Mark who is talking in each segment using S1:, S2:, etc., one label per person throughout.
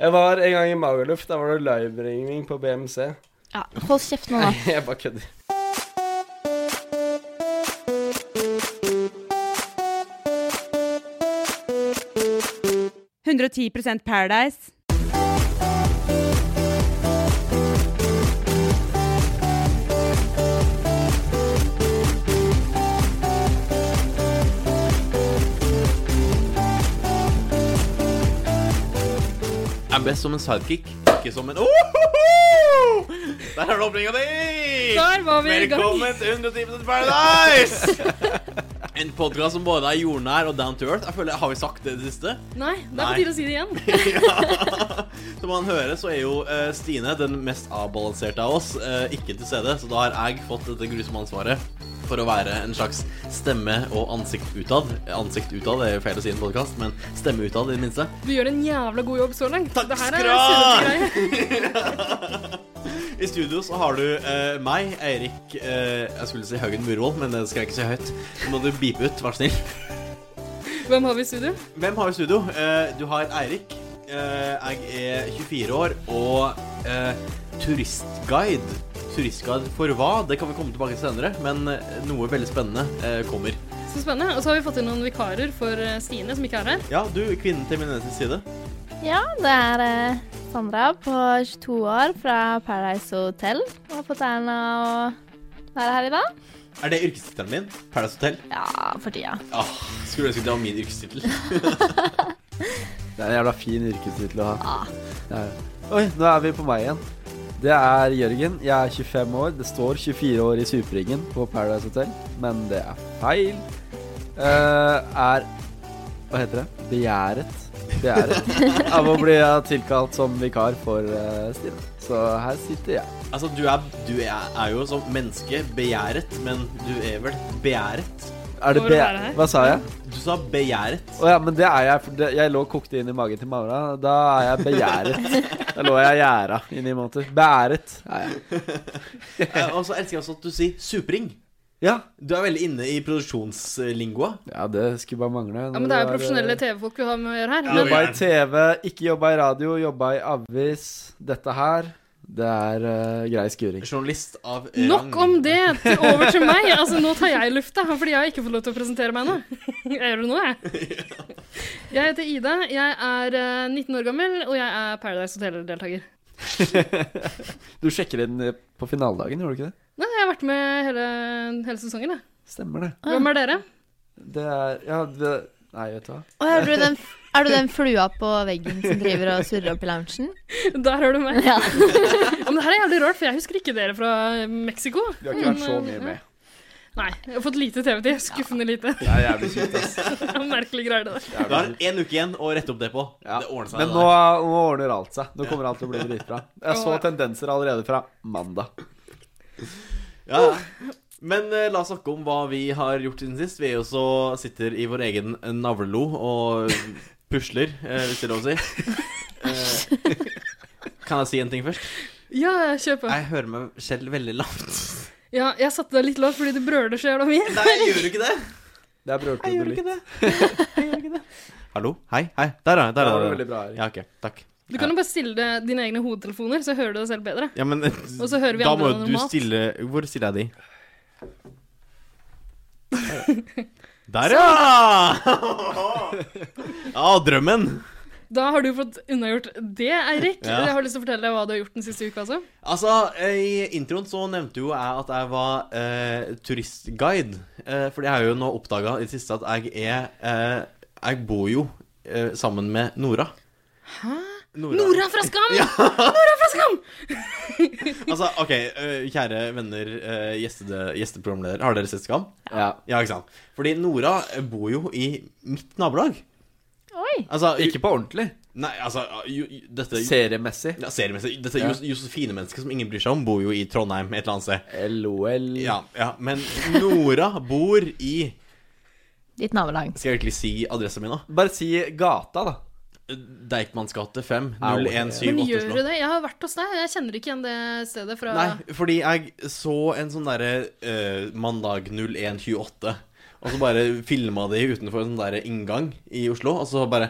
S1: Jeg var en gang i Magerluf. Da var det liveringning på BMC.
S2: Ja, hold kjeft nå, da.
S1: Jeg bare kødder.
S3: det. 110 Paradise.
S4: Er best som en sidekick, ikke som en Ohoho! Der er det åpninga di!
S3: Der var vi i gang.
S4: Velkommen til 110 Paradise! En podkast som både er jordnær og down to earth. Jeg føler, Har vi sagt det i det siste?
S5: Nei, det er
S4: Nei.
S5: på tide å si det igjen.
S4: Ja. Som man hører, så er jo eh, Stine den mest avbalanserte av oss eh, ikke til stede, så da har jeg fått dette grusomme ansvaret for å være en slags stemme og ansikt utad. Eh, Ansikt utad er jo feil å si i en podkast, men stemme utad i det minste.
S5: Du gjør en jævla god jobb så langt.
S4: Takk
S5: Det her
S4: skal
S5: er
S4: du ha!
S5: sunnhetsgreie.
S4: I studio så har du eh, meg, Eirik eh, Jeg skulle si Haugen Murvold, men det skal jeg ikke si høyt. Så må du beepe ut, vær snill.
S5: Hvem har vi i studio?
S4: Hvem har vi i studio? Eh, du har Eirik. Eh, jeg er 24 år og eh, turistguide. Turistguide for hva? Det kan vi komme tilbake til senere, men eh, noe veldig spennende eh, kommer.
S5: Så spennende. Og så har vi fått inn noen vikarer for eh, Stine, som ikke er her.
S4: Ja, du, kvinnen til min venstre side.
S2: Ja, det er eh, Sandra på 22 år fra Paradise Hotel. Og har fått æren av å være her i dag.
S4: Er det yrkestittelen din? Paradise Hotel?
S2: Ja, for tida.
S4: Ah, skulle ønske det var min yrkestittel.
S1: Det er en jævla fin yrkestittel å ha. Ja. ja. Oi, nå er vi på meg igjen. Det er Jørgen. Jeg er 25 år. Det står 24 år i superringen på Paradise Hotel, men det er feil. Eh, er Hva heter det? Begjæret. Begjæret av å bli eh, tilkalt som vikar for eh, Stine. Så her sitter jeg.
S4: Altså, du er, du er, er jo som menneske begjæret, men du er vel begjæret?
S1: Er det
S5: Får du
S1: be...
S5: være her?
S1: Hva sa jeg?
S4: Du sa begjæret.
S1: Å ja, men det er jeg. For det, jeg lå og kokte inn i magen til mamma. Da er jeg begjæret. Da lå jeg gjæra i ni måneder. Beæret er jeg.
S4: Eh, Og så elsker jeg også at du sier supring.
S1: Ja.
S4: Du er veldig inne i produksjonslingua.
S1: ja, det skulle bare mangle. eh,
S5: Ja, Men det er jo profesjonelle TV-folk vi har med å gjøre her.
S4: Ja,
S5: Men
S1: Jobba i TV, ikke jobba i radio, jobba i avis. Dette her, det er eh, grei skuring.
S4: Journalist av
S5: nok om det. til- Over til meg. Altså, Nå tar jeg lufta, fordi jeg har ikke fått lov til å presentere meg nå. Jeg gjør det nå, jeg. Jeg heter Ida. Jeg er eh, 19 år gammel, og jeg er Paradise Hotel-deltaker.
S1: Du sjekker inn eh, på finaledagen, gjorde du ikke det?
S5: Nei, jeg har vært med hele, hele sesongen, jeg.
S1: Stemmer det.
S5: Hvem er dere?
S1: Det er Ja, det Nei, vet du hva.
S2: Og er du, den, er du den flua på veggen som driver og surrer opp i loungen?
S5: Der hører du meg.
S2: Ja.
S5: Ja, men det her er jævlig rart, for jeg husker ikke dere fra Mexico.
S1: Vi har ikke vært så mye med.
S5: Nei, jeg har fått lite TV-tid. Skuffende lite.
S1: Det er jævlig kjipt, ass.
S5: Det er Merkelig greier det der.
S1: Jævlig
S4: Du har
S1: kjipt.
S4: én uke igjen å rette opp det på.
S1: Ja.
S4: Det ordner seg.
S1: Men
S4: det
S1: nå,
S4: der.
S1: nå ordner alt seg. Nå kommer alt til å bli dritbra. Jeg så tendenser allerede fra mandag.
S4: Ja, ja. Men eh, la oss snakke om hva vi har gjort siden sist. Vi er jo så sitter i vår egen navlelo og pusler, eh, hvis det er lov å si. Eh, Kan jeg si en ting først?
S5: Ja, kjør på.
S4: Jeg hører meg selv veldig lavt.
S5: Ja, jeg satte deg litt lavt fordi du brøler så jævla mye.
S4: Nei, jeg gjør ikke det.
S1: Det er brortid og litt.
S4: det. Jeg gjør ikke det. Hallo? Hei, hei. Der er jeg.
S1: Det
S4: Der
S1: var
S4: er
S1: veldig
S4: jeg.
S1: bra. Erik.
S4: Ja, ok. Takk.
S5: Du kan jo bare stille deg dine egne hodetelefoner, så hører du deg selv bedre.
S4: Ja, men
S5: så hører vi
S4: da
S5: andre
S4: må
S5: enn
S4: du
S5: normalt.
S4: stille Hvor stiller jeg de? Der, ja! Ja, drømmen.
S5: Da har du fått unnagjort det, Eirik.
S4: Ja.
S5: Jeg har lyst til å fortelle deg hva du har gjort den siste uka, altså.
S4: Altså, I introen så nevnte jo jeg at jeg var eh, turistguide. Eh, fordi jeg har jo nå oppdaga i det siste at jeg er eh, Jeg bor jo eh, sammen med Nora. Hæ?
S5: Nora fra Skam! Nora fra Skam!
S4: Altså, ok, eh, kjære venner, eh, gjestede- gjesteprogramleder, har dere sett Skam?
S1: Ja.
S4: Ja, ikke sant? Fordi Nora bor jo i mitt nabolag.
S2: Oi.
S4: Altså,
S1: Ikke på ordentlig.
S4: Nei, altså, jo, jo, dette
S1: Seriemessig.
S4: ja, seriemessig, dette
S1: Ja.
S4: Jos- Josefine-mennesket som ingen bryr seg om, bor jo i Trondheim et eller annet sted.
S1: LOL.
S4: Ja, ja, men Nora bor i
S2: Ditt nabolag.
S4: Skal jeg virkelig si adressen min, da?
S1: Bare si gata, da.
S4: Deichmans gate 5,
S1: Au.
S4: 0178
S5: Men gjør
S4: Oslo.
S5: du det? Jeg har vært hos deg, og jeg kjenner ikke igjen det stedet fra
S4: Nei, fordi jeg så en sånn derre eh, mandag 0128, og så bare filma de utenfor en sånn derre inngang i Oslo, og så bare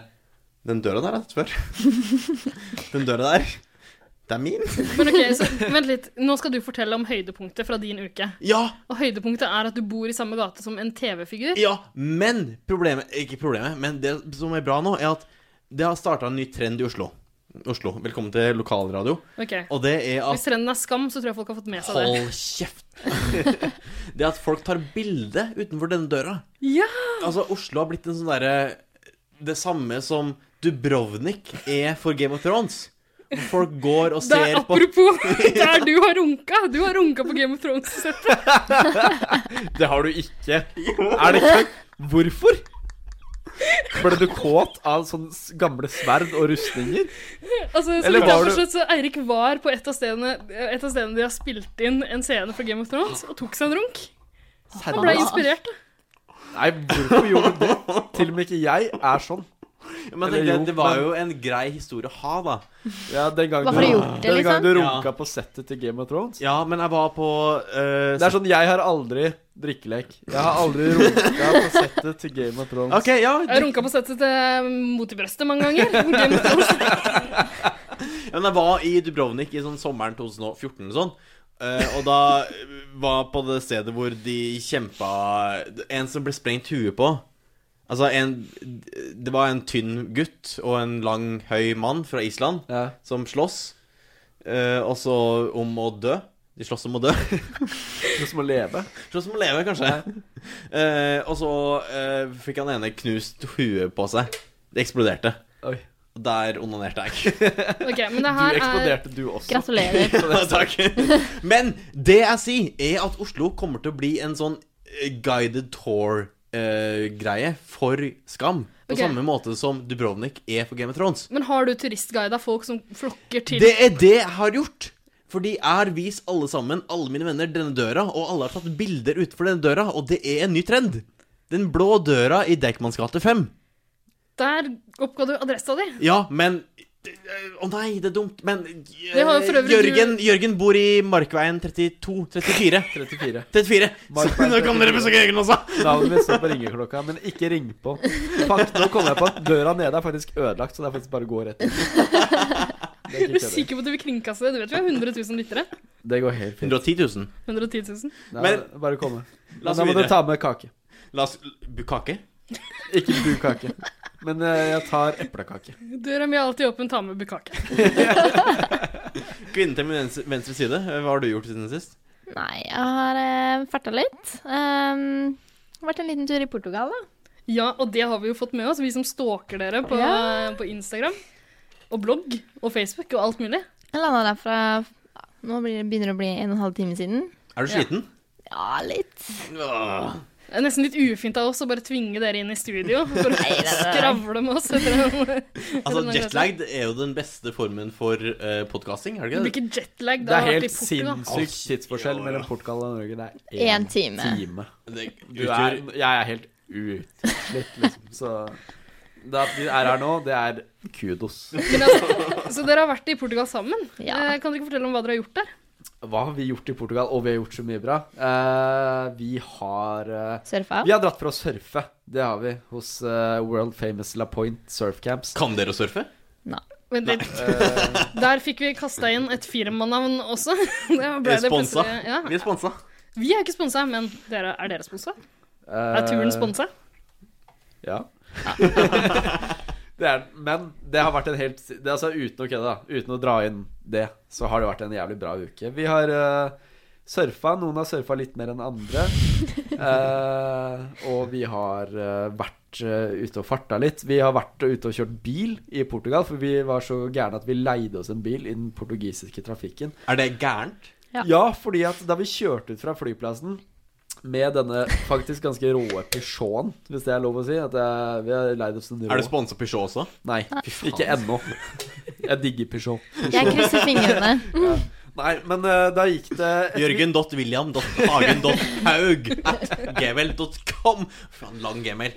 S4: Den døra der har jeg tatt før. Den døra der. Det er min.
S5: Men ok, så vent litt. Nå skal du fortelle om høydepunktet fra din uke.
S4: Ja,
S5: Og høydepunktet er at du bor i samme gate som en TV-figur.
S4: ja, men problemet Ikke problemet, men det som er bra nå, er at det har starta en ny trend i Oslo. Oslo, Velkommen til lokalradio.
S5: Ok.
S4: Og det er at
S5: Hvis trenden er skam, så tror jeg folk har fått med seg det.
S4: Hold kjeft! det at folk tar bilde utenfor denne døra.
S5: Ja!
S4: Altså, Oslo har blitt en sånn derre Det samme som Dubrovnik er for Game of Thrones. Folk går og
S5: Det er
S4: ser på
S5: apropos der du har runka. Du har runka på Game of Thrones-settet.
S1: Det har du ikke. Er det ikke Hvorfor? Ble du kåt av sånne s- gamle sverd og rustninger?
S5: Altså, så
S1: Eller
S5: vidt
S1: var
S5: jeg har
S1: du-
S5: forstått, så Eirik var på et av, stedene, et av stedene de har spilt inn en scene fra Game of Thrones, og tok seg en runk. Han ble inspirert. da.
S1: Nei, hvorfor gjorde du det? Til og med ikke jeg er sånn.
S4: Men
S1: Eller
S4: det,
S1: jo,
S4: det var
S1: men-
S4: jo en grei historie å ha, da.
S1: Ja, den gangen
S2: Hva har du gjort det,
S1: den gangen du
S4: liksom?
S1: runka på settet til Game of Thrones.
S4: Ja, men jeg var på eh,
S1: Det er sånn, jeg har aldri drikkelek. Jeg har aldri runka på settet til Game of Thrones.
S4: OK, ja.
S5: Jeg har runka på settet til eh, Mot i brøstet mange ganger. hvor Game of Thrones
S4: Ja, Men jeg var i Dubrovnik i sånn sommeren 2014 eller sånn. Eh, og da var på det stedet hvor de kjempa En som ble sprengt huet på. Altså, en, det var en tynn gutt og en lang, høy mann fra Island
S1: Ja.
S4: som slåss. Uh, også om å dø. De slåss om å dø.
S1: Det er som å leve.
S4: Slåss om å leve, kanskje. Eh, og så eh, fikk han ene knust huet på seg. Det eksploderte.
S1: Oi.
S4: Og der onanerte jeg.
S5: Ok, men det
S1: Du
S5: her er
S1: eksploderte, du også.
S2: Gratulerer.
S4: Ja, Takk. Men det jeg sier, er at Oslo kommer til å bli en sånn eh, guided tour-greie for Skam. På
S5: Ok.
S4: samme måte som Dubrovnik er for Game of Thrones.
S5: Men har du turistguida folk som flokker til
S4: Det er det jeg har gjort. Fordi jeg har vist alle sammen, alle mine venner, denne døra, og alle har tatt bilder utenfor denne døra, og det er en ny trend. Den blå døra i Deichmans gate 5.
S5: Der oppga du adressa di.
S4: Ja, men eh, Å nei, det er dumt. Men eh,
S5: Det har jo for øvrig du-
S4: Jørgen, Jørgen bor i Markveien 32, 34.
S1: 34.
S4: 34.
S1: Mark
S4: Så nå kan dere besøke Jørgen også.
S1: Navnet mitt står på ringeklokka, men ikke ring på. Fuck, nå kommer jeg på at døra nede er faktisk ødelagt, så det er faktisk bare å gå rett ut. Det er
S5: Er du
S1: ikke kødding.
S5: sikker på at du vil kringkaste det? Du vet vi har 100 000 lyttere.
S1: Det går helt fint.
S4: 110 000.
S5: 110 000.
S1: Nei,
S4: Men-
S1: bare å komme.
S4: La
S1: Men
S4: oss
S1: da må du
S4: videre.
S1: ta med kake.
S4: La oss bu- Kake?
S1: Ikke bu kake. Men eh, jeg tar eplekake.
S5: Døra mi er alltid åpen, ta med bukkake.
S4: Kvinnen til min venstre, venstre side, hva har du gjort siden sist?
S2: Nei, jeg har uh, farta litt. Um, vært en liten tur i Portugal, da.
S5: Ja, og det har vi jo fått med oss, vi som stalker dere på,
S2: Ja.
S5: på Instagram. Og blogg og Facebook og alt mulig.
S2: Jeg landa derfra ja, Nå blir det, begynner det å bli en og en halv time siden.
S4: Er du
S5: Ja.
S4: sliten?
S2: Ja, litt.
S4: Åh.
S5: Det er nesten litt ufint av oss å bare tvinge dere inn i studio for å
S2: Nei, nei, nei.
S5: skravle med oss. Etter en,
S4: Altså,
S5: Hvordan er det?
S4: jetlag er jo den beste formen for uh, podcasting, er
S5: du
S4: det
S5: blir
S4: ikke det?
S5: ikke jetlag
S1: Det
S5: da.
S1: er
S5: du har vært
S1: helt
S5: i Portugal.
S1: sinnssykt tidsforskjell
S4: Ja, ja.
S1: mellom Portugal og Norge. Det er
S2: Én
S1: én
S2: time.
S1: time.
S4: det
S1: Du er,
S4: utgjør-
S1: jeg er helt utslitt, liksom. Så det at vi er her nå, det er kudos.
S5: Men altså, så dere har vært i Portugal sammen.
S2: Ja.
S5: Eh, Kan dere ikke fortelle om hva dere har gjort der?
S1: Hva har vi gjort i Portugal? Og vi har gjort så mye bra. Eh, vi har eh,
S2: Surfa.
S1: Vi har dratt for å surfe. Det har vi hos eh, world famous La Point Surf Camps.
S4: Kan dere å surfe?
S5: Vent litt.
S1: Eh,
S5: Der fikk vi kasta inn et firmanavn også. Da ble det
S4: Sponsa.
S5: plutselig- Ja.
S4: Vi er sponsa.
S5: Vi er ikke sponsa, men dere, er dere sponsa?
S1: eh,
S5: Er turen sponsa?
S1: Ja. det er, men det har vært en helt det, er altså, Uten å kødde, da. Uten å dra inn det, så har det vært en jævlig bra uke. Vi har eh, surfa. Noen har surfa litt mer enn andre. Eh, og vi har eh, vært eh, ute og farta litt. Vi har vært ute og kjørt bil i Portugal, for vi var så gærne at vi leide oss en bil i den portugisiske trafikken.
S4: Er det gærent?
S2: Ja.
S1: Ja, fordi at da vi kjørte ut fra flyplassen med denne faktisk ganske rå Peugeoten, hvis det er lov å si at jeg, Vi har leid oss en rå
S4: Er det sponsa Peugeot også?
S1: Nei, ikke ennå. Jeg digger Peugeot.
S2: Jeg krysser fingrene.
S1: Nei, men eh, da gikk det et-
S4: Jørgen.william.hagen.haug gmail.com. Faen, lang gmail.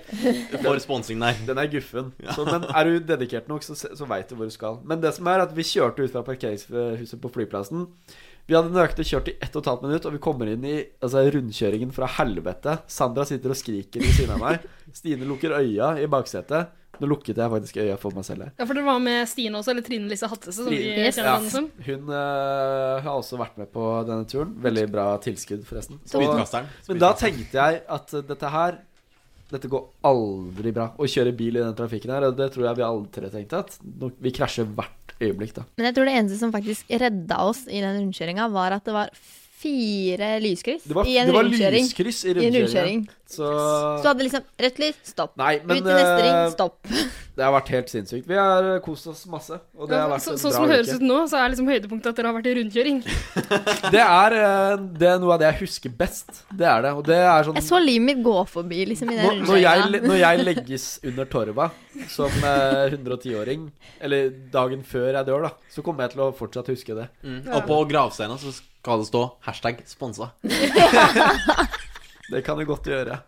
S4: For sponsing der.
S1: Den er guffen. Så, men er du dedikert nok, så, se- så veit du hvor du skal. Men det som er at vi kjørte ut fra parkeringshuset på flyplassen. Vi hadde nøyaktig kjørt i ett og et halvt minutt, og vi kommer inn i altså, rundkjøringen fra helvete. Sandra sitter og skriker ved siden av meg. Stine lukker øya i baksetet. Nå lukket jeg faktisk øya for meg selv her.
S5: Ja, for dere var med Stine også, eller Trine Lise Hattese, som vi
S4: Trine.
S5: kjenner
S1: Ja.
S5: henne liksom? som.
S1: Hun eh, har også vært med på denne turen. Veldig bra tilskudd, forresten. Så-
S4: Spydkasteren.
S1: men da tenkte jeg at eh, dette her Dette går aldri bra. Å kjøre bil i den trafikken her, og det tror jeg vi alle tre tenkte. At nå- vi krasjer hvert øyeblikk, da.
S2: Men jeg tror det eneste som faktisk redda oss i den rundkjøringa, var at det var fire lyskryss
S1: Det var,
S2: i en
S1: det var
S2: rundkjøring.
S1: lyskryss i
S2: I en
S1: rundkjøringen.
S2: rundkjøring.
S1: Så
S2: Så du hadde liksom rødt lys, stopp.
S1: Nei, men
S2: Ut i neste ring,
S1: eh,
S2: stopp.
S1: det har vært helt sinnssykt. Vi har eh, kost oss masse. Og det har
S5: Ja,
S1: vært
S5: så,
S1: en
S5: sånn
S1: bra
S5: som det høres
S1: uke.
S5: ut nå, så er liksom høydepunktet at dere har vært i rundkjøring.
S1: Det er, eh, det er noe av det jeg husker best. Det er det. Og det er sånn
S2: Jeg så livet mitt gå forbi liksom i den
S1: når, når, jeg,
S2: rundkjøringa.
S1: når jeg legges under torva som eh, 110-åring, eller dagen før jeg dør, da, så kommer jeg til å fortsatt huske det.
S4: Mm. Og på gravsteina så skal det stå hashtag sponsa.
S1: Det kan det godt gjøre.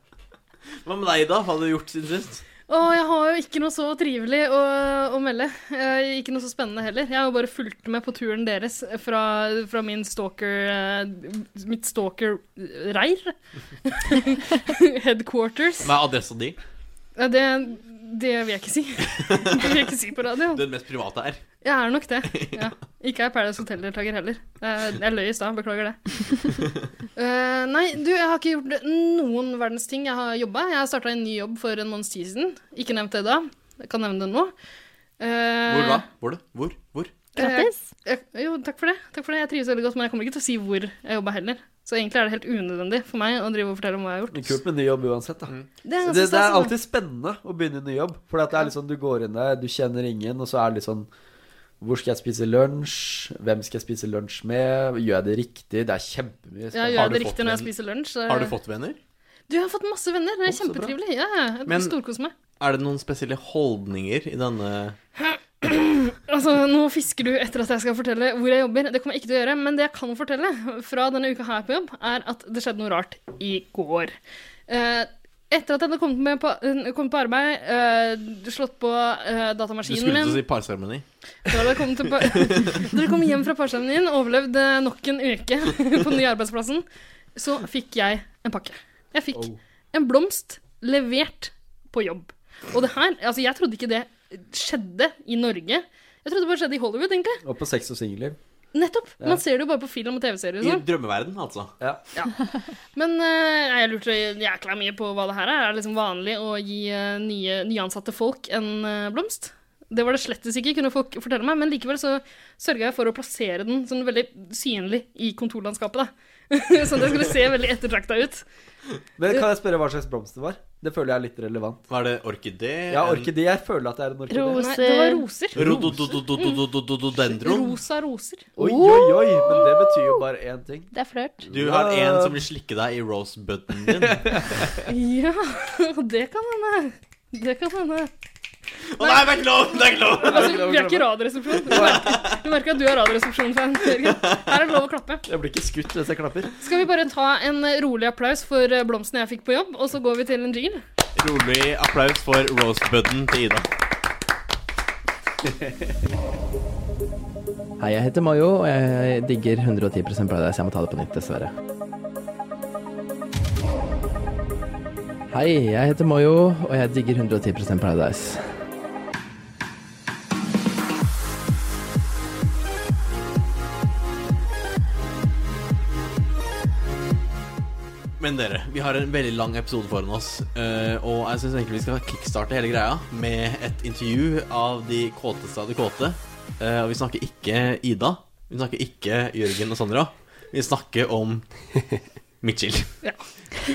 S4: Hva med deg, da? Hva har du gjort siden sist?
S5: Å, jeg har jo ikke noe så trivelig å, å melde. Eh, ikke noe så spennende heller. Jeg har jo bare fulgt med på turen deres fra, fra min stalker eh, mitt stalker-reir. Headquarters.
S4: Hva er adressa di?
S5: Ja, det, det vil jeg ikke si. Det vil jeg ikke si på radio.
S4: Du er den mest private her.
S5: Jeg er nok det. Ja. Ikke er Paradise Hotel-deltaker heller. Eh, Jeg løy i stad, beklager det. Eh, nei, du, jeg har ikke gjort noen verdens ting. Jeg har jobba. Jeg starta en ny jobb for en måneds tid siden. Ikke nevnt det da. Jeg kan nevne det nå. Eh,
S4: Hvor da? Hvor? da? Hvor? Hvor?
S2: Grattis.
S5: Jeg, jo, takk for det. Takk for det. Jeg trives veldig godt, men jeg kommer ikke til å si hvor jeg jobba heller. Så egentlig er det helt unødvendig for meg å drive og fortelle om hva jeg har gjort.
S1: Men kult med ny jobb uansett, da.
S5: Det
S1: Det, det er alltid spennende å begynne i ny jobb. For at det er litt sånn, du går inn der, du kjenner ingen, og så er det litt sånn Hvor skal jeg spise lunsj? Hvem skal jeg spise lunsj med? Gjør jeg det riktig? Det er kjempemye
S5: altså. jeg
S1: spennende.
S4: Har
S5: gjør
S4: du
S5: det
S4: fått
S5: riktig når jeg
S4: den?
S5: spiser lunsj.
S4: Har du fått venner?
S5: Du, jeg har fått masse venner. Det er
S1: Å, så bra.
S5: kjempetrivelig. Ja, ja.
S4: Men-
S5: Jeg storkoser meg.
S4: Er det noen spesielle holdninger i denne
S5: Altså, Nå fisker du etter at jeg skal fortelle hvor jeg jobber. Det kommer jeg ikke til å gjøre, men det jeg kan fortelle fra denne uka her på jobb, er at det skjedde noe rart i går. Eh, etter at jeg hadde kommet, med på, eh, kommet på arbeid, eh, slått på eh,
S4: Du
S5: datamaskinen
S4: skulle
S5: min
S4: til å si parseremoni.
S5: da hadde jeg kommet til par- Da jeg kom hjem fra parsammen din, overlevde eh, nok en uke på den nye arbeidsplassen, så fikk jeg en pakke. Jeg fikk
S1: Oh.
S5: en blomst levert på jobb. Og det her Altså, jeg trodde ikke det skjedde i Norge. Jeg trodde det bare skjedde i Hollywood, egentlig.
S1: Og på sex og singler.
S5: Nettopp.
S1: Ja.
S5: Man ser det jo bare på film og TV-serier. og
S4: I
S5: sånn.
S4: drømmeverden, altså.
S5: Men eh, jeg lurte jækla mye på hva det her er. Er det liksom vanlig å gi eh, nye, nyansatte folk en eh, blomst? Det var det slettes ikke, kunne folk fortelle meg, men likevel så sørga jeg for å plassere den sånn veldig synlig i kontorlandskapet, da. sånn at det skulle se veldig ettertrakta ut.
S1: Men kan jeg spørre hva slags blomst det var? Det føler jeg er litt relevant.
S4: Hva er det? Orkidé?
S1: Ja, orkidé. Jeg føler at det er en orkidé.
S2: Ros-
S5: Nei, det var roser.
S4: Rododendron?
S5: Rosa roser.
S1: Oi, oi, oi! Men det betyr jo bare én ting.
S2: Det er flørt.
S4: Du har en som vil slikke deg i rosebuten din.
S5: Ja, det kan hende. Det kan hende.
S4: Å nei, det er ikke lov! Det er ikke lov!
S5: Altså, vi er ikke Radioresepsjonen. Du merker- Du merker at du er Radioresepsjonen-fan. Jørgen. Her er det lov å klappe.
S1: Jeg blir ikke skutt hvis jeg klapper.
S5: Skal vi bare ta en rolig applaus for eh, blomsten jeg fikk på jobb, og så går vi til en jingle?
S4: Rolig applaus for rosebuten til Ida.
S6: Hei, jeg heter Mayo, og jeg digger 110 Paradise. Jeg må ta det på nytt, dessverre. Hei, jeg heter Mayo, og jeg digger 110 Paradise.
S4: Men dere, vi har en veldig lang episode foran oss, eh, og jeg syns egentlig vi skal kickstarte hele greia med et intervju av de kåteste av de kåte. Eh, og vi snakker ikke Ida, vi snakker ikke Jørgen og Sandra. Vi snakker om Mitchell.
S5: Ja.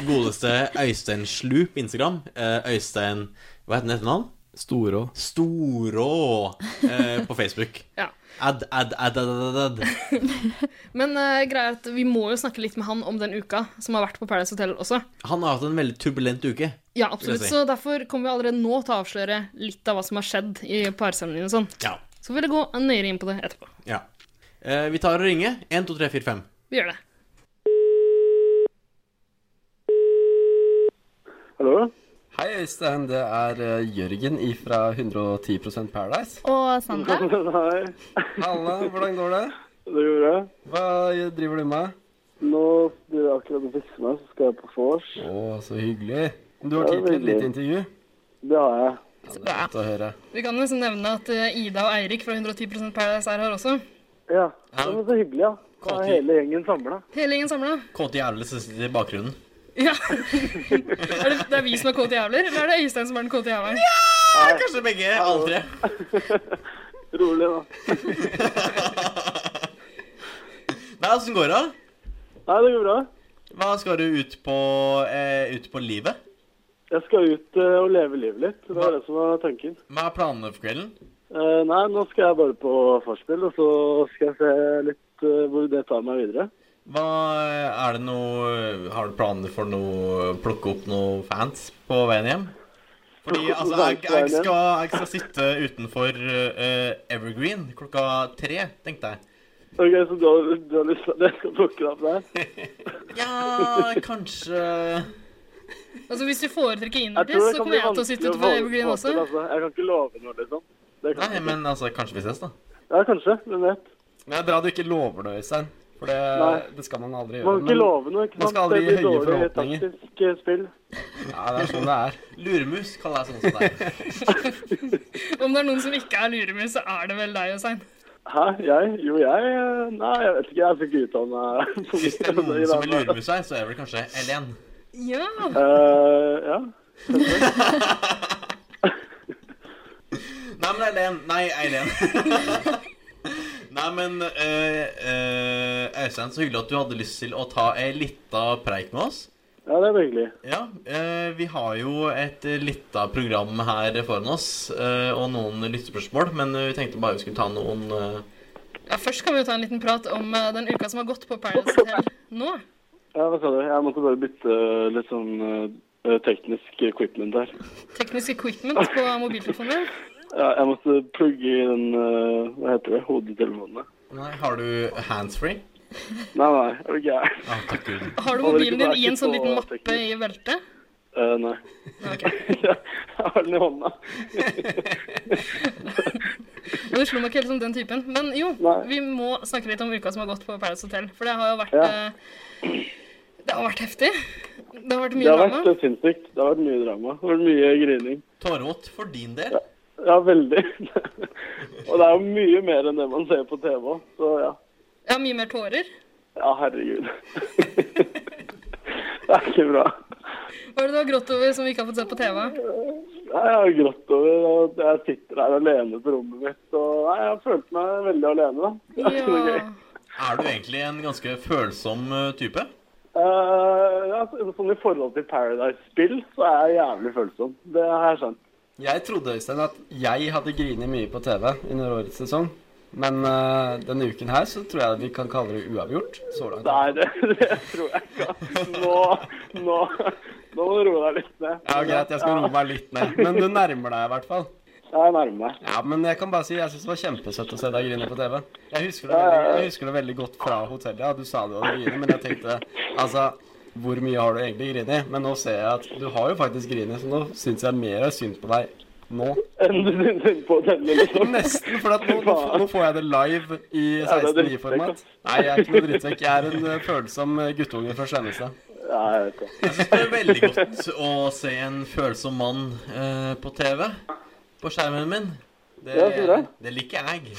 S4: Godeste Øystein Slup på Instagram. Eh, Øystein Hva heter han etter navn?
S1: Storå.
S4: Storå eh, på Facebook.
S5: Ja.
S4: Ad, ad, ad, ad, ad, ad.
S5: Men eh, greia er at vi må jo snakke litt med han om den uka som har vært på Paradise Hotel også.
S4: Han har hatt en veldig turbulent uke.
S5: Ja,
S4: Vil
S5: absolutt.
S4: jeg si.
S5: Så derfor kommer vi allerede nå til å avsløre litt av hva som har skjedd i parseremoniene og sånn.
S4: Ja.
S5: Så vil jeg gå nøyere inn på det etterpå.
S4: ja. Eh, vi tar og ringer. 1, 2, 3, 4, 5.
S5: Vi gjør det.
S7: Hallo?
S1: Hei, Øystein. Det er eh, Jørgen ifra 110 Paradise.
S2: Og Sandra.
S7: Hei,
S1: Halla, hvordan går det?
S7: det gjorde jeg.
S1: Hva driver du med?
S7: Nå driver jeg akkurat og fikser meg, så skal jeg på vors.
S1: Å, så hyggelig. Du har tid til et lite intervju.
S7: Det har jeg.
S5: Så
S8: Det
S5: bra.
S8: er godt å høre.
S5: Vi kan liksom nevne at eh, Ida og Eirik fra 110 Paradise er her også.
S7: Ja. Det var så hyggelig, ja. Da
S4: Kåte.
S7: er hele gjengen samla.
S5: Hele gjengen samla.
S4: Kåte jævler som sitter i bakgrunnen.
S5: Ja. er det, det er vi som er kåte jævler, eller er det Øystein som er den kåte jævelen?
S4: Kanskje begge? Alle tre.
S7: Rolig, da.
S4: Nei, åssen går det?
S7: Nei, det går bra.
S4: Hva skal du ut på, eh, ut på livet?
S7: Jeg skal ut eh, og leve livet litt. Det var det som var tanken.
S4: Hva er planene for kvelden?
S7: Eh, nei, nå skal jeg bare på Farspill, og så skal jeg se litt eh, hvor det tar meg videre.
S4: Hva eh, er det noe Har du planer for noe Plukke opp noen fans på veien hjem? Fordi
S7: Plukke opp
S4: altså, jeg,
S7: noen fans på veien
S4: jeg, skal, jeg skal sitte utenfor eh, Evergreen klokka tre, tenkte jeg.
S7: Ok, Så du har, du har lyst til at jeg skal plukke deg opp der?
S4: Ja, kanskje
S5: Altså Hvis vi foretrekker
S7: Jeg tror
S5: innenriks,
S7: det
S5: så
S7: kan
S5: kommer
S7: bli
S5: jeg til å sitte
S7: vanskelig
S5: ute på
S7: å
S5: Evergreen
S7: få
S5: også.
S7: til, Altså. Jeg kan ikke love noe, liksom. Det kan
S4: Nei,
S7: jeg ikke.
S4: men altså, kanskje vi ses, da.
S7: Ja, kanskje. Hvem vet.
S8: Men det er bra du ikke lover det, Øystein. For det,
S7: Nei.
S8: det skal man aldri
S7: Man
S8: gjøre.
S7: kan ikke love noe, ikke
S8: man
S7: sant?
S8: skal aldri gi
S7: Det blir
S8: høye
S7: dårlig
S8: forhåpninger.
S7: taktisk eh, spill.
S8: ja, det er sånn det er.
S4: Luremus kaller jeg sånn som deg.
S5: Om det er noen som ikke er luremus, så er det vel deg, Øystein.
S7: Hæ? Jeg? Jo, jeg eh, Nei, jeg vet ikke. Jeg er så eh, ikke utdanna.
S4: Hvis det er noen som vil luremus her, så er det vel kanskje Elen.
S5: Ja.
S7: Eh, ja.
S4: Nei, men Eileen Nei, Eileen. Nei, men eh, eh, Øystein, så hyggelig at du hadde lyst til å ta ei lita preik med oss.
S7: ja, det var hyggelig.
S4: Ja, eh, vi har jo et eh, lita program her foran oss, eh, og noen lyttespørsmål, men eh, vi tenkte bare vi skulle ta noen eh,
S5: ja, Først kan vi jo ta en liten prat om eh, den uka som har gått på Paradise Hotel nå.
S7: Ja, hva sa du? Jeg måtte bare bytte eh, litt sånn eh, teknisk equipment der.
S5: Teknisk equipment på mobiltelefoner.
S7: Ja, jeg måtte plugge i den eh, Hva heter det? Hodetelefonene.
S4: Nei, har du handsfree?
S7: Nei, nei, er du gæren?
S4: Ah, takk Gud.
S5: Har du
S7: Holder
S5: mobilen
S7: ikke
S5: din i en sånn
S7: på
S5: liten mappe
S7: teknisk.
S5: i beltet?
S7: Eh, nei.
S5: Ok.
S7: jeg har den i hånda.
S5: Og det slo meg ikke helt som den typen. Men jo,
S7: Nei.
S5: vi må snakke litt om uka som har gått på Paradise Hotel. For det har jo vært
S7: Ja.
S5: eh, Det har vært heftig. Det har vært
S7: Det
S5: mye
S7: har vært
S5: drama.
S7: eh, sinnssykt. Det har vært mye drama. Det har vært mye grining.
S4: Tårevått for din del.
S7: Ja, veldig. og det er jo mye mer enn det man ser på TV òg, så ja.
S5: Ja, mye mer tårer.
S7: Ja, herregud. det er ikke bra.
S5: Hva er det du har grått over som vi ikke har fått sett på TV?
S7: Nei, Jeg har grått over at jeg sitter her alene på rommet mitt. Og nei, jeg følte meg veldig alene, da. Det er ikke noe
S5: Ja.
S7: gøy.
S4: Er du egentlig en ganske følsom eh, type?
S7: Eh, ja, så- sånn I forhold til Paradise-spill så er jeg jævlig følsom. Det har jeg skjønt.
S8: Jeg trodde, Øystein, at jeg hadde grinet mye på TV under årets sesong. Men eh, denne uken her så tror jeg vi kan kalle det uavgjort. Så langt.
S7: Nei, det, det tror jeg ikke. ass. Nå, nå, nå må du roe deg litt ned.
S8: Ja, greit, jeg skal roe meg litt ned. Men du nærmer deg i hvert fall.
S7: Jeg nærmer meg.
S8: Ja, men jeg kan bare si jeg syns det var kjempesøtt å se deg grine på TV. Jeg husker det veldig, jeg husker det veldig godt fra hotellet. Ja, du sa du hadde grinet, men jeg tenkte altså hvor mye har du egentlig grinet? Men nå ser jeg at du har jo faktisk grinet, så nå syns jeg mer er synd på deg nå.
S7: Enn du syns synd på denne, liksom.
S8: Nesten, for at nå, nå, f- nå får jeg det live i
S7: Ja, det er
S8: 16.9-format. Nei, jeg er ikke noe drittsekk. Jeg er en eh, følsom eh, guttunge fra Skjennestad.
S7: Ja, jeg vet det.
S4: Jeg syns det er veldig godt å se en følsom mann eh, på TV. På skjermen min. Det,
S7: Ja, så bra.
S4: det liker jeg.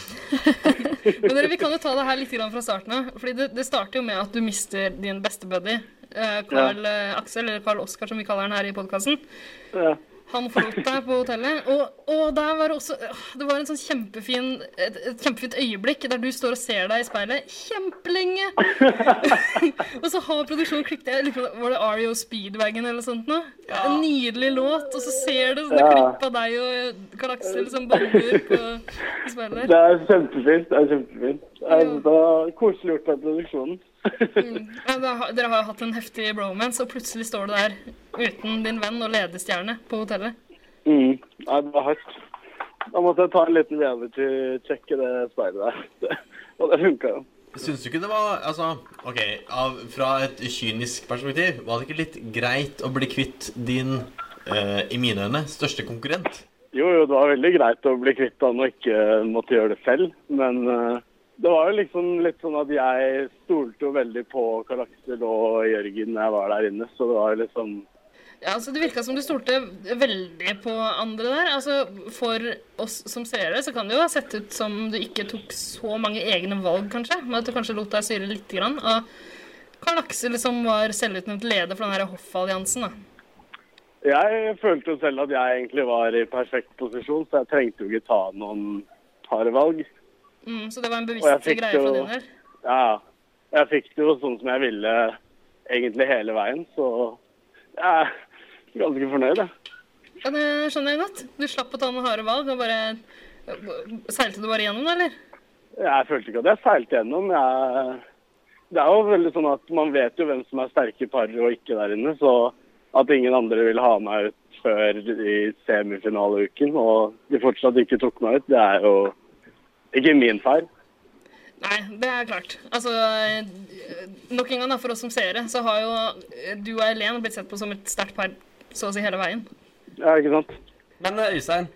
S5: Men dere, vi kan jo ta det her litt grann fra starten av. Fordi det, det starter jo med at du mister din beste buddy. eh, Carl eh, Aksel, eller Carl Oskar som vi kaller han her i podkasten.
S7: Ja.
S5: Han forlot deg på hotellet, og, og der var det også åh, Det var en sånn kjempefin, et, et kjempefint øyeblikk der du står og ser deg i speilet kjempelenge. og så har produksjonen klikket jeg lurer på, Var det Ario Speedwagon eller sånt noe? En nydelig låt, og så ser du sånne
S7: Ja.
S5: klipp av deg og Karl Aksel som baller på i speilet
S7: Det
S5: der.
S7: er kjempefint. Det er kjempefint. Det er,
S5: Ja.
S7: det er koselig gjort av produksjonen.
S5: Mm. Ja, da har- Dere har jo hatt en heftig bromance, og plutselig står du der uten din venn og ledestjerne på hotellet.
S7: Mm. Nei, det var hardt. Da måtte jeg ta en liten reality-check i det speilet der. Det, og det funka jo.
S4: Syns du ikke det var Altså, OK, av, fra et kynisk perspektiv, var det ikke litt greit å bli kvitt din, eh, i mine øyne, største konkurrent?
S7: Jo, jo, det var veldig greit å bli kvitt han og ikke måtte gjøre det selv, men eh, det var jo liksom litt sånn at jeg stolte jo veldig på Karl Aksel og Jørgen når jeg var der inne, så det var jo liksom
S5: Ja, altså Det virka som du stolte veldig på andre der. Altså, For oss som seere så kan det jo ha sett ut som du ikke tok så mange egne valg, kanskje. Men at du kanskje lot deg styre lite grann. Og Karl Aksel som var selvutnevnt leder for den her hoffalliansen. da.
S7: Jeg følte jo selv at jeg egentlig var i perfekt posisjon, så jeg trengte jo ikke ta noen harde valg.
S5: Mm, så det var en
S7: Og jeg
S5: bevisst
S7: fikk
S5: greie fra
S7: jo-
S5: din del.
S7: Ja, jeg fikk det jo sånn som jeg ville egentlig hele veien, så jeg er ganske fornøyd, jeg.
S5: Ja, det skjønner jeg godt. Du slapp å ta noen harde valg. og bare... eh, Seilte du bare gjennom, da, eller?
S7: Jeg følte ikke at jeg seilte gjennom. Jeg, det er jo veldig sånn at man vet jo hvem som er sterke par og ikke der inne, så at ingen andre ville ha meg ut før i semifinaleuken, og de fortsatt ikke tok meg ut, det er jo ikke min feil.
S5: Nei, det er klart. Altså, eh, nok en gang da, for oss som seere, så har jo eh, du og Eileen blitt sett på som et sterkt par så å si hele veien.
S7: Ja, ikke sant?
S8: Men eh, Øystein,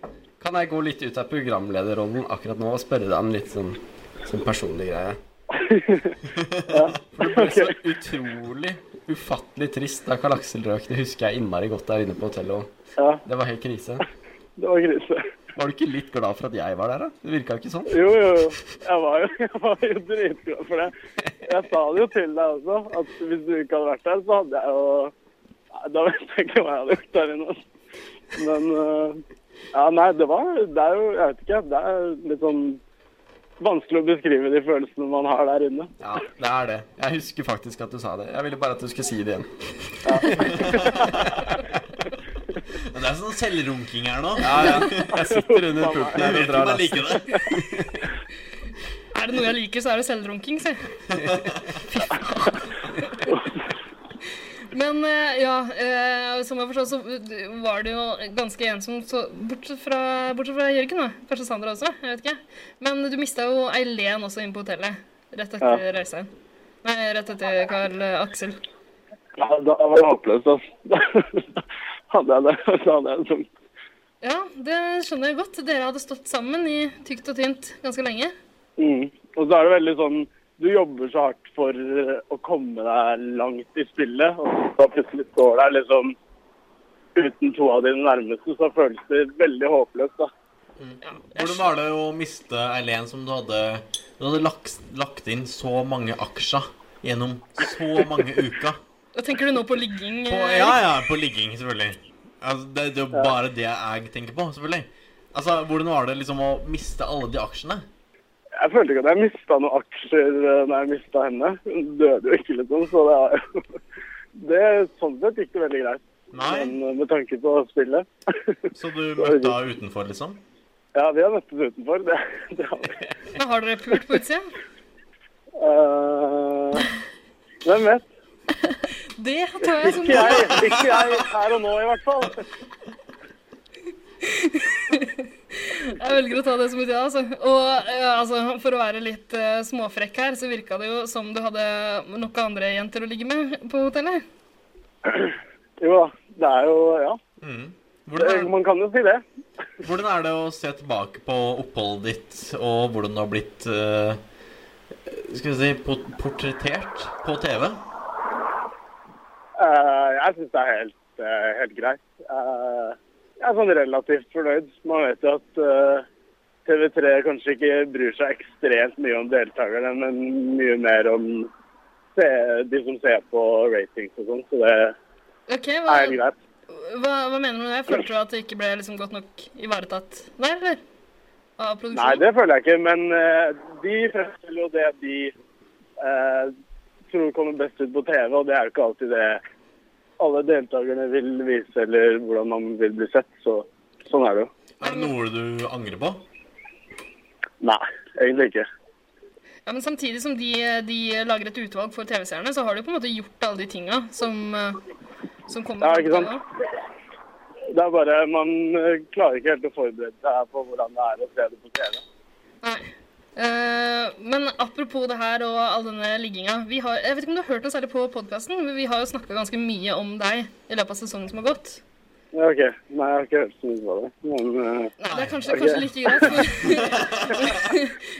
S8: kan jeg gå litt ut av programlederrollen akkurat nå og spørre deg om litt sånn, sånn personlig greie? For det ble så utrolig, ufattelig trist da Karl Aksel røk. Det husker jeg innmari godt der inne på hotellet. også.
S7: Ja,
S8: Det var helt krise.
S7: det var krise.
S8: Var du ikke litt glad for at jeg var der, da? Det virka jo ikke sånn.
S7: Jo, jo. jo. Jeg var jo, jeg var jo dritglad for det. Jeg sa det jo til deg også, at hvis du ikke hadde vært der, så hadde jeg jo Nei, Da vet jeg ikke hva jeg hadde gjort der inne. altså. Men øh, Ja, nei, det var Det er jo Jeg vet ikke. Det er litt sånn vanskelig å beskrive de følelsene man har der inne.
S8: Ja, det er det. Jeg husker faktisk at du sa det. Jeg ville bare at du skulle si det igjen.
S4: Men det er sånn selvrunking her nå.
S8: Ja, ja. Jeg sitter under pulten
S4: Jeg
S8: her og
S4: vet ikke
S8: drar
S4: om jeg
S8: lasten.
S4: liker det.
S5: Er det noe jeg liker, så er det selvrunking, si. Fy faen. Men eh, ja, eh, som jeg forstår, så var det jo ganske ensomt, så bortsett fra, bortsett fra Jørgen, da. Kanskje Sandra også, jeg vet ikke. Men du mista jo Eileen også inn på hotellet rett etter Øystein. Nei, rett etter Karl Aksel.
S7: Ja, da var det håpløst, altså. Da hadde jeg det. Da hadde jeg det tungt.
S5: Ja, det skjønner jeg godt. Dere hadde stått sammen i tykt og tynt ganske lenge.
S7: Mm. Og så er det veldig sånn Du jobber så hardt for eh, å komme deg langt i spillet, og så plutselig står der liksom uten to av dine nærmeste, så føles det veldig håpløst, da.
S4: Hvordan var det å miste Eileen som du hadde Du hadde lagt, lagt inn så mange aksjer gjennom så mange uker?
S5: Da tenker du nå på ligging?
S4: På,
S5: eh,
S4: ja, ja, på ligging, selvfølgelig. Altså, det, det er jo bare det jeg tenker på, selvfølgelig. Altså, Hvordan var det liksom å miste alle de aksjene?
S7: Jeg følte ikke at jeg mista noen aksjer eh, når jeg mista henne. Hun døde jo ikke, liksom, så det var jo det, Sånn sett gikk det veldig greit.
S4: Nei.
S7: Men eh, med tanke på spillet
S4: Så du møtte henne utenfor, liksom?
S7: Ja, vi har møttes utenfor. Det, det har vi.
S5: Da har dere pult på utsida?
S7: Eh, hvem vet?
S5: Det tar jeg som
S7: Ikke jeg, ikke jeg her og nå, i hvert fall.
S5: Jeg velger å ta det som et ja, altså. Og eh, altså, for å være litt eh, småfrekk her, så virka det jo som du hadde noen andre jenter å ligge med på hotellet.
S7: Jo da. Det er jo Ja.
S4: Mm.
S7: Det,
S4: Hvordan,
S7: man kan jo si det.
S4: er, hvordan er det å se tilbake på oppholdet ditt, og hvordan du har blitt eh, Skal vi si port- portrettert på TV?
S7: Eh, jeg syns det er helt, eh, helt greit. Eh, jeg er sånn relativt fornøyd. Man vet jo at eh, TV3 kanskje ikke bryr seg ekstremt mye om deltakerne, men mye mer om se, de som ser på ratings og sånn, så det
S5: Ok,
S7: er
S5: hva,
S7: helt greit.
S5: hva, hva mener du med det? Følte du at det ikke ble liksom godt nok ivaretatt der, eller? Av produksjonen?
S7: Nei, det føler jeg ikke, men eh, de fremstiller jo det de eh, tror kommer best ut på TV, og det er jo ikke alltid det alle deltakerne vil vise, eller hvordan man vil bli sett, så sånn er det jo.
S4: Er det noe du angrer på?
S7: Nei, egentlig ikke.
S5: Ja, men samtidig som de, de lager et utvalg for TV-seerne, så har de jo på en måte gjort alle de tinga som, eh, som kommer.
S7: Ja,
S5: frem
S7: ikke
S5: til
S7: sant?
S5: nå.
S7: Det er bare Man eh, klarer ikke helt å forberede seg på hvordan det er å se det på TV.
S5: Nei. Eh, men apropos det her og all denne ligginga. Vi har, jeg vet ikke om du har hørt noe særlig på podkasten, men vi har jo snakka ganske mye om deg i løpet av sesongen som har gått.
S7: Ja, OK. Nei, jeg har ikke hørt så mye på det. Men eh,
S5: Det er kanskje, kanskje like greit. for-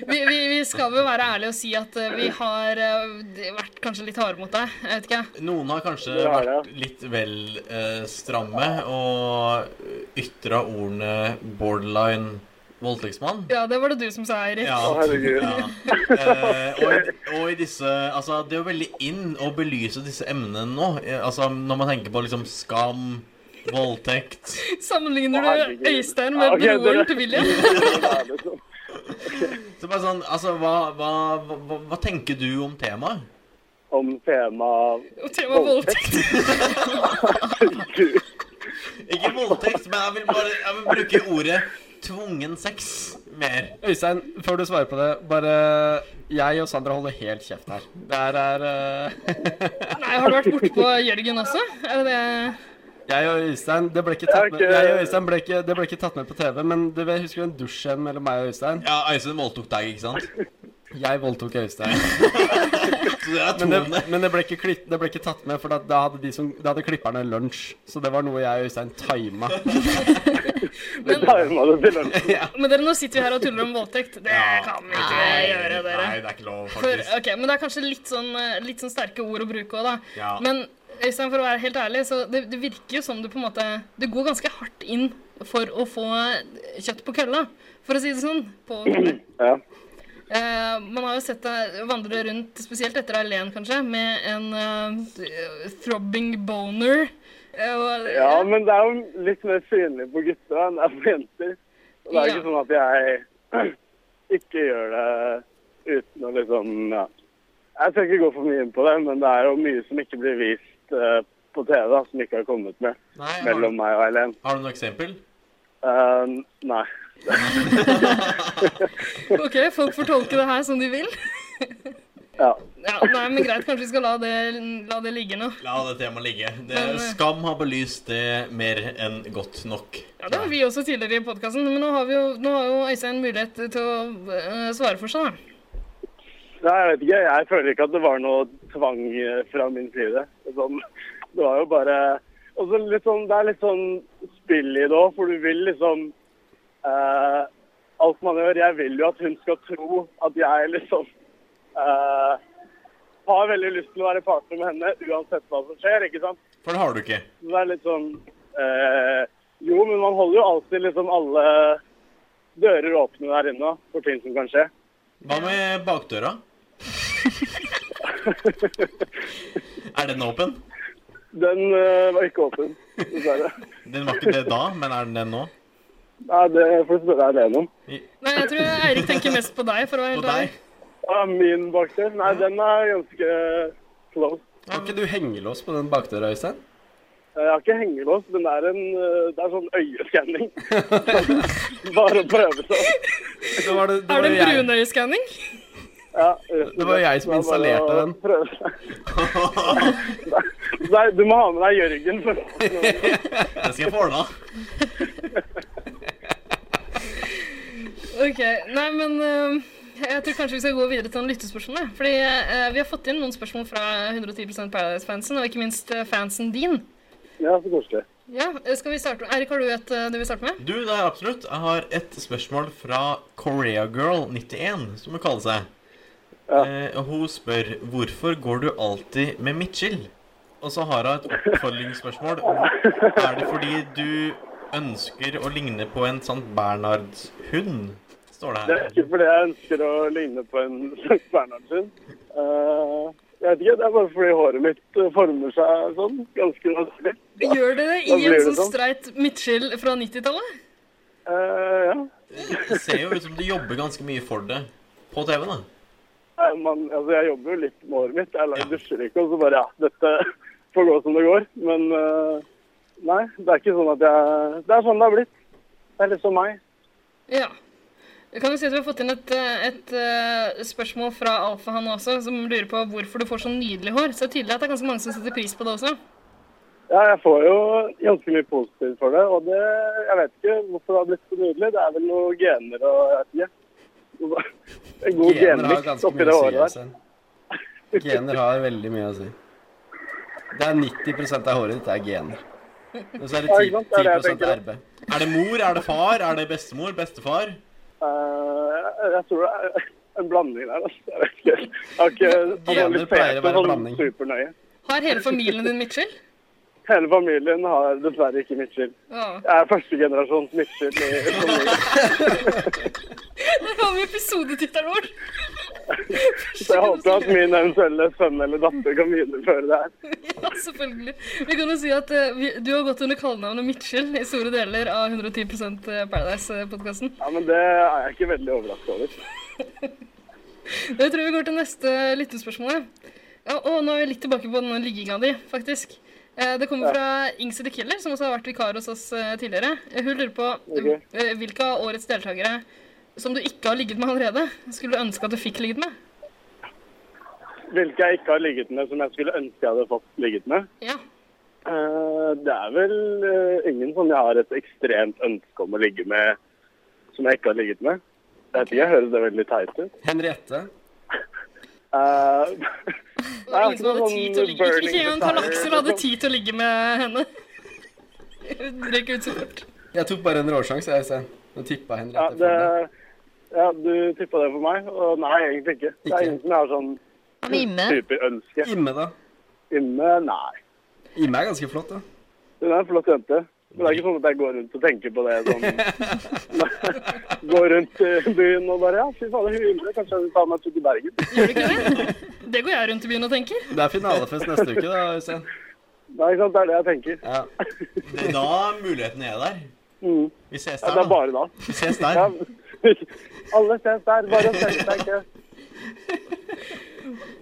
S5: vi, vi, vi skal vel være ærlige og si at eh, vi har eh, vært kanskje litt harde mot deg. Jeg vet ikke.
S4: Noen har kanskje
S7: Det har
S4: vært litt vel eh, stramme og ytra ordene borderline voldtektsmann.
S5: Ja, det var det du som sa, Eirik.
S4: Ja.
S7: Å, herregud.
S4: ja. Eh, og, og i disse Altså, det er jo veldig in å belyse disse emnene nå. Eh, Altså, når man tenker på liksom skam, voldtekt
S5: Sammenligner
S7: Å,
S5: du
S7: herregud.
S5: Øystein
S7: Ja,
S5: med
S7: ok, dere-
S5: broren til William?
S7: det er liksom-
S4: Så bare sånn, altså, hva, hva, hva, hva tenker du om temaet?
S7: om temaet
S5: Og tema voldtekt.
S7: Gud.
S4: Ikke voldtekt, men jeg vil bare jeg vil bruke ordet tvungen sex mer.
S8: Øystein, før du svarer på det, bare eh, Jeg og Sandra holder helt kjeft her. Det her er eh,
S5: Nei, har du vært bortpå Jørgen også? Er det det?
S8: Jeg og Øystein det ble ikke tatt med,
S7: Ok.
S8: jeg og Øystein ble ikke, det ble ikke tatt med på TV, men du vet, husker du en dusj mellom meg og Øystein?
S4: Ja, Øystein voldtok deg, ikke sant?
S8: Jeg voldtok Øystein.
S4: Så det er
S8: Men det,
S4: tvungne.
S8: men det, ble, ikke klipp, det ble ikke tatt med, for da, da hadde, de som- da hadde klipperne lunsj. Så det var noe jeg og Øystein tima.
S7: Det tima det til lunsj.
S5: Men dere, nå sitter vi her og tuller om voldtekt. Det
S4: Ja.
S5: kan vi ikke gjøre, dere.
S4: Nei, det er ikke lov,
S5: For,
S4: faktisk.
S5: ok, Men det er kanskje litt sånn, eh, litt sånn sterke ord å bruke òg, da.
S4: Ja.
S5: Men Øystein, for å være helt ærlig, så det, det virker jo som du på en måte Du går ganske hardt inn for å få kjøtt på kølla, for å si det sånn. På,
S7: Ja.
S5: Eh, man har jo sett deg vandre rundt, spesielt etter Eileen, kanskje, med en eh, throbbing boner. Eh, og-
S7: ja, men det er jo litt mer synlig på gutter enn det er på jenter. Og det er jo ikke sånn at jeg ikke gjør det uten å liksom ja. Jeg skal ikke gå for mye inn på det, men det er jo mye som ikke blir vist eh, på TV, da, som ikke har kommet med
S4: Nei, har,
S7: mellom meg og Eileen.
S4: har du noe eksempel?
S7: Eh, nei.
S5: OK, folk får tolke det her som de vil.
S7: Ja.
S5: Ja, nei, men greit, kanskje vi skal la det, la det ligge nå.
S4: La det temaet ligge. Det,
S5: Men, eh,
S4: skam har belyst det mer enn godt nok.
S5: Ja, Det var vi også tidligere i podkasten, men nå har, vi jo, nå har jo Øystein mulighet til å eh, svare for seg. da.
S7: Nei, jeg vet ikke. Jeg føler ikke at det var noe tvang eh, fra min side. Sånn, det var jo bare Og så litt sånn, det er litt sånn spill i det òg, for du vil liksom eh, Alt man gjør Jeg vil jo at hun skal tro at jeg liksom eh, har veldig lyst til å være partner med henne uansett hva som skjer, ikke sant?
S4: For det har du ikke.
S7: Så det er litt sånn eh, Jo, men man holder jo alltid liksom alle dører åpne der inne da, for ting som kan skje.
S4: Hva med bakdøra? er den åpen?
S7: Den eh, var ikke åpen, dessverre.
S4: Den var ikke det da, men er den det nå?
S7: Nei, det får du spørre alene om.
S5: Nei, Jeg tror Eirik tenker mest på deg. for å være
S4: På
S5: helt ærlig.
S4: deg?
S7: Ja, min bakdel? Nei, den er ganske close.
S8: Kan ikke du hengelås på den bakdøra, Øystein?
S7: Eh, Jeg har ikke hengelås, men det er, en, eh, det er sånn øyeskanning. Bare å prøve seg.
S8: Det var, det, det
S5: Er
S8: var
S5: det en
S8: jeg,
S5: brunøyeskanning?
S7: Ja, rett og
S8: Det var
S7: slett.
S8: jeg som
S7: Det er bare
S8: installerte
S7: å
S8: den.
S7: prøve seg. Nei, du må ha med deg Jørgen. For.
S4: Den skal jeg få ordna.
S5: Ok, Nei, men eh, jeg tror kanskje vi skal gå videre til en lyttespørsmål. jeg. Fordi eh, vi har fått inn noen spørsmål fra 110 Paradise-fansen, og ikke minst eh, fansen din.
S7: Ja, så koselig.
S5: Ja, eh, skal vi starte? Eirik, har du et eh, du vil starte med?
S4: Du, det er absolutt. Jeg har et spørsmål fra Koreagirl91, som hun kaller seg.
S7: Ja.
S4: Eh, og hun spør hvorfor går du alltid med midtskill? Og så har hun et oppfølgingsspørsmål. Er det fordi du ønsker å ligne på en Sankt Bernhardshund? Står
S7: Det
S4: det
S7: er
S4: her.
S7: ikke fordi jeg ønsker å ligne på en Sankt Bernhardshund. Eh, jeg vet ikke, det er bare fordi håret mitt eh, former seg sånn, ganske naturlig.
S5: Gjør det i
S7: Da blir
S5: en
S7: det
S5: sånn
S7: sånn.
S5: streit midtskill fra 90-tallet?
S7: Eh, ja.
S4: Det ser jo ut som du jobber ganske mye for det på TV, da.
S7: Nei, Man, altså, jeg jobber jo litt med håret mitt. Jeg lager dusjer ikke, og så bare ja, dette får gå som det går. Men eh, nei, det er ikke sånn at jeg Det er sånn det har blitt. Det er litt som meg.
S5: Ja. Jeg kan jo si at Vi har fått inn et, eh, et eh, spørsmål fra Alfa han også, som lurer på hvorfor du får så nydelig hår. Så det er tydelig at det er ganske mange som setter pris på det også.
S7: Ja, jeg får jo ganske mye positivt for det, og det Jeg vet ikke hvorfor det har blitt så nydelig. Det er vel noen gener og jeg vet ikke. En god
S8: Gener har
S7: genmiks
S8: ganske
S7: oppi
S8: mye
S7: det
S8: å si, altså.
S7: håret der.
S8: Øystein. Gener har veldig mye å si. Det er 90 av håret ditt er gener. Og så er
S7: Ja,
S8: det 10,
S7: ikke sant? Det er det jeg
S8: 10
S7: tenker.
S8: RB.
S4: Er det mor? Er det far? Er det bestemor? Bestefar?
S7: Eh, jeg tror det er en blanding der, altså. Jeg vet ikke. Jeg har ikke
S8: Gener pleier å være
S7: analysert det
S8: en
S7: sånn
S8: blanding.
S7: supernøye.
S5: Har hele familien din midtskill?
S7: Hele familien har dessverre ikke midtskill.
S5: Ja.
S7: Jeg er førstegenerasjons midtskill i familien.
S5: Der har vi episodetittelen vår!
S7: Så jeg håper at min eventuelle sønn eller datter kan videreføre det her.
S5: Ja, selvfølgelig. Vi kan jo si at eh, vi, du har gått under kallenavnet Midtskill i store deler av 110 Paradise-podkasten.
S7: Ja, men det er jeg ikke veldig overrasket over.
S5: Jeg tror vi går til neste lyttespørsmål. Ja, og nå er vi litt tilbake på den ligginga di, faktisk. Eh, Det kommer fra Ingsi the Killer, som også har vært vikar hos oss eh, tidligere. Eh, Hun lurer på
S7: Ok.
S5: eh, hvilke av årets deltakere som du ikke har ligget med allerede, skulle du ønske at du fikk ligget med?
S7: Hvilke jeg ikke har ligget med som jeg skulle ønske jeg hadde fått ligget med.
S5: Ja.
S7: Eh, Det er vel eh, ingen som jeg har et ekstremt ønske om å ligge med, som jeg ikke har ligget med. Jeg vet ikke, jeg høres det veldig teit ut.
S8: Henriette.
S7: Eh,
S5: Det var ingen som
S7: ikke
S5: hadde
S7: noe
S5: tid til å ligge Ikke engang
S7: sånn burning desire,
S5: Karl Aksel hadde
S7: liksom.
S5: tid til å ligge med henne. Drikk ut så fort.
S8: Jeg tok bare en råsjanse, jeg. Se. Nå tippa
S7: ja,
S8: Henriette.
S7: det,
S8: for meg.
S7: ja, du tippa det for meg, og nei, egentlig ikke. Det
S8: Ikke?
S7: er ingen som jeg har sånn
S2: Han er inne.
S7: superønske
S8: Imme, da.
S7: inne. Nei.
S8: Imme er ganske flott, da.
S7: Hun er en flott jente. Men det er ikke sånn at jeg går rundt og tenker på det sånn. går rundt i byen og bare Ja, fy fader, hun ymler. Kanskje jeg vil ta meg en tur til Bergen.
S5: Gjør du ikke det? Det går jeg rundt i byen og tenker.
S8: Det er finalefest neste uke, da, Øystein.
S7: Nei, ikke sant. Det er det jeg tenker.
S8: Ja.
S4: Det er da muligheten er der.
S7: Mm.
S4: Vi ses
S7: Ja,
S4: der,
S7: det er
S4: da.
S7: bare da.
S4: Vi ses der.
S7: Ja. Alle ses der, bare send deg ikke.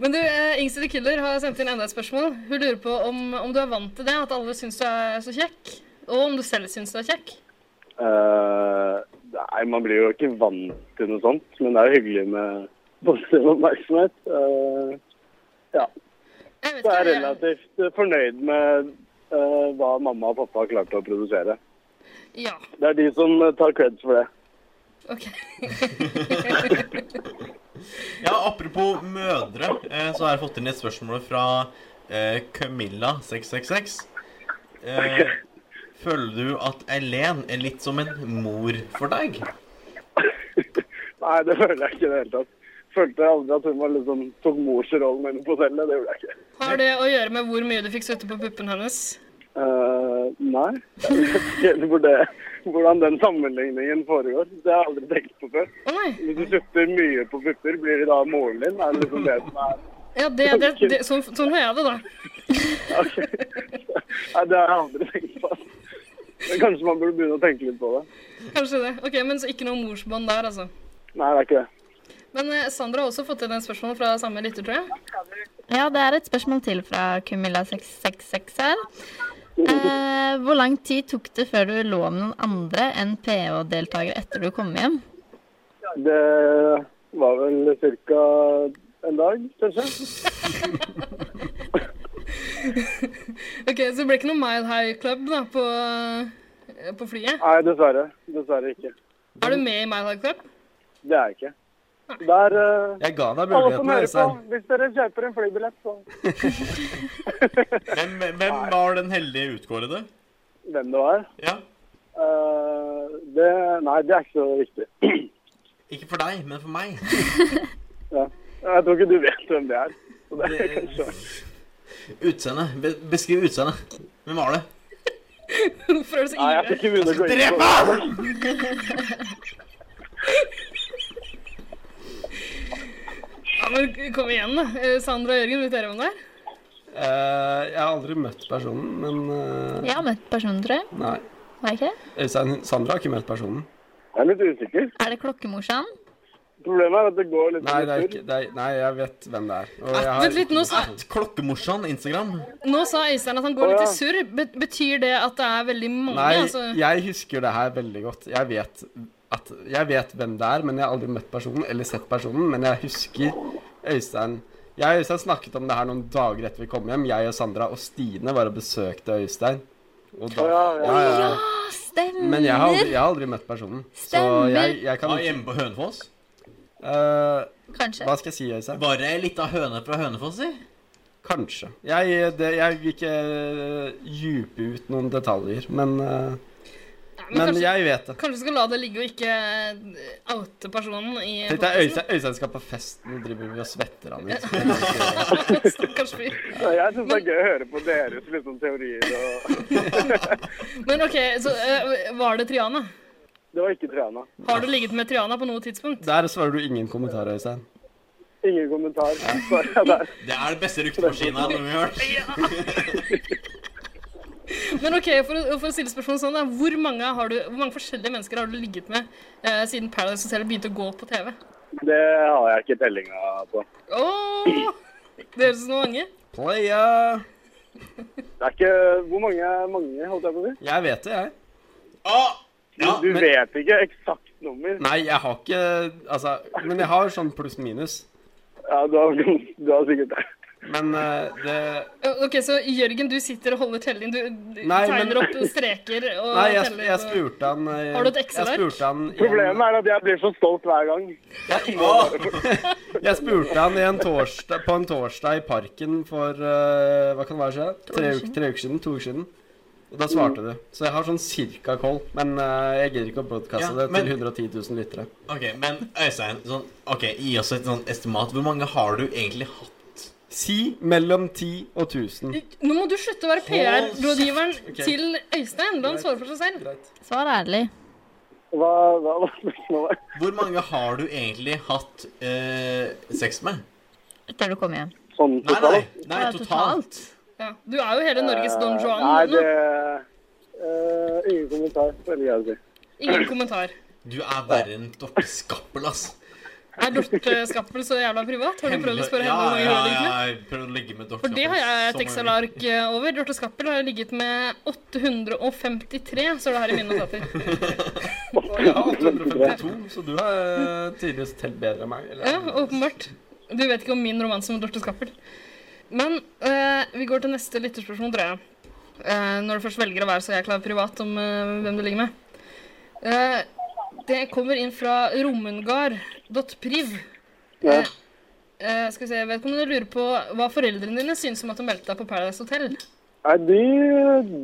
S5: Men du, eh, Ingsi the Killer har sendt inn enda et spørsmål. Hun lurer på om, om du er vant til det, at alle syns du er så kjekk. Og om du selv syns du er kjekk.
S7: Eh, nei, man blir jo ikke vant til noe sånt, men det er jo hyggelig med positiv oppmerksomhet. Eh,
S5: Jeg vet
S7: så jeg er
S5: ikke, jeg,
S7: relativt eh, fornøyd med eh, hva mamma og pappa har klart å produsere.
S5: ja,
S7: Det er de som eh, tar creds for det.
S5: ok.
S4: Ja, apropos mødre, eh, så har jeg fått inn et spørsmål fra eh, Camilla666. Eh, føler du at Eileen er litt som en mor for deg?
S7: Nei, det føler jeg ikke i det hele tatt. Følte jeg aldri at hun var liksom, tok morsrollen min på hotellet. Det gjorde jeg ikke.
S5: Har det å gjøre med hvor mye du fikk støtte på puppen hennes?
S7: Eh, nei. Jeg vet ikke helt hvor det, hvordan den sammenligningen foregår. Det har jeg aldri tenkt på før.
S5: Å nei.
S7: Hvis du sutter mye på pupper, blir det da moren din? Er det liksom det som er
S5: Ja, det, det, det, sånn, sånn har jeg det, da.
S7: Ok. Nei, det har jeg aldri tenkt på. Men kanskje man burde begynne å tenke litt på det.
S5: Kanskje det. Ok, Men så ikke noe morsbånd der, altså.
S7: Nei, det er ikke det.
S5: Men eh, Sandra har også fått inn et spørsmål fra samme lytter, tror jeg.
S2: Ja, det er et spørsmål til fra Kumilla666 her. Eh, hvor lang tid tok det før du lå med noen andre enn PH-deltakere etter du kom hjem?
S7: Det var vel ca. en dag, kanskje.
S5: Ok, Så det ble ikke noe Mile High Club da, på, eh, på flyet?
S7: Nei, dessverre. Dessverre ikke.
S5: Er du med i Mile High Club?
S7: Det er jeg ikke. Der eh,
S8: Jeg ga deg
S7: Alle som
S8: muligheten,
S7: hører på,
S8: Øystein.
S7: hvis dere kjøper en flybillett, så
S4: Hvem, hvem var den heldige utkårede?
S7: hvem det var
S4: Ja.
S7: eh, det, Nei, det er ikke så viktig.
S4: Ikke for deg, men for meg.
S7: Jeg tror ikke du vet hvem det er. Så det er kanskje
S4: Utseende. Be beskriv utseendet. Hvem var det?
S5: Hvorfor er du så
S7: Nei, jeg skal
S5: ivrig?
S7: ikke begynne å gå inn på
S4: Drepe!
S5: Ja, men kom igjen, da. Eh, Sandra og Jørgen, vet dere hvem det er?
S8: Eh, jeg har aldri møtt personen, men eh,
S2: Jeg har møtt personen, tror jeg.
S8: Nei.
S2: Var jeg ikke det?
S8: Øystein, Sandra har ikke møtt personen.
S7: Jeg er litt usikker.
S2: Er det klokkemorsan?
S7: Problemet er at det går litt
S8: Nei, det er
S7: litt
S8: ikke, det er, nei jeg vet hvem det er. Og
S2: Ah,
S8: jeg
S5: Vent litt, nå sa,
S4: At Klokkemorsan Instagram.
S5: nå sa Øystein at han går
S7: Å, ja.
S5: litt i surr. Bet- betyr det at det er veldig mange?
S8: Nei,
S5: altså?
S8: jeg husker det her veldig godt. Jeg vet, at, jeg vet hvem det er, men jeg har aldri møtt personen eller sett personen. Men jeg husker Øystein Jeg og Øystein snakket om det her noen dager etter vi kom hjem. Jeg og Sandra og Stine var og besøkte Øystein. Og da,
S7: ja, ja.
S2: Å, stemmer!
S8: Men jeg har, aldri, jeg har aldri møtt personen. Så
S2: Stemmer.
S8: jeg, jeg kan
S4: Var
S8: ikke
S4: hjemme på Hønefoss.
S8: Eh,
S2: Kanskje.
S8: Hva skal jeg si, Øystein?
S4: Var det ei lita høne fra Hønefoss, si?
S1: Kanskje. Jeg, det, jeg vil ikke dype ut noen detaljer, men, eh,
S5: Nei,
S1: men
S5: kanskje,
S1: jeg vet det.
S5: kanskje du skal la det ligge og ikke eh, oute personen i
S1: Tenk deg Øystein, Øystein skal på fest, nå driver vi og svetter han ut.
S5: Stakkars fyr.
S7: Jeg syns det er gøy å høre på deres liksom, teorier. Og...
S5: Men OK, så eh, var det Triana?
S7: Det var ikke Triana.
S5: Har du ligget med Triana på noe tidspunkt?
S1: Der svarer du ingen kommentar, Øystein.
S7: Ingen kommentar. Sorry, der.
S4: Det er det beste ryktemaskina vi har hørt.
S5: Men OK, for, å- for å stille spørsmålet sånn, da. Hvor mange, har du, hvor mange forskjellige mennesker har du ligget med eh, siden Paradise Hotel begynte å gå på TV?
S7: Det har jeg ikke tellinga på.
S5: Åh, det høres ut som mange.
S1: Playa!
S7: Det er ikke Hvor mange mange, holdt jeg på å si?
S1: Jeg vet det, jeg.
S4: Ah, ja,
S7: Du
S1: men-
S7: vet ikke eksakt nummer.
S1: Nei, jeg har ikke Altså, men jeg har sånn pluss-minus.
S7: Ja, du har, du har sikkert det.
S1: Men eh, det
S5: Eh, OK, så Jørgen, du sitter og holder telling. Du, du
S1: Nei, men-
S5: tegner opp streker og
S1: Nei, jeg,
S5: teller.
S1: jeg
S5: og-
S1: spurte han eh,
S5: Har du et
S1: Jeg
S5: Excel-ark?
S1: spurte han i
S7: Problemet er at jeg blir så stolt hver gang.
S1: en, jeg spurte han i en torsdag, på en torsdag i Parken for eh, Hva kan det være? siden? Tre, uker- tre uker siden? To uker siden? Og da svarte du. Så jeg har sånn cirka koll. Men eh, jeg gidder ikke å broadcaste
S4: Ja,
S1: det
S4: men-
S1: til 110 000 lyttere.
S4: Ok, men Øystein, sånn, ok, gi oss et sånn estimat. Hvor mange har du egentlig hatt?
S1: Si mellom 10 og 1000.
S5: Nå må du slutte å være
S4: Hold
S5: PR-rådgiveren
S1: Ok.
S5: til Øystein. La han svare for seg selv.
S1: Greit.
S2: Svar ærlig.
S7: Hva, hva var spørsmålet?
S4: Hvor mange har du egentlig hatt eh, sex med?
S2: Etter du kom hjem.
S7: Sånn
S4: Nei, nei,
S7: totalt?
S4: nei
S2: Ja,
S4: totalt.
S5: Ja. Du er jo hele Norges Don Juan
S7: Eh, Nei,
S5: nå.
S7: det eh, Ingen kommentar. Veldig gøy å si.
S5: Ingen kommentar.
S4: Du er verre enn Dorte Skappel, ass.
S5: Er dorteskappel så jævla privat? Har du prøvd å spørre
S4: ja,
S5: henne om
S4: ja,
S5: det?
S4: ja,
S5: egentlig?
S4: jeg prøvde å ligge med Dorte
S5: For det har jeg et
S4: så mange
S5: Excel-ark eh, over. Dorte Skappel har jeg ligget med 853, står det her i mine notater.
S1: Jeg har 852, så du har eh, tydeligvis telt bedre enn meg. Eller?
S5: Ja, åpenbart. Du vet ikke om min romanse med Dorte Skappel. Men eh, vi går til neste lytterspørsmål, tror jeg. Eh, når du først velger å være så jækla privat om eh, hvem du ligger med. Eh, det kommer inn fra romungard.priv.
S7: Ja.
S5: Eh, eh, skal vi se, Vedkommende lurer på hva foreldrene dine syns om at du meldte deg på Paradise Hotel.
S7: Nei, de,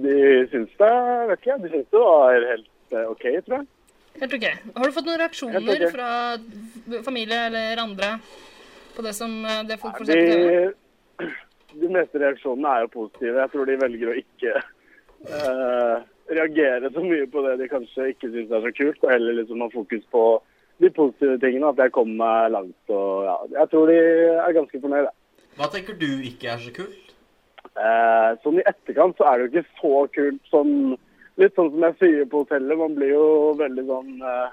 S7: de syns det Vet ikke, jeg. de syns det var helt eh, OK, tror jeg.
S5: Helt ok. Har du fått noen reaksjoner
S7: Helt ok.
S5: fra f- familie eller andre på det som eh, det folk får se på TV?
S7: De, de meste reaksjonene er jo positive. Jeg tror de velger å ikke eh, reagere så mye på det de kanskje ikke syns er så kult, og heller liksom ha fokus på de positive tingene, at jeg kommer meg langt og ja. Jeg tror de er ganske fornøyd. jeg.
S4: ganger. Hva tenker du ikke er så kult?
S7: Eh, sånn i etterkant så er det jo ikke så kult sånn Litt sånn som jeg sier på hotellet, man blir jo veldig sånn eh,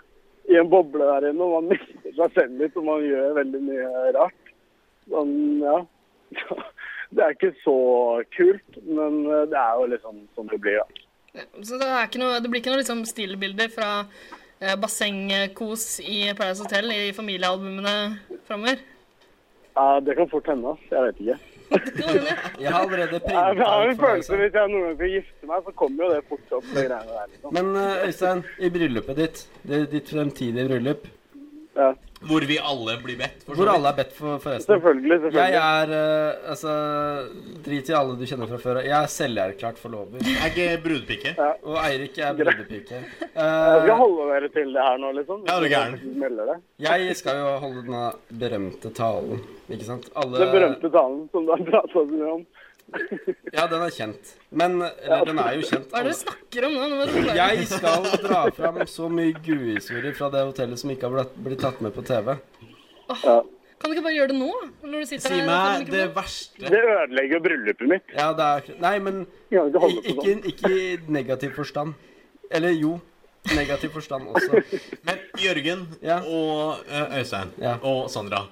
S7: i en boble der inne, og man mister seg selv litt, og man gjør veldig mye rart. Sånn, ja. Det er ikke så kult, men eh, det er jo liksom sånn det blir, da.
S5: Så det, er ikke noe, det blir ikke noe liksom stillbilder fra eh, bassengkos i Paradise Hotel i familiealbumene framover?
S7: Ja, det kan fort hende, ass. Jeg vet ikke.
S1: Jeg har allerede printa
S7: Jeg har en
S1: for meg,
S7: følelse hvis jeg noen gang skal gifte meg, så kommer jo det fort opp, de greiene der, liksom.
S1: Men eh, Øystein, i bryllupet ditt, det- ditt fremtidige bryllup,
S7: Ja.
S4: Hvor vi alle blir bedt. for så
S1: hvor
S4: vidt.
S1: alle er bedt for, forresten
S7: Selvfølgelig,
S1: Jeg
S7: selvfølgelig.
S1: er eh, Altså, drit i alle du kjenner fra før. Jeg er selverklært forlover.
S4: Jeg er ikke brudepike.
S1: Og Eirik er brudepike.
S7: Jeg skal
S1: Eh,
S7: holde dere til det her nå, liksom.
S4: Ja, du er gæren.
S7: Hvis jeg melder det.
S1: jeg skal jo holde denne berømte talen, ikke sant? Alle
S7: Den berømte talen som du har pratet så mye om.
S1: Ja, den er kjent. Men Eller, den er jo kjent.
S5: Hva er det du snakker om nå? nå må du forklare.
S1: Jeg skal dra fram så mye gudhistorier fra det hotellet som ikke har blitt, blitt tatt med på TV.
S5: Kan du ikke bare gjøre det nå? Når du
S4: Si
S5: sitter her foran
S4: meg det
S5: mikrofonen?
S4: verste.
S7: Det ødelegger jo bryllupet mitt.
S1: Ja, det er Nei, men
S7: Jeg kan ikke holde på
S1: ikke,
S7: sånn.
S1: ikke i negativ forstand. Eller jo, negativ forstand også.
S4: Men Jørgen
S1: Ja.
S4: og eh, Øystein
S1: Ja.
S4: og Sandra,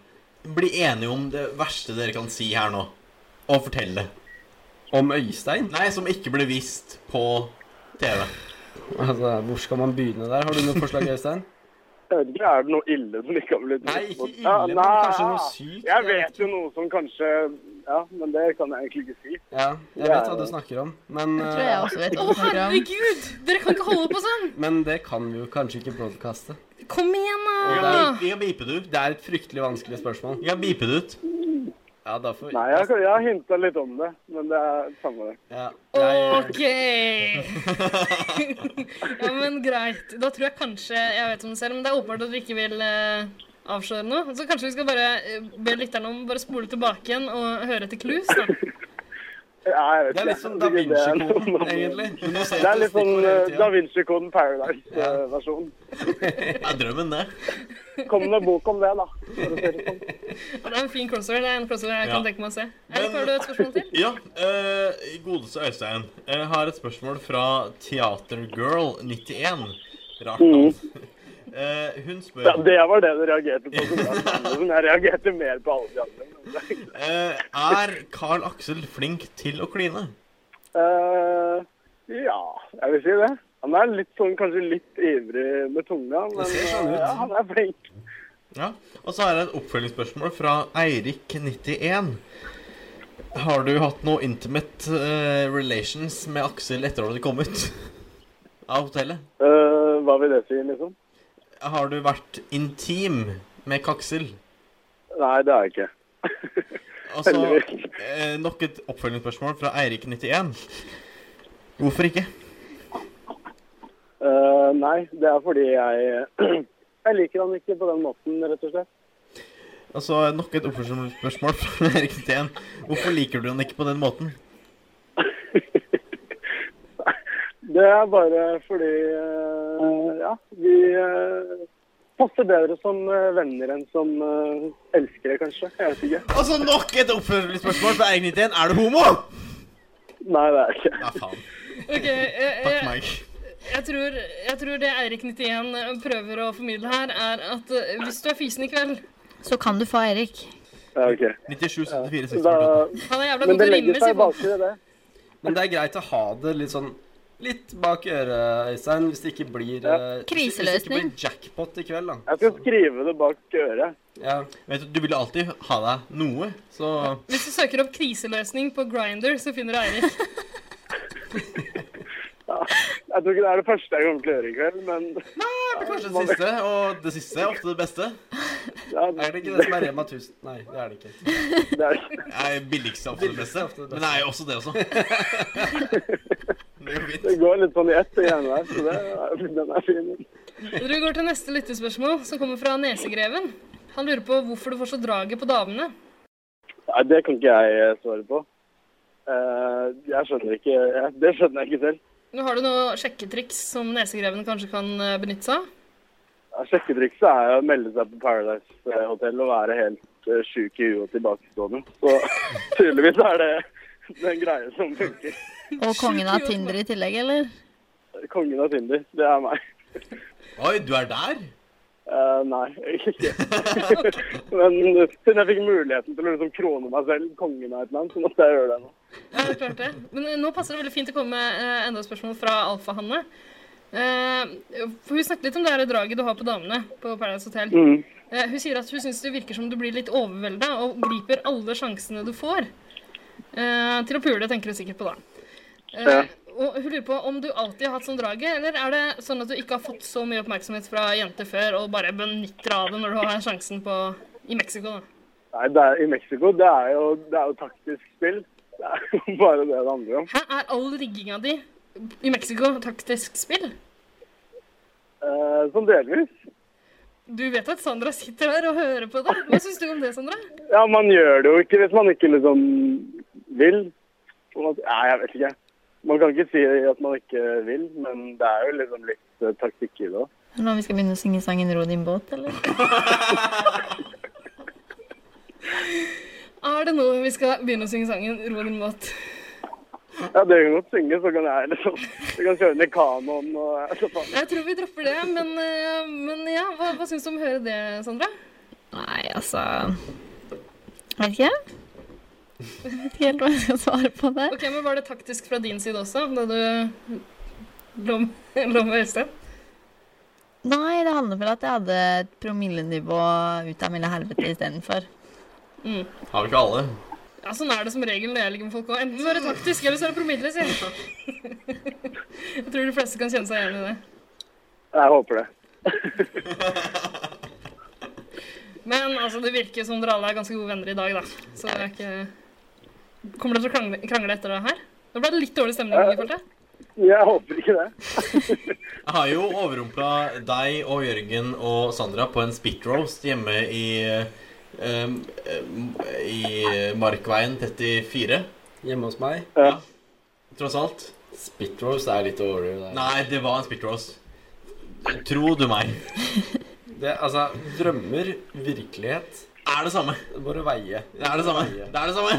S4: bli enige om det verste dere kan si her nå. Og fortelle det.
S1: Om Øystein?
S4: Nei, som ikke ble vist på TV.
S1: Altså, hvor skal man begynne der? Har du noe forslag, Øystein?
S7: Jeg vet ikke, Er det noe ille som ikke har blitt
S1: Nei,
S7: gjort
S1: ikke
S7: mot-
S1: ille, men kanskje noe sykt.
S7: Jeg vet jo noe som kanskje Ja, men det kan jeg egentlig ikke si.
S1: Ja, jeg vet hva du snakker om, men,
S2: Tror jeg også vet hva du snakker om.
S5: Herregud! Dere kan ikke holde på sånn!
S1: eh, men det kan vi jo kanskje ikke broadcaste.
S5: Kom igjen,
S4: Vi
S5: da!
S4: kan bi- vi kan bipe det ut.
S1: Det er et fryktelig vanskelig spørsmål.
S4: Vi kan bipe det ut.
S8: Ja, da får
S7: Nei, jeg, jeg har hinta litt om det, men det er samme det.
S8: ja, jeg,
S5: OK! ja, men greit. Da tror jeg kanskje Jeg vet om det selv, men det er åpenbart at vi ikke vil eh, avsløre noe. Så kanskje vi skal bare eh, be lytterne om å bare spole tilbake igjen og høre etter clues, da.
S7: Ja, jeg vet
S8: Det er litt
S7: ikke.
S8: sånn Da
S7: Jeg tror
S8: Vinci-koden,
S7: ikke det er noe-
S8: egentlig. Men nå ser jeg
S7: Det er litt
S8: på stikkord
S7: sånn
S8: hele
S7: eh,
S8: tiden.
S7: Da Vinci-koden Paradise-versjon.
S4: Det er drømmen, det.
S7: Kom med bok om det, da. For å si det sånn.
S5: Ja, det er en fin crossover. Det er en crossover jeg
S4: Ja.
S5: kan tenke meg å se. Erik, har du et spørsmål til?
S4: Ja, uh, godeste Øystein. Jeg har et spørsmål fra Theatergirl91. Rart navn. Eh, hun spør
S7: Ja, det var det du reagerte på. som var det andre. Jeg reagerte mer på alle de andre. men det er ikke-
S4: eh, Er Carl Aksel flink til å kline?
S7: Eh, ja, jeg vil si det. Han er litt sånn, kanskje litt ivrig med tunga, men
S8: ser sånn
S7: eh,
S8: ut.
S7: ja, han er flink.
S4: Ja. Og så er det et oppfølgingsspørsmål fra Eirik91. Har du hatt noe intimate eh, relations med Aksel etter at du kom ut av hotellet?
S7: Eh, hva vil det si, liksom?
S4: Har du vært intim med Kaksel?
S7: Nei, det er jeg ikke.
S4: Og så
S7: Heldigvis.
S4: eh, nok et oppfølgingsspørsmål fra Eirik91. Hvorfor ikke?
S7: Eh, nei, det er fordi jeg Jeg liker han ikke på den måten, rett og slett.
S4: Og så eh, nok et oppfølgingsspørsmål fra Eirik91. Hvorfor liker du han ikke på den måten?
S7: Det er bare fordi eh, Ja, vi eh, passer bedre som eh, venner enn som eh, elskere, kanskje. Jeg vet ikke.
S4: Og så nok et oppfølgingsspørsmål fra Eirik91. Er du homo?
S7: Nei, det er jeg ikke.
S4: Ja, faen.
S5: OK. Jeg,
S4: Takk
S5: jeg,
S4: meg.
S5: jeg, tror, jeg tror det Eirik91 prøver å formidle her, er at eh, hvis du er fysen i kveld
S2: Så kan du få Eirik.
S7: Ja, ok.
S4: 97, 74,
S7: Da,
S4: 68.
S5: Han er jævla god
S7: men
S5: til
S7: det
S5: å
S7: legger
S5: rime,
S7: seg
S5: sier folk.
S7: baki det.
S8: Men det er greit å ha det litt sånn litt bak øret, Øystein, hvis det ikke blir eh, hvis det ikke blir
S2: Kriseløsning.
S8: jackpot i kveld, da.
S7: Jeg skal skrive det bak øret.
S8: Ja.
S4: Vet du, du vil alltid ha deg noe, så
S5: Hvis du søker opp kriseløsning på Grinder, så finner du Eirik.
S7: Jeg tror ikke det er det første jeg kommer til å gjøre i kveld, men
S4: Kanskje det siste, og det siste er ofte det beste.
S7: ja,
S8: Er det ikke det som er Rema 1000? Nei, det er det ikke.
S7: det er,
S4: Nei, billigste er ofte det beste.
S8: ofte det beste.
S4: Men det er jo også det også. Det går fint.
S7: det går litt sånn i ett, de greiene der. Så det, er- den er fin.
S5: Jeg tror vi går til neste lyttespørsmål, som kommer fra Nesegreven. Han lurer på hvorfor du får så draget på damene.
S7: Nei, det kan ikke jeg eh, svare på. Eh, jeg skjønner ikke jeg, Det skjønner jeg ikke selv.
S5: Nå har du noe sjekketriks som Nesegreven kanskje kan eh, benytte seg av.
S7: Ja, Sjekketrikset er jo å melde seg på Paradise eh, Hotel og være helt eh, sjuk i huet og tilbakestående. Så tydeligvis er det den greia som funker.
S2: Og kongen av Tinder i tillegg, eller?
S7: Kongen av Tinder, det er meg.
S4: Oi, du er der?
S7: Eh, nei, ikke. Men siden jeg fikk muligheten til å liksom krone meg selv kongen av et eller annet, så måtte jeg gjøre det nå.
S5: Ja, det er klart det. Men eh, nå passer det veldig fint å komme med eh, enda et spørsmål fra Alfa-Hanne. Eh, for hun snakket litt om det her draget du har på damene på Paradise Hotel.
S7: Mm.
S5: Eh, hun sier at hun syns det virker som du blir litt overvelda og griper alle sjansene du får eh, til å pule, tenker hun sikkert på da. Eh,
S7: Ja.
S5: Og hun lurer på om du alltid har hatt sånn draget, eller er det sånn at du ikke har fått så mye oppmerksomhet fra jenter før og bare benytter deg av det når du har sjansen på i Mexico, da?
S7: Nei, det er, I Mexico det er, jo, det er jo taktisk spill. Det er jo bare det det handler om.
S5: Hæ, er all rigginga di i Mexico taktisk spill?
S7: Eh, sånn delvis.
S5: Du vet at Sandra sitter der og hører på deg. Hva syns du om det, Sandra?
S7: Ja, man gjør det jo ikke hvis man ikke liksom vil. På en måte- Nei, jeg vet ikke. Man kan ikke si at man ikke vil, men det er jo liksom litt eh, taktikk i det òg.
S2: Er det Når vi skal begynne å synge sangen 'Ro din båt', eller?
S5: Er det nå vi skal begynne å synge sangen 'Ro din båt'?
S7: Ja, dere kan godt synge, så kan jeg liksom Jeg kan kjøre ned kanoen og så faen.
S5: Jeg tror vi dropper det, men, eh, men ja, hva, hva syns du om å høre det, Sandra?
S2: Nei, altså Vet ikke. Vet ikke helt hva jeg skal svare på det.
S5: Ok, men Var det taktisk fra din side også, da du lå med lå med Øystein?
S2: Nei, det handler vel at jeg hadde et promillenivå ut av milde helvete istedenfor.
S4: Har vi ikke alle?
S5: Ja, Sånn er det som regel når jeg ligger med folk òg. Enten så er det taktisk, eller så er det promille, sier jeg. Jeg tror de fleste kan kjenne seg igjen i det.
S7: Jeg håper det.
S5: Men altså, det virker som dere alle er ganske gode venner i dag, da. Så det er ikke Kommer dere til å krangle, krangle etter det her? Nå ble det litt dårlig stemning. i forhold til.
S7: Jeg håper ikke det.
S4: Jeg har jo overrumpla deg og Jørgen og Sandra på en spit roast hjemme i eh, eh, I Markveien 34,
S1: Hjemme hos meg.
S4: tross alt.
S1: Spit roast er litt overdrevet. der.
S4: Nei, det var en spit roast. Tro du meg.
S1: Det, altså, drømmer, virkelighet
S4: Det er det samme.
S1: Det må du veie.
S4: Det er det samme. Det er det samme.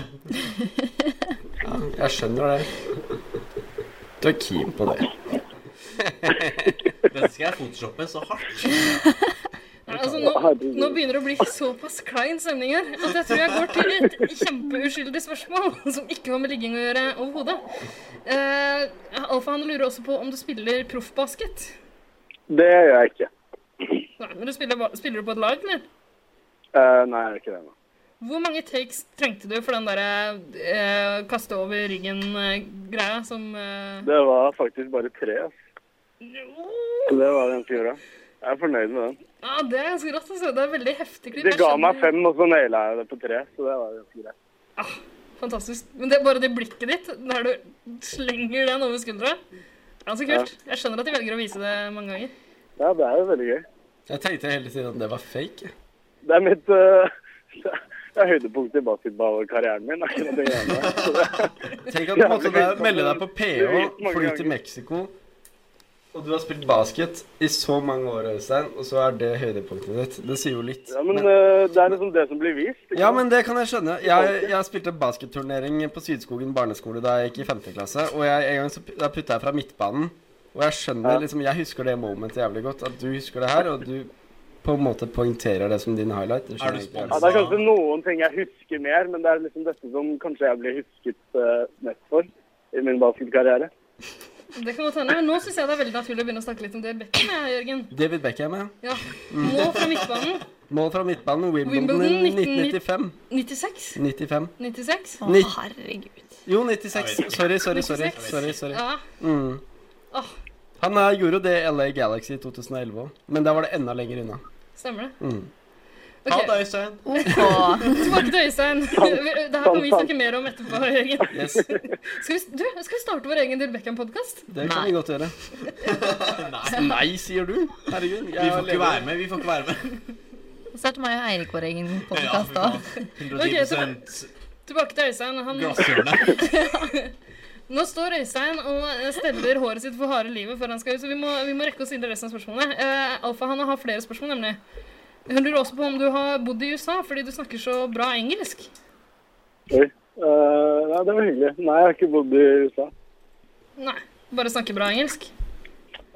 S1: Ja, jeg skjønner det. Du er keen på det.
S4: Dette skal jeg photoshoppe så hardt.
S5: Nei, altså, nå, nå begynner det å bli såpass klein stemning her at jeg tror jeg går til et kjempeuskyldig spørsmål som ikke har med ligging å gjøre overhodet. Uh, Alfahan lurer også på om du spiller proffbasket.
S7: Det gjør jeg ikke.
S5: Nei, men du spiller, ba- spiller du på et lag, eller?
S7: Eh, nei, jeg gjør ikke det nå.
S5: Hvor mange takes trengte du for den derre eh, kaste over ryggen-greia som eh,
S7: Det var faktisk bare tre. ass.
S5: oh,
S7: Så det var ganske bra. Jeg er fornøyd med den.
S5: ja, Det er ganske rått. Altså. Det er veldig heftig klipp.
S7: De
S5: Jeg
S7: ga
S5: skjønner-
S7: meg fem, og så naila jeg det på tre. Så det var ganske greit.
S5: Fantastisk. Men det er bare det blikket ditt der du slenger den over skuldra. Ganske kult. Jeg skjønner at de velger å vise det mange ganger.
S7: Ja, det er jo veldig gøy.
S1: Jeg tenkte hele tiden at det var fake.
S7: Det er mitt eh, det er høydepunktet i basketballkarrieren min. akkurat det greiene der. Så det-
S1: Tenk at du måtte da melde deg på PH, fly
S7: ganger.
S1: til Mexico, og du har spilt basket i så mange år, Øystein, og så er det høydepunktet ditt. Det sier jo litt.
S7: Ja, men eh, det er liksom det som blir vist. ikke
S1: Ja,
S7: sant?
S1: men det kan jeg skjønne. Jeg, jeg spilte basketturnering på Sydskogen barneskole da jeg gikk i 5. klasse, og jeg, en gang så pu- da putta jeg fra midtbanen. Og jeg skjønner liksom, jeg husker det momentet jævlig godt, at du husker det her, og du på en måte poengterer det som din highlight. Det
S4: Er
S1: skjønner
S4: du
S1: jeg ikke. altså.
S7: Ja,
S4: spons?
S7: Det er kanskje noen ting jeg husker mer, men det er liksom dette som kanskje jeg blir husket eh, mest for i min basketkarriere.
S5: Det kan godt hende. Men nå syns jeg det er veldig naturlig å begynne å snakke litt om det Beckham er, Jørgen.
S1: David Beckham, ja.
S5: Ja. Mål fra midtbanen.
S1: Mål fra midtbanen, Wimbledon,
S5: Wimbledon,
S1: i 1995.
S5: 96?
S1: 95.
S5: 96?
S2: Å,
S1: Ni-
S2: herregud.
S1: Jo, 96. Sorry, sorry, sorry.
S5: 96.
S1: sorry, sorry.
S5: Ja.
S1: Mm.
S5: Åh.
S1: Han eh, gjorde jo det i LA Galaxy i 2011 òg, men der var det enda lenger unna.
S5: Stemmer det.
S1: Mm.
S4: Ha det,
S5: Ok,
S4: Øystein.
S2: OK.
S5: Tilbake til Øystein. Det her kan vi snakke mer om etterpå, Jørgen.
S1: Yes,
S5: Skal vi, du, skal vi starte vår egen Dill Beckham-podkast?
S1: Det kan vi godt gjøre.
S4: Nei,
S1: Nei, sier du? Herregud.
S4: vi får ikke være med. Vi får ikke være med.
S2: Snart må jeg og Eirik vår egen
S4: Ja,
S2: podkast
S4: fy faen.
S2: òg.
S4: 110
S5: Tilbake til Øystein. Han,
S4: glasshjørne.
S5: nå står Øystein og steller håret sitt for harde livet før han skal ut, så vi må, vi må rekke å stille resten av spørsmålene. Eh, Alfa han har flere spørsmål, nemlig. Hun lurer også på om du har bodd i USA fordi du snakker så bra engelsk.
S7: Oi. Eh, nei, det var hyggelig. Nei, jeg har ikke bodd i USA.
S5: Nei, bare snakker bra engelsk.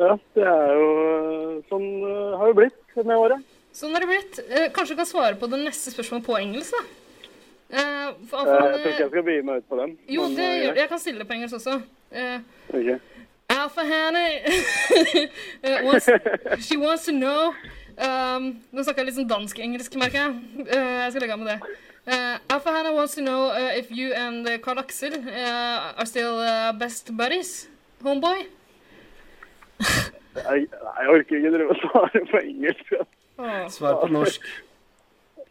S7: Ja, det er jo eh, sånn eh, har det blitt denne året.
S5: Sånn er det blitt. Eh, kanskje du kan svare på det neste spørsmålet på engelsk, da? Eh, for
S7: Eh,
S5: Alfa,
S7: jeg tror ikke jeg
S5: han,
S7: skal begi meg ut på den.
S5: jo,
S7: men,
S5: det
S7: eh,
S5: gjør det. Jeg kan stille det på engelsk også. Eh,
S7: ok.
S5: Alpha Hannah uh, wants, she wants to know um, Nå snakker jeg litt sånn dansk-engelsk, merker jeg. Eh, jeg skal legge av med det. Eh, Alpha Hannah wants to know eh, if you and eh, Carl Axel eh, are still eh, best buddies, homeboy.
S7: Jeg, nei, jeg orker ikke drive og svare på engelsk. Eh, ass.
S5: Åh,
S1: Svar på norsk.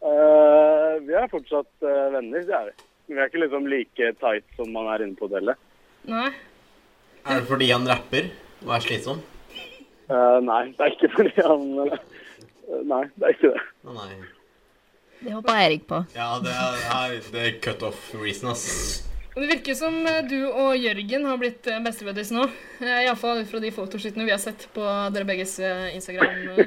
S7: Eh, vi er fortsatt eh, venner, det er vi. Men Vi er ikke liksom like tight som man er inne på hotellet.
S5: Nei.
S4: Er det fordi han rapper og er slitsom?
S7: Eh, nei, det er ikke fordi han eh, Nei, det er ikke det.
S4: Å, Nei.
S2: Det hoppa Eirik på.
S4: Ja, det er, nei, det er cut off reason, ass.
S5: Men Det virker som eh, du og Jørgen har blitt eh, bestebuddies nå. Uh, Iallfall ut fra de fotoshootene vi har sett på dere begges eh, Instagram.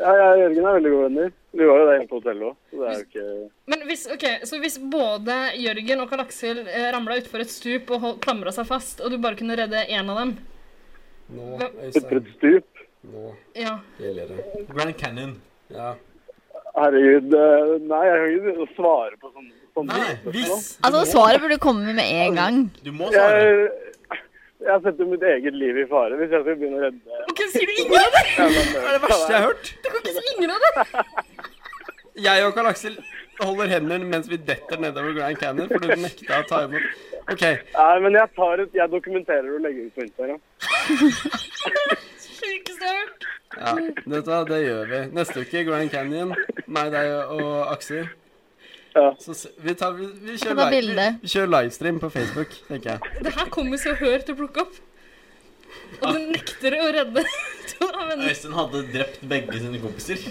S7: Ja, jeg og Jørgen er veldig gode venner. Vi var jo der inne på hotellet òg, så det er jo ikke
S5: Men hvis, ok, så hvis både Jørgen og Karl Aksel eh, ramla utfor et stup og hold- klamra seg fast, og du bare kunne redde én av dem
S1: Nå,
S7: Utfor et
S1: Øystein.
S7: stup.
S1: Nå
S5: Ja.
S1: gjelder det.
S4: Grand Canyon.
S1: Ja.
S7: Herregud. eh, Nei, jeg kan ikke begynne å svare på sånne, sånne
S4: Nei,
S7: spørsmål.
S4: hvis
S2: Altså, svaret burde komme med en gang.
S4: Du må svare.
S7: Jeg, jeg setter mitt eget liv i fare hvis jeg skal begynne å redde
S5: Ok, Sier du ingen av det?!
S1: Det er det verste jeg har hørt.
S5: Ingen av det!
S1: Jeg og Karl Aksel holder hendene mens vi detter nedover Grand Canyon fordi du nekta å ta imot. OK.
S7: Nei, men jeg, tar et, jeg dokumenterer og legger ut på Instagram.
S5: Sjukeste jeg har hørt.
S1: Ja, vet du hva, det gjør vi. Neste uke Grand Canyon. Meg, deg og Aksel.
S7: Ja.
S1: Så se- vi, tar, vi, vi,
S2: Ta
S1: kjører
S2: da
S1: li-
S2: bilde.
S1: vi kjører livestream på Facebook, tenker jeg.
S5: Det her kommer så hør til å plukke opp. Og du nekter å redde to av vennene.
S4: Øystein hadde drept begge sine kompiser.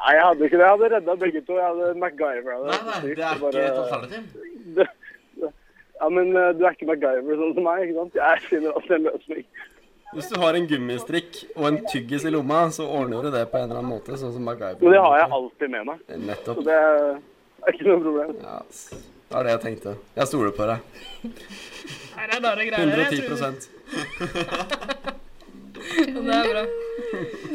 S7: Nei, jeg hadde ikke det. Jeg hadde redda begge to. Jeg hadde MacGyver.
S4: Nei, nei, det er ikke et alternativ.
S7: Ja, men eh, du er ikke MacGyver sånn som meg, ikke sant? Jeg finner alltid en løsning.
S1: Hvis du har en gummistrikk og en tyggis i lomma, så ordner du det på en eller annen måte. Sånn som MacGyver.
S7: Men det har jeg alltid med meg,
S1: Nettopp.
S7: så det er ikke noe problem.
S1: Ja, ass. det var det jeg tenkte. Jeg stoler på deg.
S5: Her er rare greier. jeg
S1: 110
S5: tror- Ja, Det er bra.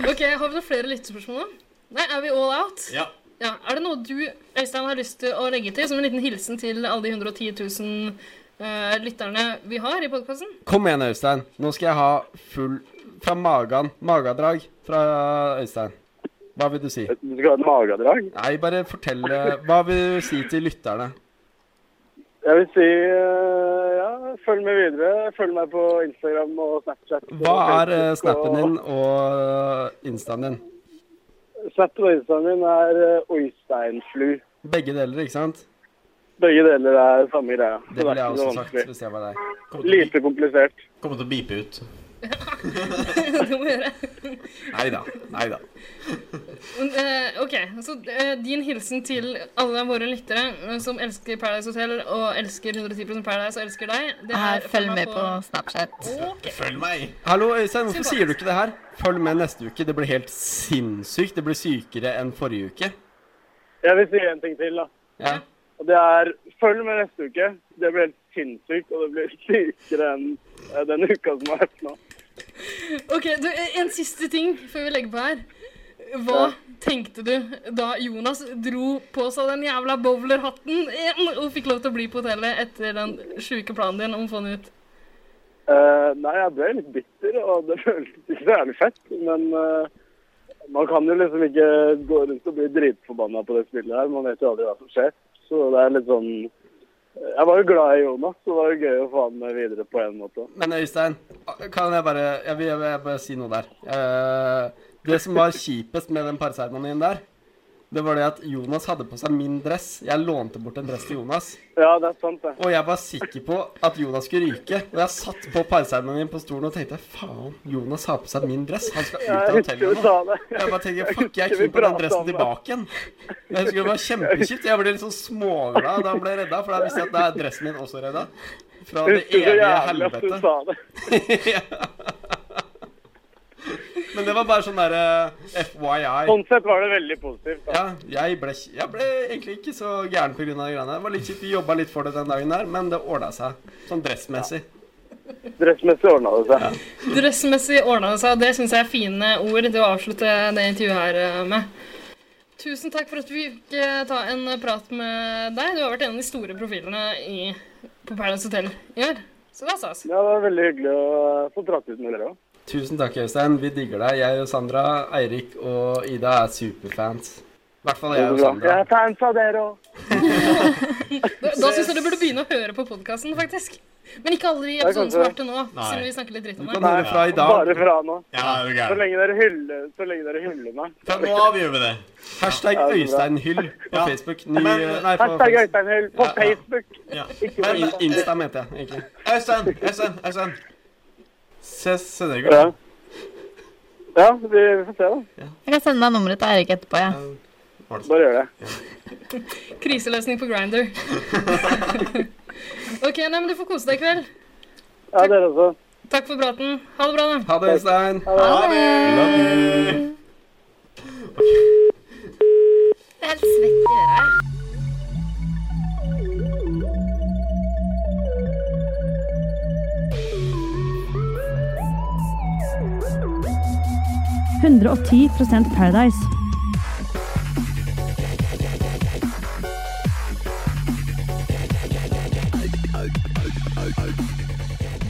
S5: Ok, Har vi noen flere lyttespørsmål, da? Nei, er vi all out?
S4: Ja.
S5: Ja, Er det noe du Øystein, har lyst til å legge til som en liten hilsen til alle de 110 000 eh, lytterne vi har i podkasten?
S1: Kom igjen, Øystein. Nå skal jeg ha full fra magen. Magadrag fra Øystein. Hva vil du si?
S7: Du skal ha et magedrag?
S1: Nei, bare fortell eh, Hva vil du si til lytterne?
S7: Jeg vil si eh, ja, følg med videre. Følg meg på Instagram og Snapchat. og
S1: Hva er eh,
S7: Facebook,
S1: snappen
S7: og-
S1: din og instaen din?
S7: Snappen og Instaen min er eh, Øysteinflu.
S1: Begge deler, ikke sant?
S7: Begge deler er samme greia. så
S1: Det ville
S7: er
S1: jeg
S7: ikke noe
S1: også sagt
S7: vanskelig.
S1: hvis jeg var deg.
S4: Kommer til, å bi-
S7: Lite komplisert.
S4: kommer til å bipe ut.
S5: Det må gjøre.
S1: Nei da. Nei da.
S5: Eh, ok, så eh, din hilsen til alle våre lyttere eh, som elsker Paradise Hotel og elsker 110 Paradise og elsker deg, det
S2: Her,
S5: er
S2: Ah, følg med på Snapchat.
S5: Ok.
S4: Følg meg!
S1: Hallo, Øystein. Hvorfor sier du ikke det her? Følg med neste uke. Det blir helt sinnssykt. Det blir sykere enn forrige uke.
S7: Jeg vil si en ting til, da.
S1: Ja.
S7: Og det er følg med neste uke. Det blir helt sinnssykt, og det blir sykere enn eh, den uka som har vært nå.
S5: Ok, du, eh, en siste ting før vi legger på her. Hva tenkte du da Jonas dro på seg den jævla bowlerhatten igjen og fikk lov til å bli på hotellet etter den sjuke planen din om å få den ut?
S7: Eh, nei, jeg ble litt bitter, og det føltes ikke så jævlig fett. Men eh, man kan jo liksom ikke gå rundt og bli dritforbanna på det spillet her. Man vet jo aldri hva som skjer. Så det er litt sånn Jeg var jo glad i Jonas, så det var jo gøy å få han med videre på en måte.
S1: Men Øystein, kan jeg bare Jeg vil, jeg vil bare si noe der. Eh, det som var kjipest med den parseremonien der, det var det at Jonas hadde på seg min dress. Jeg lånte bort en dress til Jonas.
S7: Ja, det er sant, det.
S1: Og jeg var sikker på at Jonas skulle ryke. Og jeg satt på parseremonien på stolen og tenkte faen, Jonas har på seg min dress. Han skal ut
S7: Jeg
S1: av
S7: husker
S1: hotellet
S7: du
S1: nå.
S7: sa det.
S1: Jeg bare tenker, fuck, jeg er
S7: husker vi
S1: keen på den
S7: pratet om
S1: dressen
S7: det.
S1: tilbake igjen. Jeg husker det var kjempekjipt. Jeg ble litt sånn småglad da han ble redda, for da visste jeg at da er dressen min også redda. Fra
S7: Jeg
S1: det
S7: husker så
S1: evige
S7: jævlig at du
S1: helvete.
S7: sa det.
S1: Ja. Men det var bare sånn derre FYI.
S7: Sånn sett var det veldig positivt. Da.
S1: Ja, jeg ble, ikke- jeg ble egentlig ikke så gæren pga. de greiene. Det var litt kjipt. Vi jobba litt for det den dagen der, men det ordna seg sånn dressmessig.
S7: Dressmessig ordna det seg.
S5: Dressmessig ordna det seg. Det syns jeg er fine ord til å avslutte det intervjuet her eh, med. Tusen takk for at vi fikk eh, ta en prat med deg. Du har vært en av de store profilene i, på Paradise Hotel i år. Så det er stas.
S7: Ja, det var veldig hyggelig å få prate ut med dere òg.
S1: Tusen takk, Øystein. Vi digger deg. Jeg og Sandra, Eirik og Ida er superfans. I hvert fall jeg og
S7: Jeg
S1: Sandra.
S7: er fans av dere òg.
S5: Da, da syns jeg du burde begynne å høre på podkasten, faktisk. Men ikke alle de
S7: er
S5: episodene som har
S7: kanskje-
S5: vært til nå,
S4: Nei.
S5: siden vi snakker litt dritt
S1: Du
S5: om
S1: kan
S5: det.
S1: høre fra i dag.
S7: Bare fra nå.
S4: Ja, er du
S7: Så
S4: gæren?
S7: lenge dere hyller, så lenge dere hyller meg.
S4: Fra nå av gjør vi det.
S1: Hashtag Øysteinhyll på Facebook. Ny, eh,
S4: Men-
S1: nei, på,
S7: Hashtag Øysteinhyll på
S1: Ja, ja.
S7: Facebook.
S4: Ja.
S7: Ikke
S1: på
S7: på
S1: In- Insta, mente jeg egentlig.
S4: Øystein, Øystein, Øystein. Se Senegro.
S7: Ja. ja, vi får se, da.
S2: Jeg kan sende deg nummeret til Eirik etterpå, jeg.
S7: Bare gjør det.
S5: Kriseløsning på Grinder. OK, nei, men du får kose deg i kveld.
S7: Ja, dere også.
S5: Takk for praten. Ha det bra, da.
S1: Ha det, Øystein.
S4: Ha det! Love you.
S2: Det er helt svett i øra. jeg.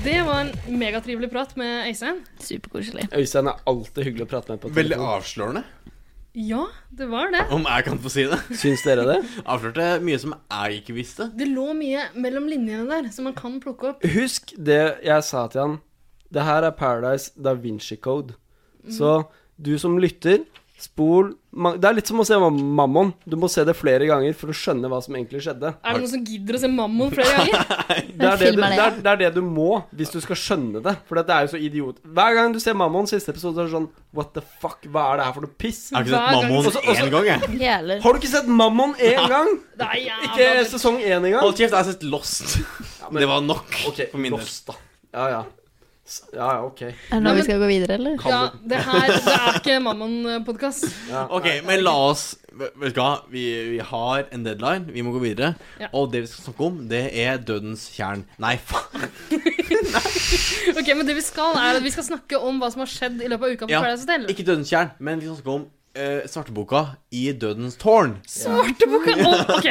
S5: Det var en megatrivelig prat med Øystein.
S2: Superkoselig.
S1: Øystein er alltid hyggelig å prate med på
S4: Veldig
S1: telefon.
S4: avslørende,
S5: Ja, det var det.
S4: om jeg kan få si det.
S1: Syns dere det?
S4: Avslørte mye som jeg ikke visste.
S5: Det lå mye mellom linjene der, som man kan plukke opp.
S1: Husk det jeg sa til han Det her er Paradise Da Vinci Code.
S7: Mhm.
S1: Så du som lytter, spol ma- Det er litt som å se Mammon. Du må se det flere ganger for å skjønne hva som egentlig skjedde.
S5: Er det noen som gidder å se Mammon flere ganger?
S1: Det er det, du,
S2: film er
S1: det,
S2: det,
S1: er, det er det du må hvis du skal skjønne det. For det er jo så idiot. Hver gang du ser Mammon siste episode, så er det sånn What the fuck? Hva er det her for noe piss?
S4: Jeg har ikke
S5: Hver
S4: sett
S5: gang-
S1: Også-
S4: Mammon
S1: også-
S4: én gang, jeg.
S2: Jævler.
S1: Har du ikke sett Mammon én gang?
S5: Det er
S1: Ikke
S5: jævla dritt.
S1: sesong én engang?
S4: Hold kjeft, jeg har sett Lost.
S1: men-
S4: Det var nok
S1: Ok,
S4: for min del.
S1: Lost, da. Ja, ja. S- Ja, ja, ok.
S2: Er det nå vi skal gå videre, eller?
S5: Ja, det her det er ikke Mammon-podkast.
S1: Ja.
S4: Ok, men la oss Vet du hva? Vi, vi har en deadline. Vi må gå videre.
S5: Ja.
S4: Og det vi skal snakke om, det er dødens kjern. Nei, faen.
S5: Ok, men det Vi skal er at vi skal snakke om hva som har skjedd i løpet av uka på
S4: Ja,
S5: Paradise Hotel.
S4: Ikke dødens kjern, men vi skal snakke om eh, svarteboka i Dødens tårn.
S5: Svarteboka! Å, ok,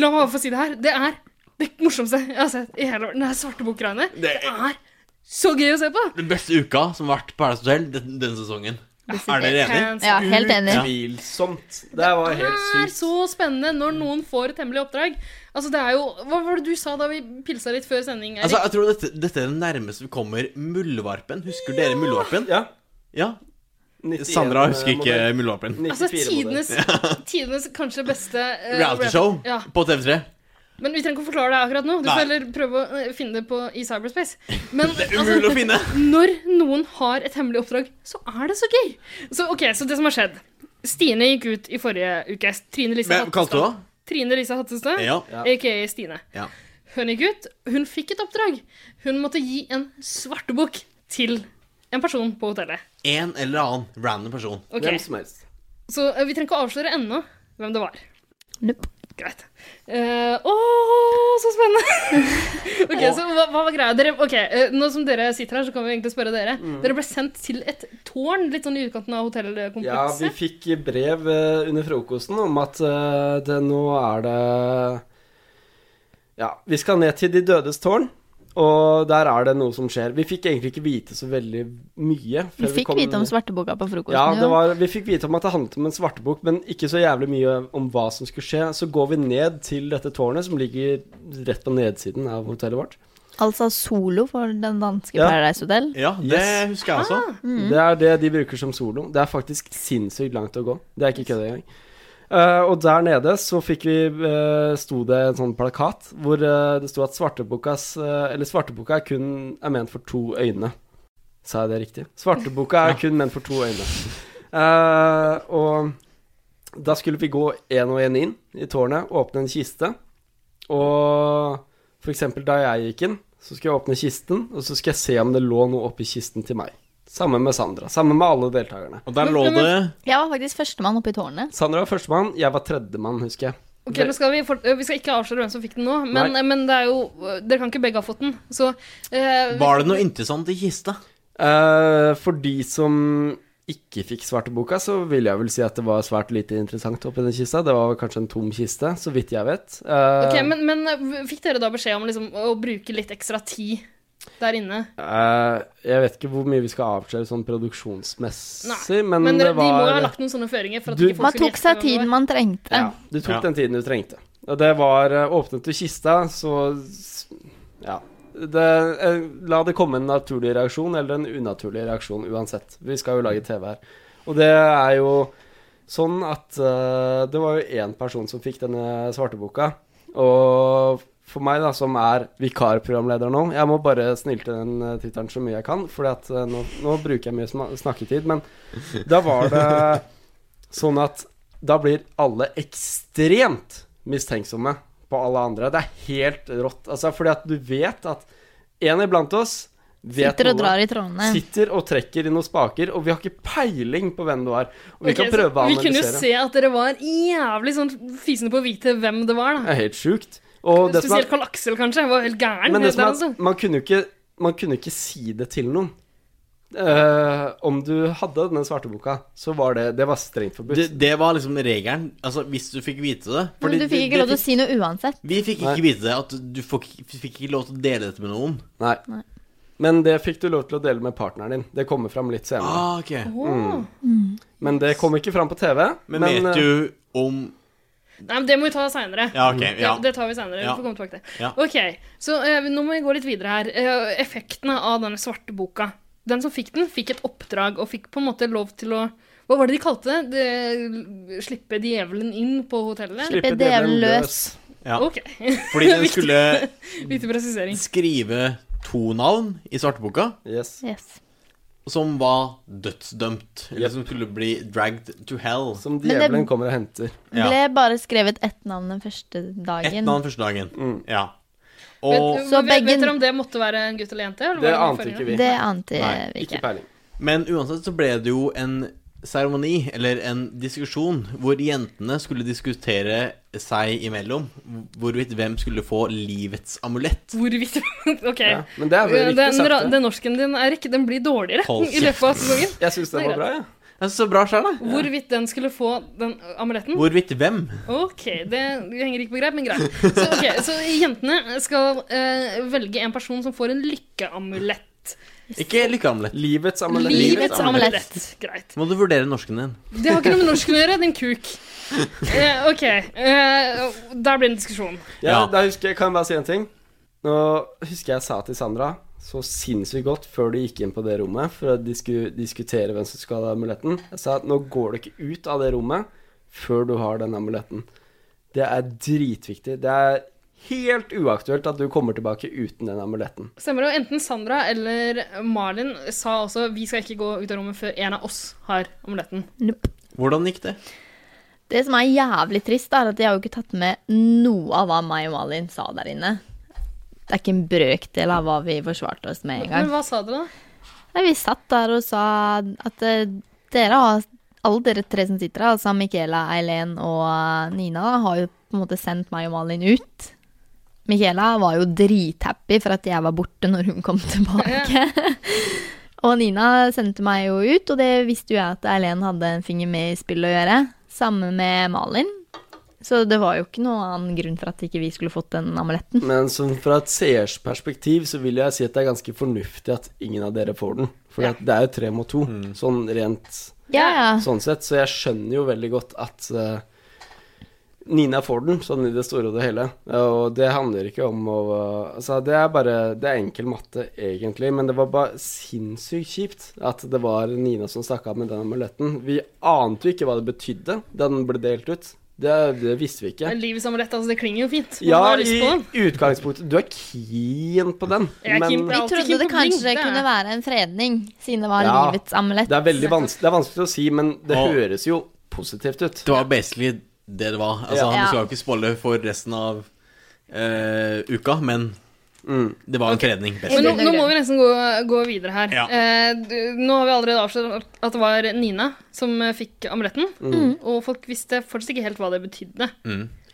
S5: la meg bare få si det her. Det er det morsomste jeg har sett i hele verden. Det er svartebokgreiene.
S4: Det
S5: Det er så gøy å se på!
S4: Den beste uka som har vært på Paradise Hotel den, denne sesongen. Er dere enige?
S5: Hands
S2: Ja, helt enig.
S1: Tvilsomt. Det var helt
S5: Det er
S1: sykt.
S5: så spennende når noen får et hemmelig oppdrag. Altså, det er jo Hva var det du sa da vi pilsa litt før sending, Erik?
S4: Altså, jeg tror dette, dette er det nærmeste vi kommer Muldvarpen. Husker dere Muldvarpen?
S1: Ja.
S4: Ja.
S1: 91
S4: Sandra husker ikke
S1: modell.
S4: Muldvarpen.
S1: 94
S5: Altså,
S1: modell.
S5: tidenes, tidenes kanskje beste eh,
S4: Reality show
S5: Ja.
S4: på TV3.
S5: Men vi trenger ikke å forklare det akkurat nå. Du
S4: Nei.
S5: får heller prøve å eh, finne det på, i cyberspace. Men
S4: Umulig å
S5: altså,
S4: finne!
S5: når noen har et hemmelig oppdrag, så er det så gøy. Så ok, så det som har skjedd Stine gikk ut i forrige uke. Trine Lise
S4: Men kalte du
S5: Hattestad.
S4: henne?
S5: Trine Lise Hattestad,
S4: Ja.
S5: aka Stine.
S4: Ja.
S5: Hun gikk ut. Hun fikk et oppdrag. Hun måtte gi en svartebok til en person på hotellet.
S4: En eller annen random person.
S5: Ok,
S1: Hvem som helst.
S5: Så eh, vi trenger ikke å avsløre ennå hvem det var.
S2: Nope.
S5: Greit. Eh, åh, så spennende! ok, så hva, hva var greia? Dere, ok, eh, Nå som dere sitter her, så kan vi egentlig spørre dere.
S1: Mm.
S5: Dere ble sendt til et tårn litt sånn i utkanten
S1: Ja,
S5: av
S1: vi
S5: hotellkomplekset.
S1: fikk brev eh, under frokosten om at eh, det nå er det Ja, vi skal ned til De dødes tårn, og der er det noe som skjer. Vi fikk egentlig ikke vite så veldig mye.
S2: Vi
S1: før
S2: fikk
S1: kom
S2: vite om
S1: ned.
S2: svarteboka på frokosten.
S1: Ja,
S2: jo.
S1: det var, vi fikk vite om at det handlet om en svartebok, men ikke så jævlig mye om hva som skulle skje. Så går vi ned til dette tårnet, som ligger rett på nedsiden av hotellet vårt.
S2: Altså solo for den danske
S1: Ja.
S2: Paradise Hotel.
S4: Ja, det husker jeg også.
S5: Ah.
S1: Det er det de bruker som solo. Det er faktisk sinnssykt langt å gå. Det er ikke kødd engang. Eh, og der nede så fikk vi eh, sto det en sånn plakat hvor eh, det sto at svartebokas eh, Eller svarteboka er kun er ment for to øyne. Sa jeg det riktig? Svarteboka er kun ment for to øyne. Eh, og da skulle vi gå én og én inn i tårnet, åpne en kiste. Og for eksempel da jeg gikk inn, så skulle jeg åpne kisten, og så skal jeg se om det lå noe oppi kisten til meg. Sammen med Sandra. Sammen med alle deltakerne.
S4: Og der lå
S5: Men-
S4: det
S2: Jeg var faktisk førstemann oppe i tårnet.
S1: Sandra var førstemann, jeg var tredjemann, husker jeg.
S5: Ok, nå skal vi, fort- eh, vi skal ikke avsløre hvem som fikk den nå, men, eh, men det er jo, eh, dere kan ikke begge ha fått den. Så eh,
S4: Var det noe interessant i kista?
S1: Eh, for de som ikke fikk svarteboka, så vil jeg vel si at det var svært lite interessant oppi den kista. Det var kanskje en tom kiste, så vidt jeg vet. Eh,
S5: ok, men, men eh, fikk dere da beskjed om liksom, å bruke litt ekstra tid der inne?
S1: eh, jeg vet ikke hvor mye vi skal avsløre sånn produksjonsmessig, men,
S5: Men dere,
S1: det var
S5: de må jo ha lagt noen sånne føringer. For at
S1: Du-
S5: ikke folk
S2: Man
S5: skulle
S2: tok seg
S5: gjette hvem det
S2: tiden
S5: var.
S2: man trengte.
S1: Ja, du tok
S4: Ja.
S1: den tiden du trengte. Og det var eh, Åpnet du kista, så s- Ja. Det, eh, la det komme en naturlig reaksjon eller en unaturlig reaksjon uansett. Vi skal jo lage TV her. Og det er jo sånn at eh, det var jo én person som fikk denne svarteboka. Og for meg, da, som er vikarprogramleder nå Jeg må bare snilte den eh, tittelen så mye jeg kan, for nå, nå bruker jeg mye sma- snakketid. Men da var det sånn at da blir alle ekstremt mistenksomme på alle andre. Det er helt rått. Altså, fordi at du vet at en iblant oss vet
S2: Sitter og
S1: noe.
S2: drar i trådene.
S1: Sitter og trekker i noen spaker, og vi har ikke peiling på hvem du er. Og vi
S5: Ok,
S1: kan
S5: så
S1: prøve å
S5: Vi kunne jo
S1: analysere.
S5: se at dere var jævlig sånn fisende på å vite hvem det var.
S1: Det
S5: da
S1: er helt sjukt. Og det som
S5: Spesielt
S1: er,
S5: Karl Aksel, kanskje. Var helt gæren. Altså.
S1: men det som
S5: der,
S1: er at man kunne jo ikke, man kunne ikke si det til noen. Eh, om du hadde den svarte boka, så var det Det var strengt forbudt.
S4: det? Det var liksom regelen. Altså, hvis du fikk vite det
S2: Men du
S4: det-
S2: fikk
S4: det
S2: ikke lov til å si noe uansett.
S4: Vi fikk
S1: Nei.
S4: ikke vite det, at du fikk, fikk ikke lov til å dele dette med noen.
S1: Nei.
S2: Nei.
S1: Men det fikk du lov til å dele med partneren din. Det kommer fram litt senere.
S4: Ah, ok.
S5: Åh.
S1: Mm. Men eh, det kom ikke fram på TV.
S4: Men vet
S1: eh,
S4: du om
S5: Nei, men det må vi ta seinere.
S4: Ja, ok. Ja.
S5: Det, det tar vi senere.
S4: Ja.
S5: Vi får komme tilbake til
S4: Ja.
S5: Ok, så eh, Nå må vi gå litt videre her. Eh, effektene av denne svarte boka. Den som fikk den, fikk et oppdrag og fikk på en måte lov til å Hva var det de kalte det? det slippe djevelen inn på hotellet?
S2: Slippe djevelen løs.
S4: Ja.
S5: Ok.
S4: Fordi den skulle
S5: Viktig presisering.
S4: skrive to navn i svarteboka,
S9: Yes.
S2: Yes.
S4: som var dødsdømt. Eller som skulle bli dragged to hell.
S1: Som
S2: det-
S1: djevelen kommer og henter.
S4: Ja.
S2: Ble bare skrevet ett navn den første
S4: Ett
S2: dagen.
S4: navn første dagen.
S1: Mm.
S4: Ja.
S5: Vet,
S4: Og,
S2: Så
S5: vet, vet
S2: begge-
S5: dere om det måtte være en gutt eller jente? Eller
S1: Det
S5: var
S1: ante
S5: forrige?
S1: ikke vi.
S2: Det ante
S4: Nei,
S2: vi
S1: Ikke
S2: ikke.
S1: peiling.
S4: men uansett så ble det jo en seremoni, eller en diskusjon, hvor jentene skulle diskutere seg imellom hvorvidt hvem skulle få livets amulett.
S5: Hvorvidt Ok. Eh,
S1: Ja. Men det er vel riktig
S5: Den,
S1: sagt.
S5: ra-
S1: det.
S5: den norsken din, Eirik, den blir dårligere
S4: Hold
S5: i løpet av sesongen.
S1: Jeg syns den var bra, jeg.
S4: Det er Altså, så bra sjøl,
S5: Mm.
S4: da.
S5: Hvorvidt den skulle få den eh, amuletten?
S4: Hvorvidt hvem?
S5: Ok, det henger ikke på greip, men greit. Så, ok, så jentene skal eh, velge en person som får en lykkeamulett.
S4: Ikke lykkeamulett.
S1: Livets amulett.
S2: Livets amulett.
S5: Greit.
S4: Må du vurdere norsken din.
S5: Det har ikke noe med norsk å gjøre, din kuk. Eh, ok, eh, der blir det en diskusjon.
S1: Ja,
S4: Ja.
S1: da husker jeg, Kan jeg bare si en ting? Nå husker jeg sa til Sandra så sinnssykt godt før du gikk inn på det rommet for å disku, diskutere hvem som skal ha amuletten. Jeg sa at nå går du ikke ut av det rommet før du har den amuletten. Det er dritviktig. Det er helt uaktuelt at du kommer tilbake uten den amuletten.
S5: Stemmer det? og Enten Sandra eller Marlin sa også vi skal ikke gå ut av rommet før en av oss har amuletten.
S2: Nope.
S4: Hvordan gikk det?
S2: Det som er jævlig trist, er at de har jo ikke tatt med noe av hva meg og Malin sa der inne. Det er ikke en brøkdel av hva vi forsvarte oss med
S5: Men
S2: engang.
S5: hva sa dere, da?
S2: Nei, Vi satt der og sa at eh, dere har alle dere tre som sitter her, altså Michaela, Eileen og eh, Nina, da, har jo på en måte sendt meg og Malin ut. Michaela var jo drithappy for at jeg var borte når hun kom tilbake. og Nina sendte meg jo ut, og det visste jo jeg at Eileen hadde en finger med i spillet å gjøre. Samme med Malin. Så det var jo ikke noen annen grunn for at ikke vi skulle fått den amuletten.
S1: Men som fra et seers perspektiv så vil jeg si at det er ganske fornuftig at ingen av dere får den. For det er jo tre mot to, sånn rent
S2: Ja, ja.
S1: sånn sett. Så jeg skjønner jo veldig godt at eh, Nina får den, sånn i det store og det hele. Og det handler ikke om å Altså, det er bare Det er enkel matte, egentlig, men det var bare sinnssykt kjipt at det var Nina som stakk av med den amuletten. Vi ante jo ikke hva det betydde da den ble delt ut. Det, det visste vi ikke.
S5: Men Livets amulett, altså, det klinger jo fint. Man
S1: Ja,
S5: har
S1: i
S5: lyst på den.
S1: utgangspunktet. Du er keen på den,
S5: Jeg er keen på
S1: men
S5: den.
S2: Vi
S5: alltid
S2: trodde
S5: keen
S2: det
S5: på blink,
S2: kanskje
S5: det er-
S2: kunne være en fredning, siden det var
S1: Ja,
S2: livets amulett.
S1: det er veldig vanskelig, det er vanskelig å si, men det
S4: Og-
S1: høres jo positivt ut.
S4: Det var basically det det var. Altså,
S1: Ja.
S4: Han
S2: Ja.
S4: skal jo ikke spoile for resten av eh, uka, men det var en fredning.
S5: Men
S4: basically.
S5: nå, nå må vi nesten gå, gå videre her.
S4: Ja.
S5: Eh, du- nå har vi allerede avslørt at det var Nina som eh, fikk amuletten. Og folk visste fortsatt ikke helt hva det betydde.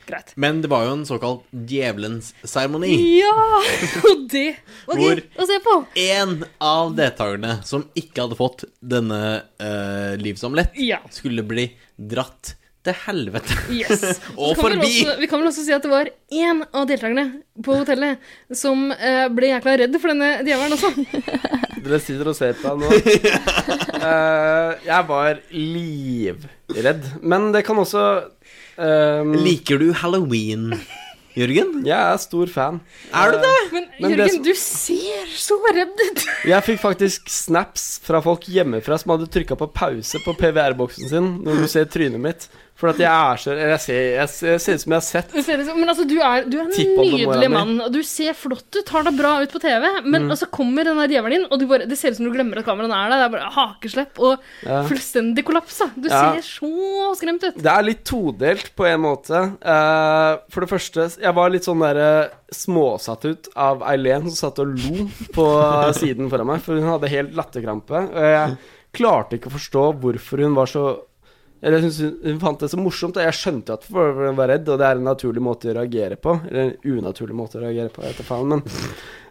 S5: Greit.
S4: Men det var jo en såkalt djevelens seremoni.
S5: Ja! Og det var
S4: Hvor-
S5: gøy å se på!
S4: Én av deltakerne som ikke hadde fått denne uh, livsamlett,
S5: Ja.
S4: skulle bli dratt til helvete.
S5: Yes.
S4: Og
S5: Så kan vi vel
S4: forbi.
S5: Også, vi kan vel også si at det var én av deltakerne på hotellet som eh, ble jækla redd for denne djevelen også.
S1: Dere sitter og ser på han nå. Eh, jeg var livredd. Men det kan også ehm,
S4: Liker du halloween, Jørgen?
S1: Jeg er stor fan.
S4: Er du det?
S5: Men,
S1: Men det
S5: Jørgen,
S1: som-
S5: du ser så redd ut.
S1: Jeg fikk faktisk snaps fra folk hjemmefra som hadde trykka på pause på PVR-boksen sin når du ser trynet mitt. For at jeg er så Eller jeg ser, jeg ser, jeg ser ut som jeg har sett.
S5: Det ser ut som- Men altså, du er, du er en
S1: Tippoldemora
S5: nydelig
S1: mi.
S5: mann, og du ser flott ut, har deg bra ut på TV, men altså kommer den der djevelen din, og du bare, det ser ut som du glemmer at kameraet er der. Det er bare hakeslepp og
S1: Ja.
S5: fullstendig kollaps. da. Du
S1: Ja.
S5: ser så skremt ut.
S1: Det er litt todelt på en måte. Eh, for det første, jeg var litt sånn der eh, småsatt ut av Eileen som satt og lo på siden foran meg, for hun hadde helt latterkrampe. Og jeg klarte ikke å forstå hvorfor hun var så Eller jeg synes hun, hun fant det så morsomt, og jeg skjønte at hvorfor hun var redd, og det er en naturlig måte å reagere på. Eller en unaturlig måte å reagere på, jeg vet da faen, men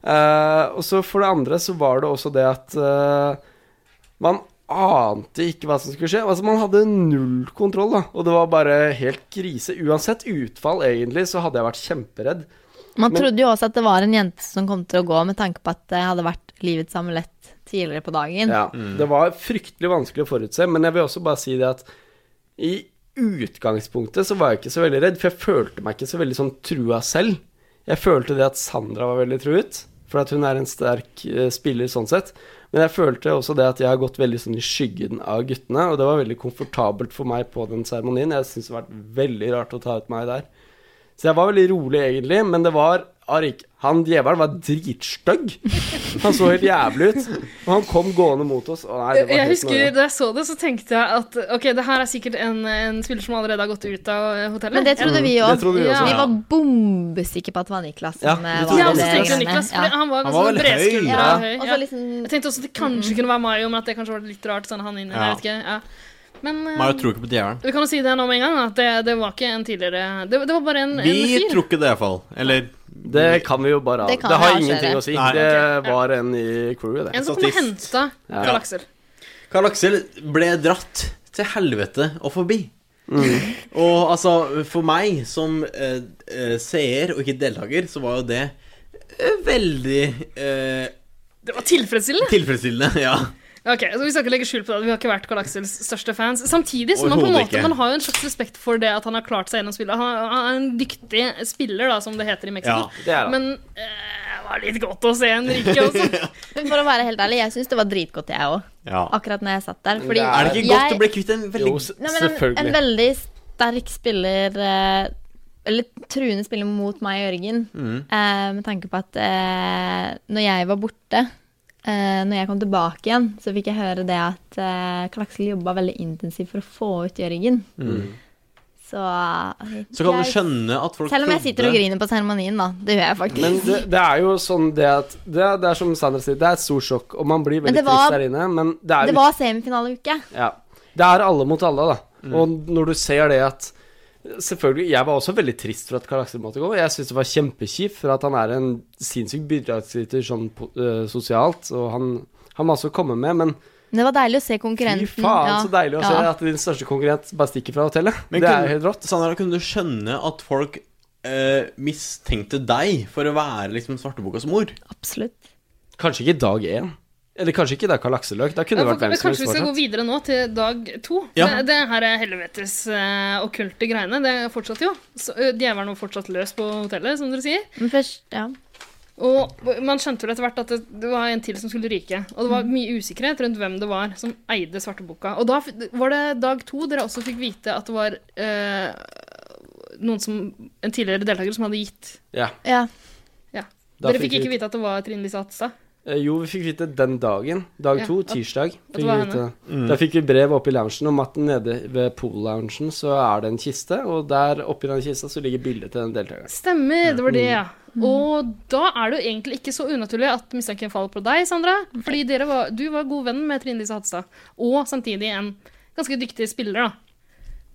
S1: Eh, Og så for det andre så var det også det at eh, man ante ikke hva som skulle skje. Altså, man hadde null kontroll, da. Og det var bare helt krise. Uansett utfall, egentlig, så hadde jeg vært kjemperedd.
S2: Man
S1: Men-
S2: trodde jo også at det var en jente som kom til å gå, med tanke på at det hadde vært livets amulett tidligere på dagen.
S1: Ja, Det var fryktelig vanskelig å forutse, men jeg vil også bare si det at i utgangspunktet så var jeg ikke så veldig redd, for jeg følte meg ikke så veldig sånn trua selv. Jeg følte det at Sandra var veldig truet, for at hun er en sterk eh, spiller sånn sett. Men jeg følte også det at jeg har gått veldig sånn i skyggen av guttene, og det var veldig komfortabelt for meg på den seremonien. Jeg syns det har vært veldig rart å ta ut meg der. Så jeg var veldig rolig egentlig, men det var Arik, han djevelen var dritstygg. Han så helt jævlig ut. Og han kom gående mot oss. Og nei, det var
S5: Jeg
S1: helt
S5: husker
S1: nøye.
S5: Da jeg så det, så tenkte jeg at ok, det her er sikkert en, en spiller som allerede har gått ut av eh, hotellet.
S2: Men det trodde vi òg.
S1: trodde vi
S5: også,
S2: Vi
S5: ja.
S2: var bombesikre på at det var Niklas som
S1: Ja,
S2: eh,
S1: vi
S2: var
S1: trodde det
S5: ja, og så
S1: var
S5: tenkte jeg
S2: greiene.
S5: Niklas,
S2: Ja.
S5: for han var
S4: Han var
S5: ganske
S4: vel høy,
S5: bredskuldra
S4: ja.
S5: og høy.
S2: Og
S5: ja.
S2: så liksom
S5: Jeg tenkte også at det kanskje kunne være Mario, men at det kanskje var litt rart sånn han inne, jeg vet ikke. Ja. Men eh,
S4: Mario tror ikke på djevelen.
S5: vi kan jo si det nå med en gang, at det, det var ikke en tidligere Det, det var bare en, en
S4: Vi
S5: fyr.
S4: tror ikke det, iallfall. Eller
S1: Det kan vi jo bare av.
S2: Det
S1: Det,
S2: kan
S1: har
S2: vi
S1: ingenting
S2: avsløre.
S1: å si.
S4: Nei,
S1: det
S5: ok, ja.
S1: var en i crewet, det.
S5: En som kom og
S4: statist.
S5: henta
S1: Ja.
S5: Karl Aksel.
S4: Karl Aksel ble dratt til helvete og forbi.
S2: Mm.
S4: og altså, for meg som eh, eh, seer og ikke deltaker, så var jo det eh, veldig eh,
S5: Det var tilfredsstillende.
S4: tilfredsstillende. Ja.
S5: Ok, så Vi skal ikke legge skjul på det, vi har ikke vært Karl Aksels største fans. Samtidig som man på en
S4: Overhodet
S5: måte,
S4: ikke.
S5: man har jo en slags respekt for det at han har klart seg gjennom spillet. Han, han er en dyktig spiller, da, som det heter i
S4: Ja.
S5: Mexico.
S1: Det er han.
S5: Men eh, det var litt godt å se en ryke også.
S2: Men for å være helt ærlig, jeg syns det var dritgodt, jeg òg.
S4: ja.
S2: Akkurat når jeg satt der. Fordi
S4: Er det ikke
S2: jeg,
S4: godt å bli kvitt en veldig
S1: Jo, s-
S2: Nei, men en, en
S1: selvfølgelig.
S2: veldig sterk spiller eh, Eller truende spiller mot meg og Jørgen.
S1: Mm.
S2: Eh, med tanke på at eh, når jeg var borte eh, Når jeg kom tilbake igjen, så fikk jeg høre det at eh, Karl Aksel jobba veldig intensivt for å få ut Jørgen.
S1: Mm.
S2: Så, eh,
S4: Så kan du
S2: jeg-
S4: skjønne at folk
S2: Selv om jeg sitter og
S4: trodde-
S2: griner på seremonien, da. Det gjør jeg faktisk.
S1: Men det, det er jo sånn det at det, er- det er som Sandra sier, det er et stort sjokk. Og man blir
S2: Men
S1: veldig
S2: det var-
S1: trist der inne, men det er
S2: det var semifinaleuke.
S1: Ja. Mm. Det er alle mot alle, da. Og når du ser det at Selvfølgelig, Jeg var også veldig trist for at Karl Aksel måtte gå. Jeg syns det var kjempekjipt, for at han er en sinnssyk bidragsyter sånn po- øh, sosialt. Og han har masse å komme med, men
S2: Men det var deilig å se
S1: fy
S2: konkurrenten.
S1: faen
S2: Ja,
S1: så deilig å
S2: ja.
S1: se at din største konkurrent bare stikker fra hotellet.
S4: Men
S1: det
S4: kunne-
S1: er jo helt rått.
S4: Sandra, kunne du skjønne at folk eh, mistenkte deg for å være liksom svartebokas mor?
S2: Absolutt.
S1: Kanskje ikke dag én. Eller kanskje ikke da Karl Aksel løk. Da kunne det vært hvem som helst
S5: Kanskje vi skal gå
S1: fortsatt.
S5: videre nå til dag to.
S4: Ja.
S5: Det, det her er helvetes eh, okkulte greiene. Det fortsatte jo. Så, eh, Djevelen var fortsatt løs på hotellet, som dere sier.
S2: Men først Ja.
S5: Og man skjønte vel etter hvert at det, det var en til som skulle ryke. Og det var mye usikkerhet rundt hvem det var som eide svarteboka. Og da f- var det dag to dere også fikk vite at det var eh, noen som, en tidligere deltaker som hadde gitt.
S1: Ja,
S2: ja.
S1: da
S5: dere fikk
S1: vi-
S5: ikke vite at det var Trine Lise Atstad.
S1: Eh, Jo, vi fikk vite den dagen. Dag
S5: Ja,
S1: to,
S5: at-
S1: tirsdag. Fikk
S5: var
S1: vi
S5: henne.
S1: vite. Da fikk vi brev oppe i loungen om at nede ved pool-loungen så er det en kiste, og der oppi den kista så ligger bildet til den deltakeren.
S5: Stemmer, det var det, ja. Og da er det jo egentlig ikke så unaturlig at mistanken faller på deg, Sandra. Fordi dere var, du var god venn med Trine Lise Hatstad, og samtidig en ganske dyktig spiller, da.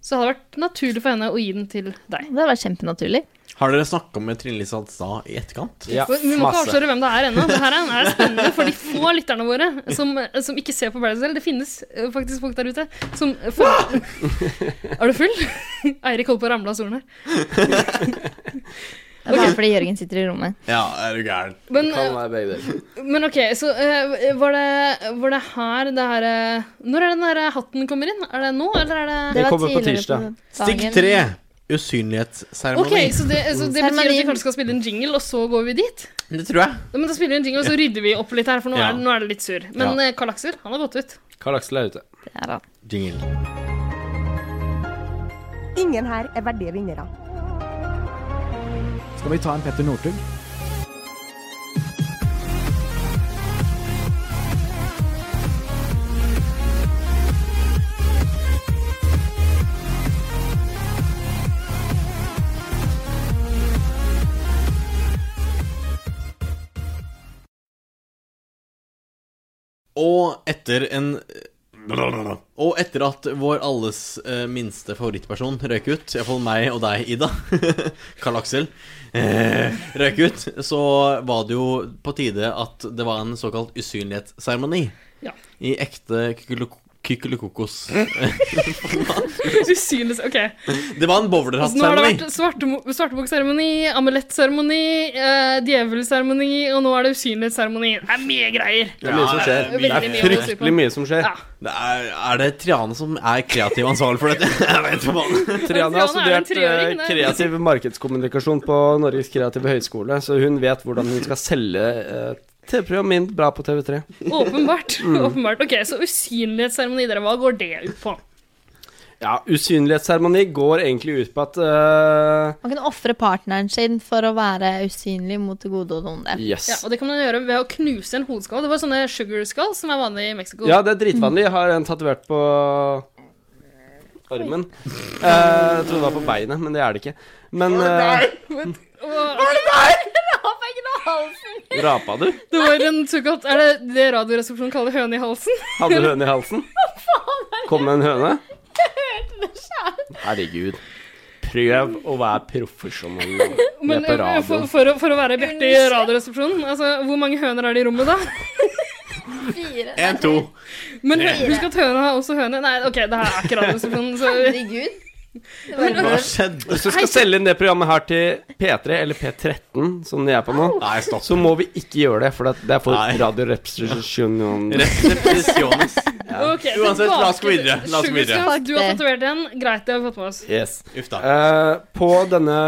S5: Så det hadde vært naturlig for henne å gi den til deg.
S2: Det var kjempenaturlig.
S4: Har dere snakka med Trine Lise Hadstad i etterkant?
S1: Ja,
S5: Vi må ikke avsløre hvem det er ennå. Det her er, er spennende for de få lytterne våre som, som ikke ser på Paradise Hotel. Det finnes eh, faktisk folk der ute som følger- Er du full? Eirik holdt på å ramle av stolen her.
S2: Det er bare fordi Jørgen sitter i rommet.
S4: Ja, er du gæren.
S5: Men,
S1: Kan være begge deler.
S5: eh, men ok, så eh, var, det, var det her det her eh, Når er det den der hatten kommer inn? Er det nå, eller er det
S1: Det
S2: var
S1: kommer på
S2: tidligere
S1: tirsdag.
S4: Stikk
S2: dagen.
S4: tre. Usynlighetsseremoni.
S5: Ok, så det, så det betyr at vi
S2: Seremoni.
S5: kanskje skal spille en jingle, og så går vi dit?
S4: Det tror jeg.
S5: Ja, Men da spiller vi en jingle, og så rydder vi opp litt her, for nå
S4: Ja.
S5: er, nå er det litt sur. Men eh, Karl Aksel, han har gått ut.
S1: Karl Aksel er ute.
S2: Det er han.
S4: Jingle.
S3: Ingen her er verdige vinnere.
S10: Skal vi ta en Petter Northug?
S4: Og etter en Og etter at vår alles eh, minste favorittperson røyk ut, iallfall meg og deg, Ida Karl Aksel eh, røyk ut, så var det jo på tide at det var en såkalt usynlighetsseremoni.
S5: Ja.
S4: I ekte Kykelikokos.
S5: Usynlig OK.
S4: Det var en
S5: Så Altså, nå har det vært
S4: bowlerhattseremoni.
S5: svartemo- svartebukseremoni, amulettseremoni, eh, djevelseremoni, og nå er det usynlighetsseremoni. Det er mye greier.
S1: Det er mye som skjer.
S5: Det er veldig mye å si på.
S1: Fryktelig mye som skjer.
S5: Ja.
S4: Det er, er det Triane som er kreativ ansvarlig for dette? Jeg vet ikke hva
S1: Triana har
S5: Triana er en
S1: studert eh,
S5: treåring, det er-
S1: kreativ markedskommunikasjon på Norges kreative høgskole, så hun vet hvordan hun skal selge eh, TV-program min bra på TV3.
S5: Åpenbart.
S1: Mm.
S5: åpenbart. Ok, Så usynlighetsseremoni, dere, hva går det ut på?
S1: Ja, usynlighetsseremoni går egentlig ut på at eh,
S2: Man kan ofre partneren sin for å være usynlig mot det gode og det onde.
S1: Yes.
S5: Ja, og det kan man gjøre ved å knuse en hodeskall. Det var sånne sugar skulls som er vanlige i Mexico.
S1: Ja, det er dritvanlig. Jeg har en tatovert på armen. Eh, jeg trodde det var på beinet, men det er det ikke. Men eh,
S5: Og-
S1: eh, rapa du?
S5: det var en såkalt Er det det Radioresepsjonen kaller høne i halsen?
S1: Hadde du høne i halsen? Kom det en høne? Herregud. Prøv å være profesjonell.
S5: Men
S1: Vi er på
S5: eh, for,
S1: radioen.
S5: for, å- for å være Bjarte i Radioresepsjonen, altså, hvor mange høner er det i rommet da?
S2: Fire.
S4: En, to.
S5: Men hø- husk at høna har også høne. Nei, OK, det her er ikke Radioresepsjonen, så
S2: Herregud. Det var
S4: Hva
S2: bare-
S4: skjedde?
S1: Hvis du skal selge inn det programmet her til P3 eller P13, som de er på nå,
S4: Nei, stopp.
S1: så må vi ikke gjøre det, for det er for
S4: Nei.
S1: radiorepresentasjon.
S4: Represjones.
S5: Ok, så
S4: Uansett, la oss gå
S5: tilbake til
S4: videre, la oss gå
S5: Sugar
S4: videre.
S5: Skulls. Du har
S2: Fuck det.
S5: tatovert den. Greit, det har vi fått med oss.
S1: Yes.
S4: Uff da.
S1: Eh, på denne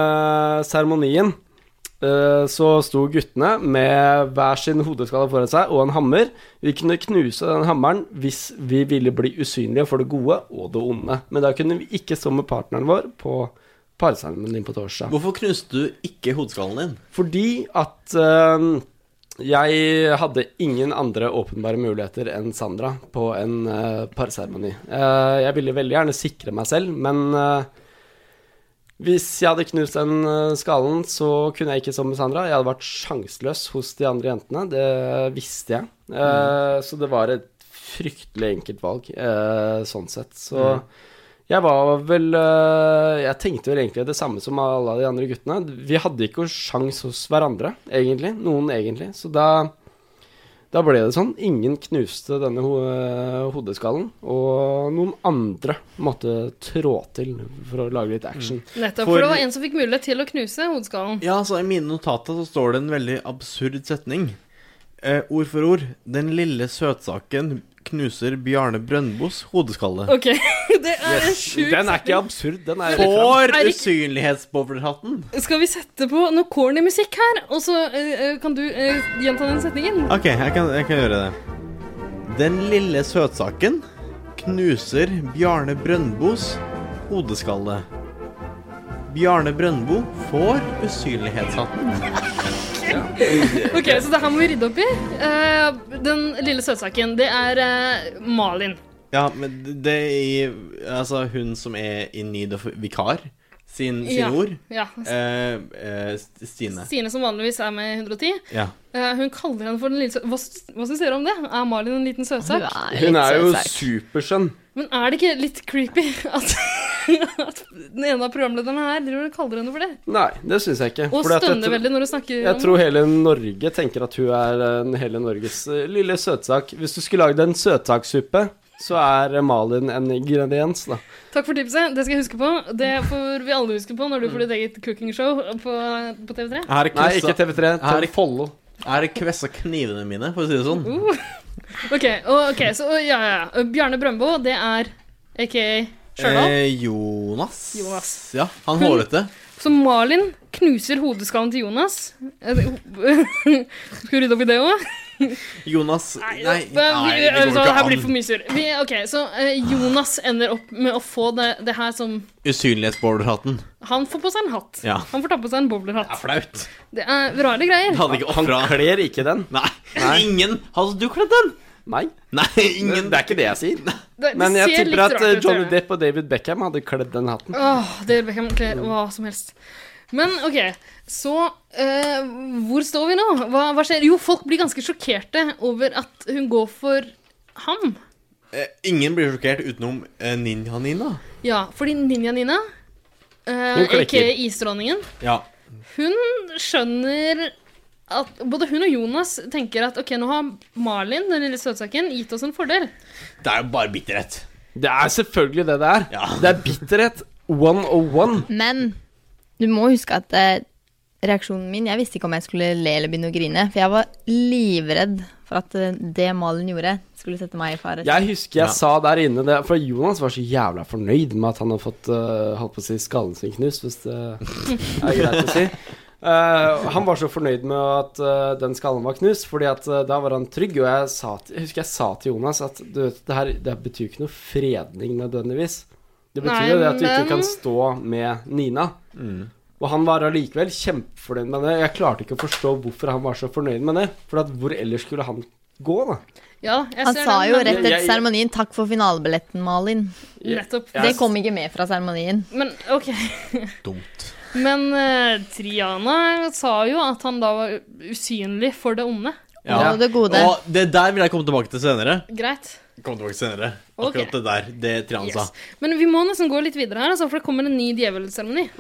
S1: seremonien eh, så sto guttene med hver sin hodeskalle foran seg og en hammer. Vi kunne knuse den hammeren hvis vi ville bli usynlige for det gode og det onde. Men da kunne vi ikke stå med partneren vår på parseremonien på torsdag.
S4: Hvorfor knuste du ikke hodeskallen din?
S1: Fordi at eh, jeg hadde ingen andre åpenbare muligheter enn Sandra på en uh, parseremoni. Eh, jeg ville veldig gjerne sikre meg selv, men eh, hvis jeg hadde knust den eh, skallen, så kunne jeg ikke stå med Sandra. Jeg hadde vært sjanseløs hos de andre jentene, det visste jeg. Eh, Så det var et fryktelig enkelt valg, eh, sånn sett. Så jeg var vel øh, Jeg tenkte vel egentlig det samme som alle de andre guttene. Vi hadde ikke noe sjans hos hverandre, egentlig. Noen, egentlig. Så da, da ble det sånn. Ingen knuste denne ho øh, hodeskallen. Og noen andre måtte trå til for å lage litt action.
S5: Nettopp,
S4: For-
S5: for det var en som fikk mulighet til å knuse hodeskallen.
S4: Ja, altså, I mine notater så står det en veldig absurd setning. Eh, ord for ord. Den lille søtsaken knuser Bjarne Brøndbos hodeskalle.
S5: OK, det er en sjuk
S1: Den er ikke absurd, den er rett fram.
S4: Får
S5: Erik-
S4: usynlighetsbowlerhatten.
S5: Skal vi sette på noe corny musikk her, og så eh, eh, kan du eh, gjenta den setningen?
S4: OK, jeg kan, jeg kan gjøre det. Den lille søtsaken knuser Bjarne Brøndbos hodeskalle. Bjarne Brøndbo får usynlighetshatten.
S5: Ok, Så det her må vi rydde opp i. Eh, den lille søtsaken, det er eh, Malin.
S4: Ja, men det i Altså, hun som er in need of vikar, sin, sine
S5: Ja.
S4: ord.
S5: Ja.
S4: Eh, eh, St- Stine.
S5: Stine, som vanligvis er med i 110,
S4: Ja.
S5: eh, hun kaller henne for den lille søtsaken. Hva, sy- hva syns dere om det? Er Malin en liten søtsak?
S2: Hun
S1: Hun er jo
S2: søt.
S1: superskjønn.
S5: Men er det ikke litt creepy at, at den ene av programlederne her driver og kaller henne for det?
S1: Nei, det syns jeg ikke.
S5: Og
S1: Fordi at jeg
S5: stønner
S1: tro-
S5: veldig når hun snakker
S1: Jeg tror hele Norge tenker at hun er eh, hele Norges eh, lille søtsak. Hvis du skulle lagd en søtsakssuppe, så er eh, Malin en ingrediens, da.
S5: Takk for tipset, det skal jeg huske på. Det får vi alle huske på når du får ditt eget cookingshow på, på TV3.
S4: Jeg har
S1: Nei, ikke
S4: kvessa-
S1: TV3.
S4: Er
S1: Til
S4: det-
S1: Follo.
S4: jeg har kvessa knivene mine, for å si det
S5: Mm,
S4: sånn.
S5: Uh. Ok, og, ok, så ja, ja, ja. Bjarne Brøndbo, det er aka Stjørdal.
S4: Eh, Jonas.
S5: Jonas.
S4: Ja, han
S5: Hun-
S4: hårete.
S1: Eh.
S5: Så Malin knuser hodeskallen til Jonas. Eh, Skal vi rydde opp i det òg?
S4: Jonas Nei,
S5: Nei,
S4: nei,
S5: det, vi,
S4: det går
S5: altså,
S4: ikke
S5: her blir det for
S4: an.
S5: mye surr. Vi- Ok, så eh, Jonas ender opp med å få det, det her som
S4: Usynlighetsbowlerhatten.
S5: Han får på seg en hatt.
S4: Ja.
S5: Han får ta på seg en bowlerhatt.
S4: Flaut.
S5: Det er rare greier.
S4: Jeg hadde ikke
S1: Han
S4: ofra
S1: kler ikke den.
S4: Nei, ingen Hadde du kledd den?
S1: Nei,
S4: Nei,
S1: det
S4: ingen.
S1: er ikke det jeg sier.
S5: Det, det
S1: Men jeg
S5: ser
S1: tipper
S5: litt
S1: at
S5: rart
S1: eh,
S5: ut,
S1: Johnny
S5: ser det.
S1: Depp og David Beckham hadde kledd den hatten.
S5: Åh, David Beckham kler hva som helst. Men OK, så eh, hvor står vi nå? Hva, hva skjer? Jo, folk blir ganske sjokkerte over at hun går for ham.
S4: Eh, ingen blir sjokkert utenom eh, Ninja-Nina.
S5: Ja, fordi Ninja Nina,
S1: Hun
S5: uh,
S1: klekker.
S5: aka Isdronningen,
S4: Ja.
S5: hun skjønner at både hun og Jonas tenker at ok, nå har Malin, den lille søtsaken, gitt oss en fordel.
S4: Det er jo bare bitterhet.
S1: Det er selvfølgelig det det er.
S4: Ja.
S1: Det er bitterhet 101.
S2: Men du må huske at eh, reaksjonen min Jeg visste ikke om jeg skulle le eller begynne å grine. For jeg var livredd for at eh, det Malin gjorde, skulle sette meg i fare.
S1: Jeg husker jeg
S4: Ja.
S1: sa der inne det, For Jonas var så jævla fornøyd med at han har fått eh, holdt på å si skallen sin knust, hvis det er greit å si. Eh, han var så fornøyd med at eh, den skallen var knust, Fordi at eh, da var han trygg. Og jeg, sa til, jeg husker jeg sa til Jonas at du vet, det her det betyr ikke noe fredning nødvendigvis. Det betyr
S5: Nei,
S1: jo det at du ikke
S5: men-
S1: kan stå med Nina. Og han var allikevel kjempefornøyd med det. Jeg klarte ikke å forstå hvorfor han var så fornøyd med det. For at hvor ellers skulle han gå, da?
S5: Ja, jeg
S2: Han
S5: ser
S2: sa jo
S5: den, men-
S2: rett etter
S1: Jeg- jeg-
S2: seremonien 'takk for finalebilletten, Malin'.
S5: Nettopp.
S2: Det kom ikke med fra seremonien.
S5: Men ok.
S4: Dumt.
S5: Men eh, Triana sa jo at han da var usynlig for det onde.
S4: Ja.
S2: Og det gode.
S4: Og det der vil jeg komme tilbake til senere.
S5: Greit.
S4: Kom tilbake til senere.
S5: Ok.
S4: Akkurat det der. Det Trian sa.
S5: Yes. Men vi må nesten gå litt videre her, altså, for det kommer en ny djevelseremoni.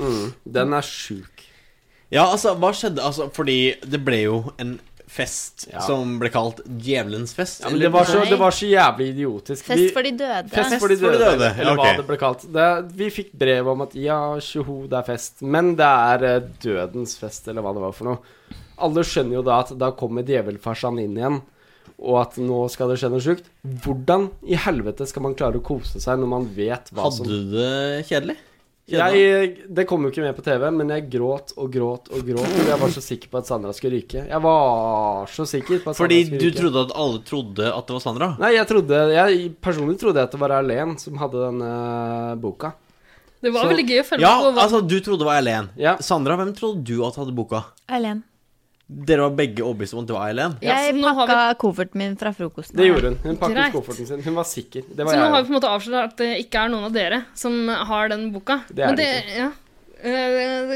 S1: Den er sjuk.
S4: Ja, altså, hva skjedde? Altså, fordi det ble jo en fest
S1: Ja.
S4: som ble kalt Djevelens fest.
S1: Ja, men det, var så,
S2: Nei.
S1: det var så jævlig idiotisk.
S2: Fest for de døde.
S1: fest
S4: Fest
S1: for de
S4: for de
S1: døde,
S4: døde,
S1: eller
S4: ok.
S1: hva det ble kalt. Det, vi fikk brev om at ja, tjoho, det er fest, men det er eh, dødens fest, eller hva det var for noe. Alle skjønner jo da at da kommer djevelfarsan inn igjen, og at nå skal det skje noe sjukt. Hvordan i helvete skal man klare å kose seg når man vet hva
S4: Hadde
S1: som
S4: du det kjedelig?
S1: jeg, det kom jo ikke med på TV, men jeg gråt og gråt og gråt. fordi Jeg var så sikker på at Sandra skulle ryke. Jeg var så sikker på at
S4: Fordi
S1: Sandra skulle
S4: du
S1: ryke.
S4: trodde at alle trodde at det var Sandra?
S1: Nei, jeg trodde Jeg personlig trodde jeg at det var Erlen som hadde denne boka.
S5: Det var
S1: Så-
S5: veldig gøy å følge
S4: Ja,
S5: med på. hva-
S4: altså, du trodde det var Eileen.
S1: Ja.
S4: Sandra, hvem trodde du at hadde boka?
S2: Eileen.
S4: Dere var begge overbevist om at det var Eileen.
S5: Ja, så
S2: Jeg
S5: nå har vi-
S2: pakka kofferten min fra frokosten.
S1: Det gjorde hun. Hun pakket
S5: Greit.
S1: kofferten sin. Hun var sikker. Det
S5: Så
S1: var
S5: nå har vi
S1: jeg.
S5: på en måte avslørt at det ikke er noen av dere som har den boka.
S1: Det er
S5: Men
S1: det
S5: Ja. Eh,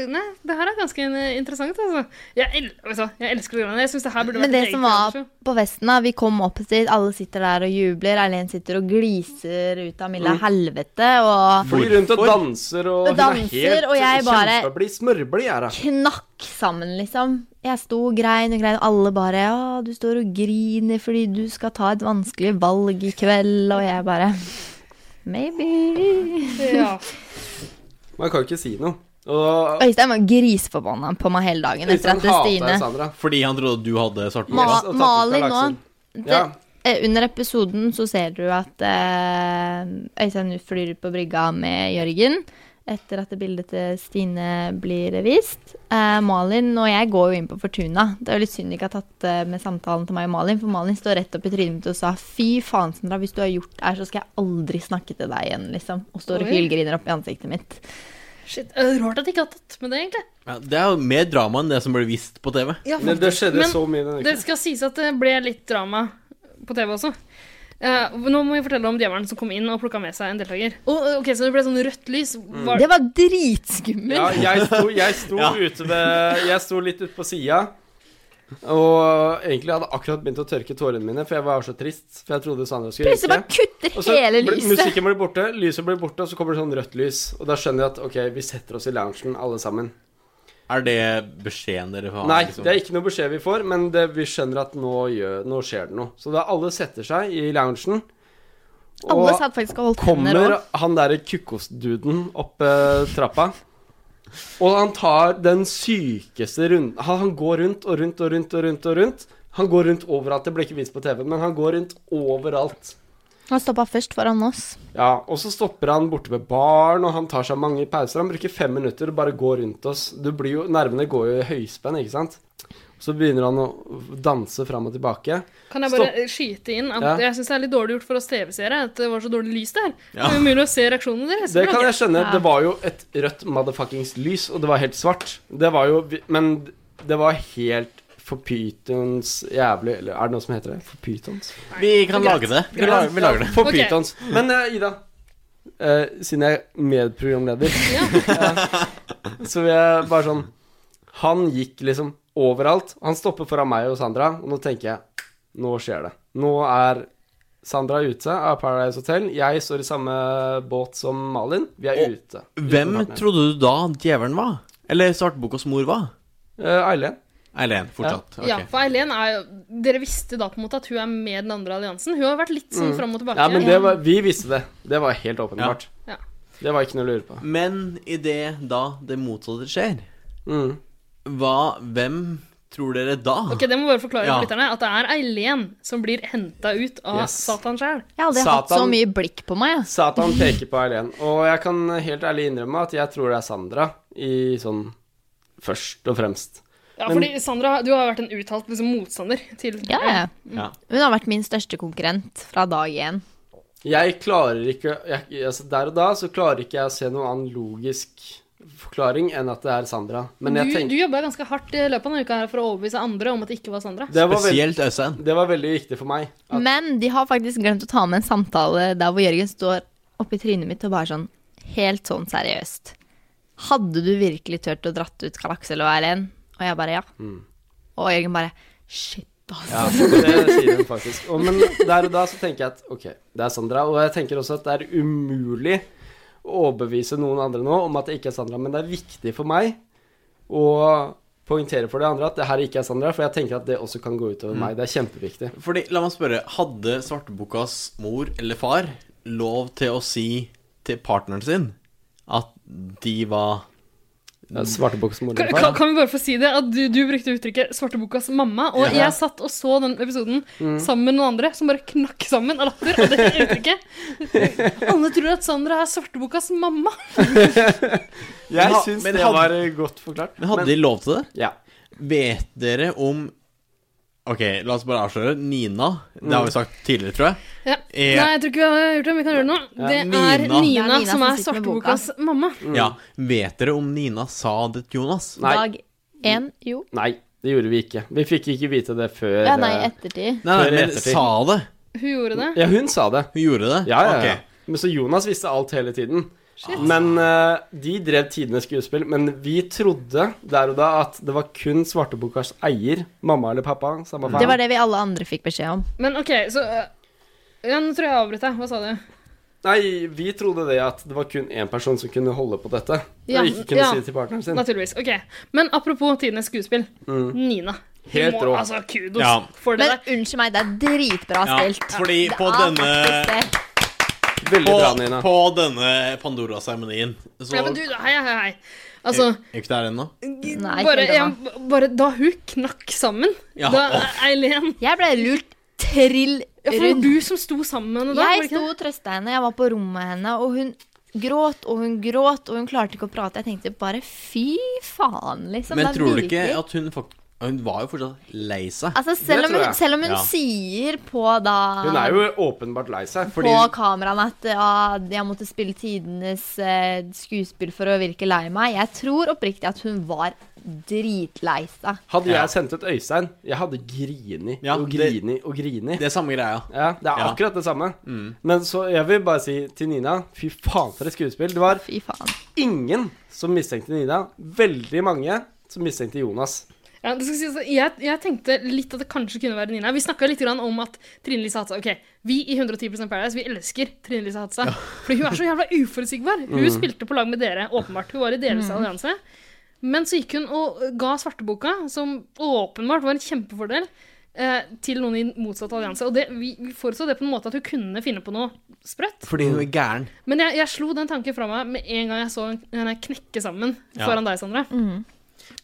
S5: nei, det her er ganske eh, interessant, altså. Jeg, el vet du hva, jeg elsker det. greiene. Jeg syns det her burde
S2: Men
S5: vært
S2: det
S5: et
S2: som
S5: eget
S2: var
S5: radioshow.
S2: på festen, da, vi kom opp dit, alle sitter der og jubler. Eileen sitter og gliser ut av
S5: Mm.
S2: milde helvete. Og
S1: Flyr rundt og danser og
S2: Og danser, og jeg bare-
S1: kjempeblid. Smørblid er hun.
S2: knakk sammen, liksom. Jeg sto og grein og grein, og alle bare Ja, du står og griner fordi du skal ta et vanskelig valg i kveld, og jeg bare Maybe.
S5: ja.
S1: Man kan jo ikke si noe. Og
S2: Øystein var griseforbanna på meg hele dagen etter
S1: Øystein
S2: at det Stine
S1: hatet Sandra.
S4: Fordi han trodde at du hadde svart
S2: Ma
S4: på
S1: Yes, og tatt ut av
S2: Malin nå
S1: laksen.
S2: det,
S1: Ja.
S2: eh, Under episoden så ser du at eh, Øystein flyr ut på brygga med Jørgen. Etter at det bildet til Stine blir vist. Eh, Malin og jeg går jo inn på Fortuna. Det er jo litt synd de ikke har tatt eh, med samtalen til meg og Malin, for Malin står rett opp i trynet mitt og sa 'fy faen, Sandra, hvis du har gjort det her, så skal jeg aldri snakke til deg igjen', liksom. Og står og
S5: Oi.
S2: hylgriner opp i ansiktet mitt.
S5: Shit, eh, Rart at jeg ikke har tatt med det, egentlig.
S4: ja, Det er jo mer drama enn det som ble vist på TV.
S1: Men det skjedde
S5: Men
S1: så mye denne
S5: Det
S1: uken.
S5: skal sies at det ble litt drama på TV også. Eh, nå må vi fortelle om djevelen som kom inn og plukka med seg en deltaker. Og, ok, Så det ble sånn rødt lys.
S1: Mm.
S5: Var,
S2: Det var dritskummelt!
S1: Ja, jeg sto, jeg sto
S4: Ja.
S1: ute ved Jeg sto litt ute på sida. Og egentlig hadde jeg akkurat begynt å tørke tårene mine, for jeg var så trist. For jeg trodde Sandra skulle
S2: Plutselig
S1: ryke.
S2: bare kutter
S1: Og så
S2: hele
S1: blir-
S2: lyset.
S1: musikken blir borte, lyset blir borte, og så kommer det sånn rødt lys. Og da skjønner jeg at ok, vi setter oss i loungen alle sammen.
S4: Er det beskjeden dere har?
S1: Nei,
S4: liksom?
S1: det er ikke noe beskjed vi får, men det, vi skjønner at nå, gjør, nå skjer det noe. Så da alle setter seg i loungen,
S2: Alle
S1: og
S2: satt faktisk og holdt hender òg.
S1: kommer han derre kukkosduden opp eh, trappa. Og han tar den sykeste runden han, han går rundt og rundt og rundt og rundt og rundt. Han går rundt overalt. Det ble ikke vist på TV, men han går rundt overalt.
S2: Han stoppa først foran oss.
S1: Ja, og så stopper han borte ved baren, og han tar seg mange pauser. Han bruker fem minutter og bare går rundt oss. Du blir jo, nervene går jo i høyspenn, ikke sant? Så begynner han å danse fram og tilbake.
S5: kan jeg bare skyte inn at
S1: Ja.
S5: jeg syns det er litt dårlig gjort for oss TV-seere at det var så dårlig lys der.
S4: Ja.
S5: Det er umulig å se reaksjonene deres.
S1: Det kan
S5: Men ok.
S1: jeg skjønne.
S2: Ja.
S1: Det var jo et rødt motherfuckings lys, og det var helt svart. Det var jo Men det var helt for pytons jævlig Eller er det noe som heter det? For pytons?
S4: Vi kan lage det. Vi, lager, vi lager det.
S1: For
S5: Ok.
S1: pytons. Men eh, Ida, eh, siden jeg er medprogramleder, eh, så vil jeg bare sånn Han gikk liksom overalt. Han stopper foran meg og Sandra, og nå tenker jeg Nå skjer det. Nå er Sandra ute av Paradise Hotel. Jeg står i samme båt som Malin. Vi er
S4: Og-
S1: ute.
S4: Hvem trodde du da djevelen var? Eller Svartbukkas mor var?
S1: Eh, Eileen.
S4: Eileen, fortsatt. Ok.
S5: Ja, for Eileen er jo Dere visste da på en måte at hun er med i den andre alliansen. Hun har vært litt sånn fram og tilbake.
S1: Mm. Ja, men det var, vi visste det. Det var helt åpenbart.
S5: Ja. Ja.
S1: Det var ikke noe å lure på.
S4: Men i det da det motsatte skjer,
S1: Mm.
S4: hva Hvem tror dere da?
S5: Ok, Det må bare forklare
S4: Ja.
S5: for lytterne at det er Eileen som blir henta ut av
S1: Yes.
S5: Satan sjæl.
S2: Jeg har aldri hatt så
S1: Satan.
S2: mye blikk på meg. ass.
S1: Satan peker på Eileen, og jeg kan helt ærlig innrømme at jeg tror det er Sandra i sånn først og fremst.
S5: Ja,
S1: Men-
S5: fordi Sandra, du har vært en uttalt liksom, motstander til
S2: Ja, ja.
S4: Ja.
S2: Hun har vært min største konkurrent fra dag én.
S1: Jeg klarer ikke jeg, altså Der og da så klarer ikke jeg å se noen annen logisk forklaring enn at det er Sandra. Men jeg
S5: du, du
S1: tenker
S5: jobba ganske hardt i løpet av denne uka her for å overbevise andre om at det ikke var Sandra.
S1: det var, veld,
S4: Spesielt Øystein.
S1: det var veldig viktig for meg. At,
S2: Men de har faktisk glemt å ta med en samtale der hvor Jørgen står oppi trynet mitt og bare sånn helt sånn seriøst. Hadde du virkelig turt å dratt ut Karl Aksel og Erlend? Og jeg bare ja. Og Jørgen bare shit, ass.
S1: Mm. ja, det sier hun faktisk. Og, men der og da så tenker jeg at ok, det er Sandra. Og jeg tenker også at det er umulig å overbevise noen andre nå om at det ikke er Sandra. Men det er viktig for meg å poengtere for de andre at det her ikke er Sandra, for jeg tenker at det også kan gå utover meg. Det er kjempeviktig.
S4: Fordi, la meg spørre, hadde svartebokas mor eller far lov til å si til partneren sin at de var
S1: Det er Svarteboksmor.
S5: Kan, kan, kan vi bare få si det? At du, du brukte uttrykket 'svartebokas mamma', og
S4: Ja.
S5: jeg satt og så den episoden
S1: Mm.
S5: sammen med noen andre som bare knakk sammen av latter av det uttrykket. Alle tror at Sandra er svartebokas mamma.
S4: Men
S1: Jeg
S4: ha-
S1: syns
S4: men
S1: det
S4: hadde-
S1: var eh, godt forklart.
S4: Men hadde de lov til det?
S1: Ja.
S4: Vet dere om Ok, la oss bare avsløre. Nina. Det har vi sagt tidligere, tror jeg.
S5: Ja.
S4: Eh.
S5: Nei, jeg tror ikke vi har gjort det, men vi kan gjøre det nå. Det er Nina,
S4: Nina.
S2: Det er Nina
S5: som
S2: som
S5: er
S2: sitter med boka.
S5: svartebokas mamma.
S4: Ja, Vet dere om Nina sa det til Jonas?
S1: Nei.
S2: Dag én, jo.
S1: Nei, det gjorde vi ikke. Vi fikk ikke vite det før
S2: Ja, nei,
S1: eh,
S2: ettertid.
S4: Nei, nei,
S1: Før i
S4: men
S1: ettertid.
S4: sa det.
S5: Hun gjorde det.
S1: Ja, hun sa det.
S4: Hun gjorde det?
S1: Ja, ja, ja.
S4: Ok.
S1: Men så Jonas visste alt hele tiden. Men eh, de drev tidenes skuespill. Men vi trodde der og da at det var kun Svartebokas eier, mamma eller pappa, samme faen.
S2: Mm. Det var det vi alle andre fikk beskjed om.
S5: Men OK, så øh, ja, Nå tror jeg jeg avbrøt deg. Hva sa du?
S1: Nei, vi trodde det at det var kun én person som kunne holde på dette.
S5: Ja,
S1: og ikke kunne
S5: ja.
S1: si det til partneren sin.
S5: Naturligvis. ok Men apropos tidenes skuespill. Nina.
S1: Mm.
S5: Du
S1: Helt
S5: må-
S1: rå.
S5: Altså, kudos
S4: Ja.
S5: for det
S2: Men
S5: der.
S2: unnskyld meg, det er dritbra
S4: Ja,
S2: spilt.
S4: fordi
S2: Det
S4: på
S2: er
S4: denne-
S2: faktisk det.
S1: Veldig
S4: På,
S1: bra, Nina.
S4: på denne Pandora-seremonien så
S5: Ja, men du, hei, hei, hei. Altså,
S4: Er vi ikke der ennå?
S2: Nei, ikke
S5: bare,
S2: helt ennå.
S5: ja, bare da hun knakk sammen
S4: Ja,
S5: Da
S4: åh.
S5: Eileen
S2: Jeg ble lurt trill
S5: Ja, for det var
S2: rundt.
S5: du som sto sammen med henne da? var
S2: Jeg
S5: det ikke
S2: sto
S5: det?
S2: og trøsta henne. Jeg var på rommet henne, og hun gråt og hun gråt, og hun klarte ikke å prate. Jeg tenkte bare fy faen, liksom.
S4: Men
S2: det er
S4: tror du ikke
S2: virkelig-
S4: at hun fakt- Hun var jo fortsatt lei seg.
S2: Altså, selv
S1: Det tror
S2: om hun,
S1: jeg.
S2: selv om hun
S4: Ja.
S2: sier på da
S1: Hun er jo åpenbart lei seg.
S2: på kameraen at ja, jeg måtte spille tidenes eh, skuespill for å virke lei meg. Jeg tror oppriktig at hun var dritlei seg.
S1: Hadde
S4: Ja.
S1: jeg sendt et Øystein, jeg hadde grini
S4: Ja,
S1: og
S4: det-
S1: grini og grini.
S4: Det er samme greia.
S1: Ja, det er
S4: Ja. Mm.
S1: akkurat det samme. Men så jeg vil bare si til Nina Fy faen for et skuespill. Det var
S2: Fy faen.
S1: ingen som mistenkte Nina. Veldig mange som mistenkte Jonas.
S5: Ja, det skal sies at jeg, jeg tenkte litt at det kanskje kunne være Nina. Vi snakka litt grann om at Trine Lise Hatsa Ok, vi i 110 Paradise vi elsker Trine Lise Hatsa. Fordi hun er så jævla uforutsigbar.
S4: Mm.
S5: Hun spilte på lag med dere, åpenbart. Hun var i deres allianse. Men så gikk hun og ga svarteboka, som åpenbart var en kjempefordel, eh, til noen i motsatt allianse. Og det, vi, vi forutså det på en måte at hun kunne finne på noe sprøtt.
S4: Fordi hun er gæren.
S5: Men jeg, jeg slo den tanken fra meg med en gang jeg så henne knekke sammen
S4: Ja.
S5: foran deg, Sandra. Det er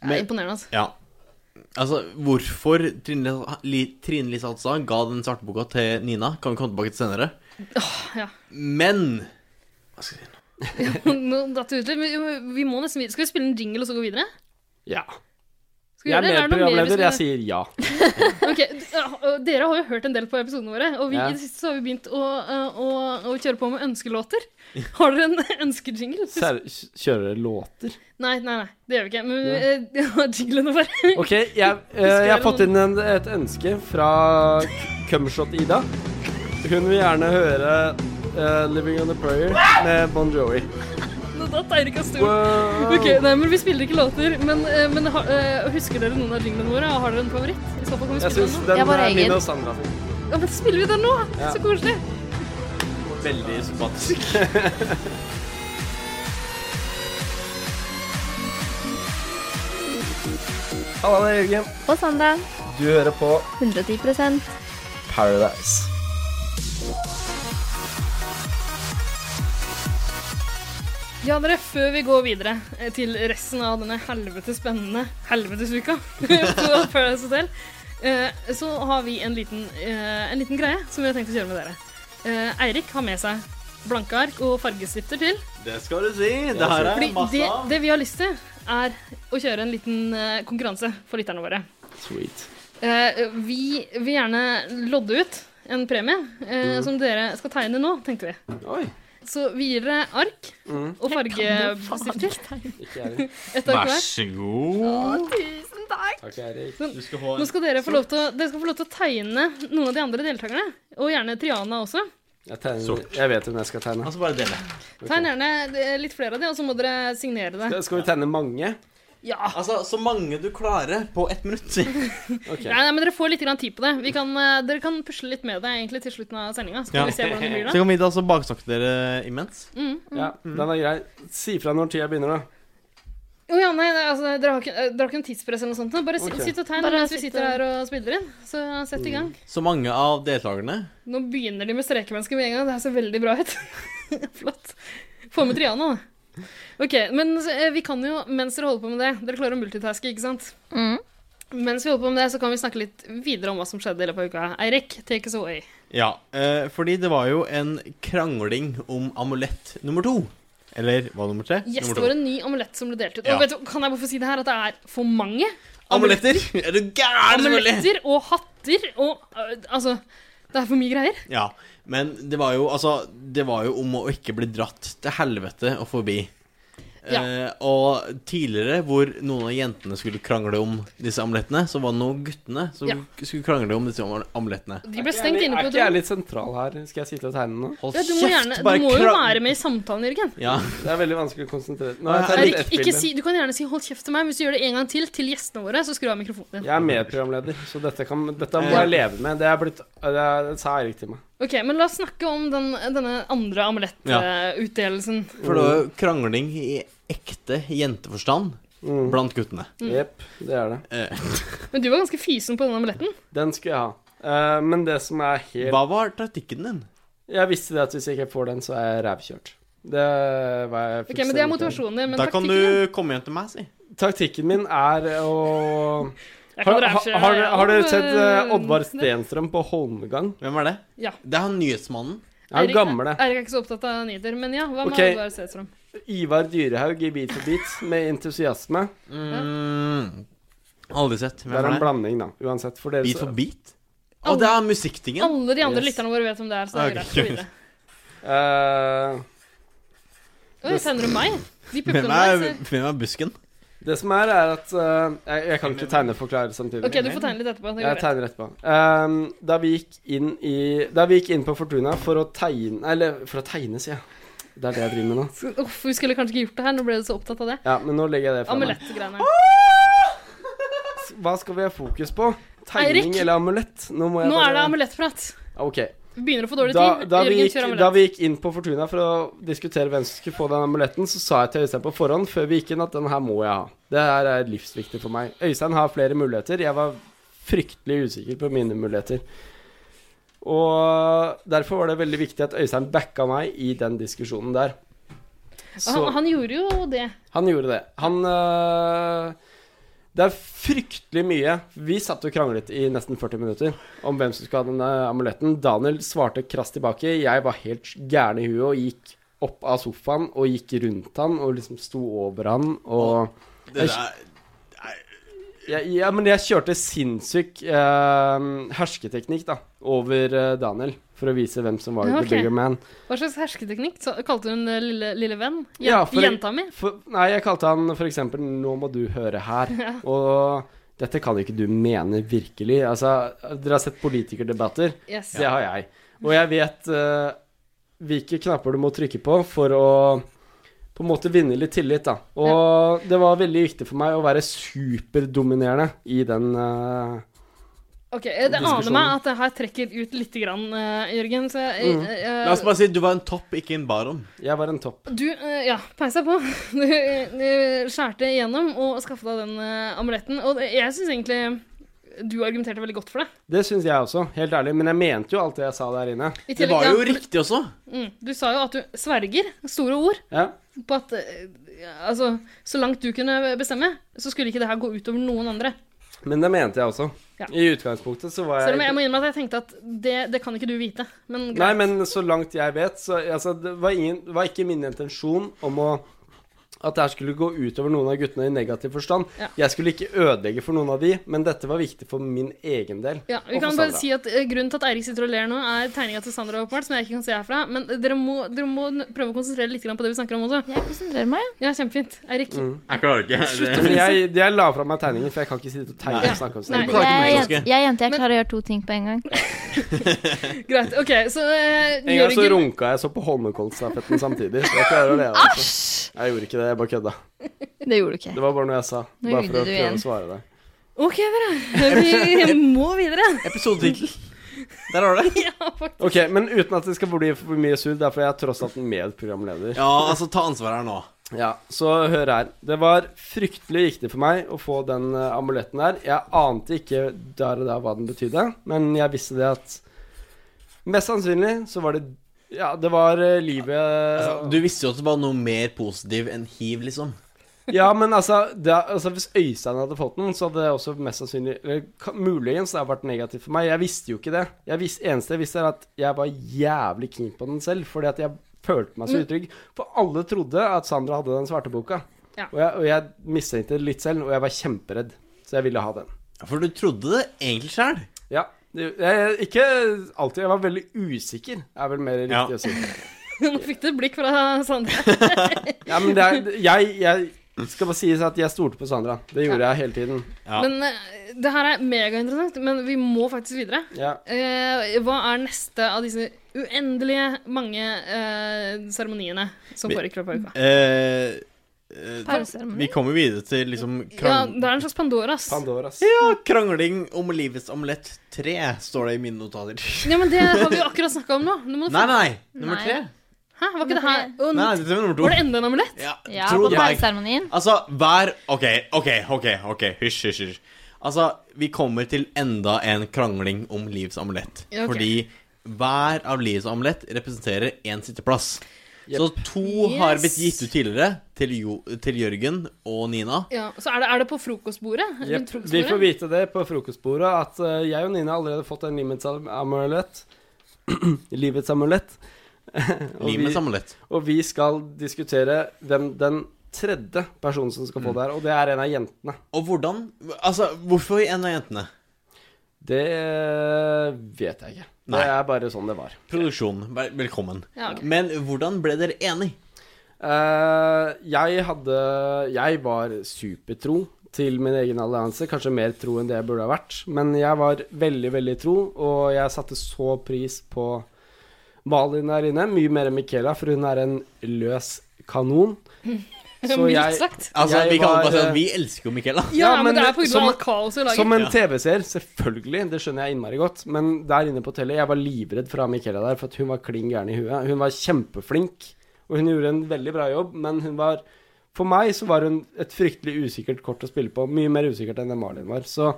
S4: Men-
S5: imponerende, altså.
S4: Ja. Altså, hvorfor Trine Li- Trine Lise Hatsa ga den svarte boka til Nina, kan vi komme tilbake til senere.
S5: ja.
S4: Men Hva skal jeg si nå?
S5: Nå datt det ut litt. men Vi må nesten videre. Skal vi spille en jingle og så gå videre?
S1: Ja.
S5: Skal vi
S1: Jeg er
S5: gjøre det, eller er det noe mer vi
S1: medprogramleder, jeg
S5: skal-
S1: sier ja.
S5: Ok, d- øh, Dere har jo hørt en del på episodene våre, og vi,
S1: Ja.
S5: i det siste så har vi begynt å, øh, å, å kjøre på med ønskelåter. Har dere en ønskejingle?
S1: Sær- Kjører dere låter?
S5: Nei, nei, nei, det gjør vi ikke. Men øh, vi har jinglene våre.
S1: OK, jeg, eh, jeg har fått inn en, et ønske fra Cumshot-Ida. Hun vil gjerne høre eh, 'Living on a Prayer' med Bon Jovi.
S5: Nå datt Eirik av stolen.
S1: Wow.
S5: Ok, nei, men Vi spiller ikke låter, men, øh, men har- øh, husker dere noen av jinglene våre? Har dere en favoritt? I så fall kan vi
S1: Jeg
S5: spille den
S1: syns
S5: nå.
S1: den
S2: Jeg var
S1: er
S2: egen.
S1: min og Sandra sin.
S5: Ja, men spiller vi den nå?
S1: Ja.
S5: Så koselig.
S4: Veldig sympatisk.
S1: Halla, det er Jørgen.
S2: Og Sandra,
S1: Du hører på
S2: 110
S1: Paradise.
S5: Ja, dere, før vi går videre eh, til resten av denne helvete spennende helvetesuka på Paradise Hotel, eh, så har vi en liten, eh, en liten greie som vi har tenkt å kjøre med dere. Eh, Eirik har med seg blanke ark og fargestifter til.
S4: Det skal du si. Det her er
S5: Fordi
S4: masse
S5: det,
S4: av.
S5: det vi har lyst til, er å kjøre en liten eh, konkurranse for lytterne våre.
S1: Sweet.
S5: Eh, vi vil gjerne lodde ut en premie eh,
S1: Mm.
S5: som dere skal tegne nå, tenkte vi.
S1: Oi.
S5: Så vi gir dere ark
S1: Mm.
S5: og fargestifter.
S1: Ikke Erik.
S5: Et ark hver.
S10: så god.
S2: Tusen takk!
S1: Takk, Erik.
S4: Du skal få
S5: Nå skal dere få lov til å, dere skal få lov til å tegne noen av de andre deltakerne, og gjerne Triana også.
S1: Jeg, tegner,
S10: Sort.
S1: jeg vet hvem jeg skal tegne.
S4: Han skal Altså, bare dele.
S5: Tegn gjerne eh, litt flere av de, og så må dere signere det.
S1: Skal- Skal vi tegne mange?
S5: Ja.
S4: Altså, så mange du klarer på ett minutt.
S1: Ok.
S5: Nei, nei, men dere får litt grann tid på det. Vi kan, eh, dere kan pusle litt med det egentlig til slutten av sendinga. Så
S4: Ja.
S5: kan vi se hvordan det blir
S4: Så
S5: da. Mm.
S4: kan vi da altså baksnakke dere imens.
S1: Ja, den er grei. Si fra når tida begynner, da.
S5: Å ja, nei, nei, altså, dere har ikke, eh, dere har ikke en tidspress eller noe sånt? da. Bare si-
S1: Ok.
S5: sitt og tegn
S2: Bare
S5: mens vi
S2: sitt
S5: sitter
S2: og-
S5: her og spiller inn. Så sett i gang.
S4: Så mange av deltakerne
S5: Nå begynner de med strekemennesker med en gang. Det her ser veldig bra ut. Flott. Få med Triana, da. OK. Men eh, vi kan jo, mens dere holder på med det Dere klarer å multitaske, ikke sant?
S2: Mm.
S5: Mens vi holder på med det, så kan vi snakke litt videre om hva som skjedde i løpet av uka. Eirik, take us away.
S4: Ja, eh, fordi det var jo en krangling om amulett nummer to. Eller hva nummer tre?
S5: Yes, det
S4: nummer
S5: var en ny amulett som ble delt ut.
S4: Ja.
S5: Og vet du, kan jeg bare få si det her, at det er for mange
S4: Amuletter! Er du gæren, selvfølgelig?
S5: amuletter og hatter og øh, Altså, det er for mye greier.
S4: Ja, men det var jo altså Det var jo om å ikke bli dratt til helvete og forbi.
S5: Ja.
S4: Eh, og tidligere, hvor noen av jentene skulle krangle om disse amulettene, så var det noen guttene som
S5: Ja.
S4: skulle krangle om disse amul- amulettene.
S5: De ble stengt inne på
S1: Er
S5: et
S1: ikke jeg
S5: rom.
S1: litt sentral her? Skal jeg sitte og tegne nå?
S4: Hold
S5: Ja, du må, gjerne, du må jo være med i samtalen, Jørgen.
S4: Ja,
S1: Det er veldig vanskelig å konsentrere Nå har jeg
S4: Erik,
S1: tegnet
S5: Eirik,
S1: ett
S5: ikke
S1: bilde.
S5: si, du kan gjerne si 'hold kjeft' til meg. Hvis du gjør det en gang til til gjestene våre, så skru av mikrofonen din.
S1: Jeg er medprogramleder, så dette, kan, dette må
S4: Ja.
S1: jeg leve med. Det, er blitt, det, er, det sa Erik til meg.
S5: Ok, Men la oss snakke om den, denne andre amulettutdelelsen.
S4: for det var jo krangling i ekte jenteforstand
S1: Mm.
S4: blant guttene.
S1: Jepp, det er det.
S4: Eh,
S5: Men du var ganske fysen på den amuletten.
S1: Den skulle jeg ha. Eh, men det som er helt
S4: hva var taktikken din?
S1: Jeg visste det at hvis jeg ikke får den, så er jeg rævkjørt. Det var jeg
S5: Ok, men Det er
S1: fullstendig
S5: motivasjonen din. Men
S4: Da kan
S5: taktikken din
S4: du komme hjem til meg, si.
S1: klar over. Taktikken min er å
S5: Jeg kan
S1: Har, har,
S5: rævkjøre,
S1: har,
S5: ja,
S1: har dere
S5: men-
S1: sett eh, Oddvar Stenstrøm på Holmgang?
S4: Hvem var det?
S5: Ja.
S4: Det er han nyhetsmannen.
S1: Han er
S5: Eirik-
S1: jo gammel, det.
S5: Eirik er ikke så opptatt av nyheter, men ja. Hva med
S1: Ok.
S5: Oddvar Sætstrøm?
S1: Ivar Dyrehaug i Beat for beat med entusiasme.
S4: Mm. Aldri sett.
S1: Det er
S4: Hvem
S1: en
S4: var det?
S1: blanding, da. Uansett. For dere
S4: Beat
S1: så-
S4: for beat? Å, det er musikktingen.
S5: Alle de andre
S1: Yes.
S5: lytterne våre vet om det er, så det er
S4: Ok,
S5: greit.
S4: kult.
S5: Gå videre.
S1: Eh,
S5: Oi, sender du meg? De
S4: Hvem er,
S5: puppene der ser
S4: hvem er busken?
S1: det som er, er at eh, jeg, jeg kan ikke tegne og forklare samtidig.
S5: OK, du får tegne litt etterpå. Det
S1: Jeg
S5: går greit.
S1: tegner etterpå. Ehm, da, vi gikk inn i, da vi gikk inn på Fortuna for å tegne Eller for å tegne, sier jeg. Det er det jeg driver med nå.
S5: Så- Uff, vi skulle kanskje ikke gjort det her. Nå ble du så opptatt av det.
S1: Ja, Men nå legger jeg det fra meg.
S5: Amulettgreiene.
S1: Hva skal vi ha fokus på? Tegning
S5: Eirik!
S1: eller amulett? Nå, må jeg
S5: Nå er det
S1: bare-
S5: amulettprat.
S1: Ok.
S5: Vi Begynner å få dårlig
S1: Da,
S5: tid.
S1: da, vi
S5: Jørgen kjører
S1: gikk, da
S5: amulett.
S1: vi gikk inn på Fortuna for å diskutere hvem som skulle få den amuletten, så sa jeg til Øystein på forhånd før vi gikk inn at den her må jeg ha. Det her er livsviktig for meg. Øystein har flere muligheter. Jeg var fryktelig usikker på mine muligheter. Og derfor var det veldig viktig at Øystein backa meg i den diskusjonen der. Så
S5: Han,
S1: han,
S5: han gjorde jo det.
S1: gjorde det. Han øh, Det er fryktelig mye. Vi satt og kranglet i nesten 40 minutter om hvem som skulle ha denne amuletten. Daniel svarte krast tilbake. Jeg var helt gæren i huet og gikk opp av sofaen og gikk rundt han og liksom sto over han og
S4: Det der
S1: Ja, ja, men jeg kjørte sinnssyk eh, hersketeknikk da, over eh, Daniel, for å vise hvem som var
S5: Ja,
S1: the
S5: ok.
S1: bigger man.
S5: Hva slags hersketeknikk? Så, kalte hun eh, lille, lille venn? Jen,
S1: Ja, for-
S5: Jenta mi?
S1: For, nei, jeg kalte han for eksempel 'Nå må du høre her'. Og dette kan jo ikke du mene virkelig. Altså, dere har sett politikerdebatter.
S5: Yes.
S1: Det har jeg. Og jeg vet eh, hvilke knapper du må trykke på for å på en måte vinne litt tillit, da. Og det var veldig viktig for meg å være superdominerende i den eh,
S5: Ok, Det aner meg at det her trekker ut litt, grann, eh, Jørgen. Så jeg,
S1: Mm.
S5: jeg,
S4: La oss bare si du var en topp, ikke en baron.
S1: Jeg var en topp.
S5: Du, eh, ja, peis deg på. Du, eh, du skjærte igjennom og skaffa deg den eh, amuletten. Og det- jeg syns egentlig du argumenterte veldig godt for det.
S1: Det syns jeg også, helt ærlig. Men jeg mente jo alt det jeg sa der inne.
S5: I
S4: Det
S5: tillegg,
S4: var
S5: ja,
S4: jo riktig også.
S5: Mm, du sa jo at du sverger, store ord,
S1: Ja.
S5: på at eh, altså, så langt du kunne bestemme, så skulle ikke det her gå utover noen andre.
S1: Men det mente jeg også.
S5: Ja.
S1: I utgangspunktet så var jeg
S5: Selv om jeg må innrømme at jeg tenkte at det, det kan ikke du vite. Men
S1: Eh, Nei,
S5: greit.
S1: men så langt jeg vet, så altså, det var, ingen, var ikke min intensjon om å at det her skulle gå utover noen av guttene i negativ forstand.
S5: Ja.
S1: Jeg skulle ikke ødelegge for noen av de, men dette var viktig for min egen del.
S5: Ja, vi
S1: Og for
S5: kan bare
S1: Sandra.
S5: si at eh, Grunnen til at Eirik sitter og ler nå, er tegninga til Sandra, åpenbart, som jeg ikke kan se herfra. Men dere må, dere må n- prøve å konsentrere litt grann på det vi snakker om også.
S2: Jeg konsentrerer meg.
S5: Ja, kjempefint. Eirik.
S1: Mm.
S4: Jeg klarer ikke.
S1: Men jeg, jeg la fra meg tegningen, for jeg kan ikke sitte og tegne
S4: Nei.
S1: og snakke om
S5: Nei.
S1: seg.
S2: Jeg, jeg,
S4: Jeg,
S2: jeg er jente, jeg klarer å gjøre to ting på en gang.
S5: Greit. OK, så eh,
S1: En gang så
S5: Jørgen
S1: runka jeg så på Holmenkollstafetten samtidig. så Jeg klarer å le av det. altså. Jeg gjorde ikke det, jeg bare kødda.
S2: Det gjorde du ikke.
S1: Det var bare noe jeg sa.
S2: Nå
S1: Bare for
S2: gjorde
S1: å
S2: du
S1: prøve
S2: igjen.
S1: å svare deg.
S5: OK, dere. Vi må videre.
S4: Episodetittel. Der har du det.
S5: Ja, faktisk.
S1: Ok, men uten at det skal bli for mye sur, derfor er jeg tross alt medprogramleder.
S4: Ja, altså, ta ansvaret her nå.
S1: Ja, så hør her. Det var fryktelig viktig for meg å få den eh, amuletten der. Jeg ante ikke der og da hva den betydde, men jeg visste det at Mest sannsynlig så var det Ja, det var eh, livet
S4: Altså, du visste jo at det var noe mer positiv enn hiv, liksom.
S1: Ja, men altså, det, altså Hvis Øystein hadde fått den, så hadde det også mest sannsynlig eller, ka- Muligens det hadde vært negativt for meg. Jeg visste jo ikke det. Jeg vis- eneste jeg visste, er at jeg var jævlig keen på den selv, fordi at jeg følte meg så utrygg. For alle trodde at Sandra hadde den svarte boka.
S5: Ja.
S1: Og, jeg, og jeg mistenkte det litt selv, og jeg var kjemperedd. Så jeg ville ha den.
S4: For du trodde det egentlig sjæl.
S1: Ja. Det- Jeg, ikke alltid. Jeg var veldig usikker, er vel mer
S4: Ja.
S1: riktig å si.
S5: Nå fikk du et blikk fra Sandra.
S1: Ja, men det er, jeg, jeg skal bare sies at jeg stolte på Sandra. Det gjorde jeg hele tiden.
S4: Ja.
S5: Men eh, det her er megainteressant, men vi må faktisk videre.
S1: Ja.
S5: Eh, hva er neste av disse uendelige mange eh, seremoniene som
S4: Vi-
S5: foregår på uka?
S4: Eh, eh, vi
S2: Pauseseremoni.
S4: kommer videre til liksom
S5: Ja,
S4: krang
S5: det er en slags Pandoras.
S1: Pandoras.
S4: ja, krangling om livets omelett 3, står det i mine notater.
S5: Ja, men det har vi jo akkurat snakka om nå. Du må
S4: Nei, nei. Nummer
S2: Nei.
S4: tre.
S5: Hæ, var ikke det her Å,
S4: Nei,
S5: nå-
S4: dette var nummer to.
S5: Var det enda en amulett?
S4: Ja,
S2: Ja,
S4: tro
S2: på
S4: det meg.
S2: pauseseremonien.
S4: Altså, hver OK, OK, OK. ok, Hysj, hysj, hysj. Altså, vi kommer til enda en krangling om livets amulett.
S5: Ja, ok.
S4: Fordi hver av livets amulett representerer én sitteplass. Så to har
S5: Yes.
S4: blitt gitt ut tidligere, til, jo, til Jørgen og Nina.
S5: Ja, så er det, er det på frokostbordet? Rundt
S1: Jepp. Vi
S5: frokostbordet?
S1: får vite det på frokostbordet at eh, jeg og Nina har allerede fått en livets am- amulett. livets amulett. og, vi,
S4: Livets amulett.
S1: og vi skal diskutere hvem den tredje personen som skal få det her, og det er en av jentene.
S4: Og hvordan Altså, hvorfor en av jentene?
S1: Det eh, vet jeg ikke.
S4: Nei.
S1: Det er bare sånn det var.
S4: Produksjon, vel- velkommen.
S5: Ja, ok.
S4: Men hvordan ble dere enig?
S1: Eh, jeg hadde Jeg var supertro til min egen allianse. Kanskje mer tro enn det jeg burde ha vært. Men jeg var veldig, veldig tro, og jeg satte så pris på Malin her inne. Mye mer enn Michaela, for hun er en løs kanon. Så
S5: Mildt
S1: jeg
S5: sagt.
S4: Altså,
S1: Jeg
S4: vi kan jo
S1: var,
S4: bare si
S1: eh,
S4: at vi elsker jo Michaela.
S5: Ja, men,
S1: men
S5: det er på grunn
S1: som-
S5: av alt kaoset i laget.
S1: Som en
S4: Ja.
S1: TV-seer, selvfølgelig. Det skjønner jeg innmari godt. Men der inne på hotellet, jeg var livredd for å ha Michaela der, for at hun var klin gæren i huet. Hun var kjempeflink, og hun gjorde en veldig bra jobb, men hun var For meg så var hun et fryktelig usikkert kort å spille på. Mye mer usikkert enn det Malin var. Så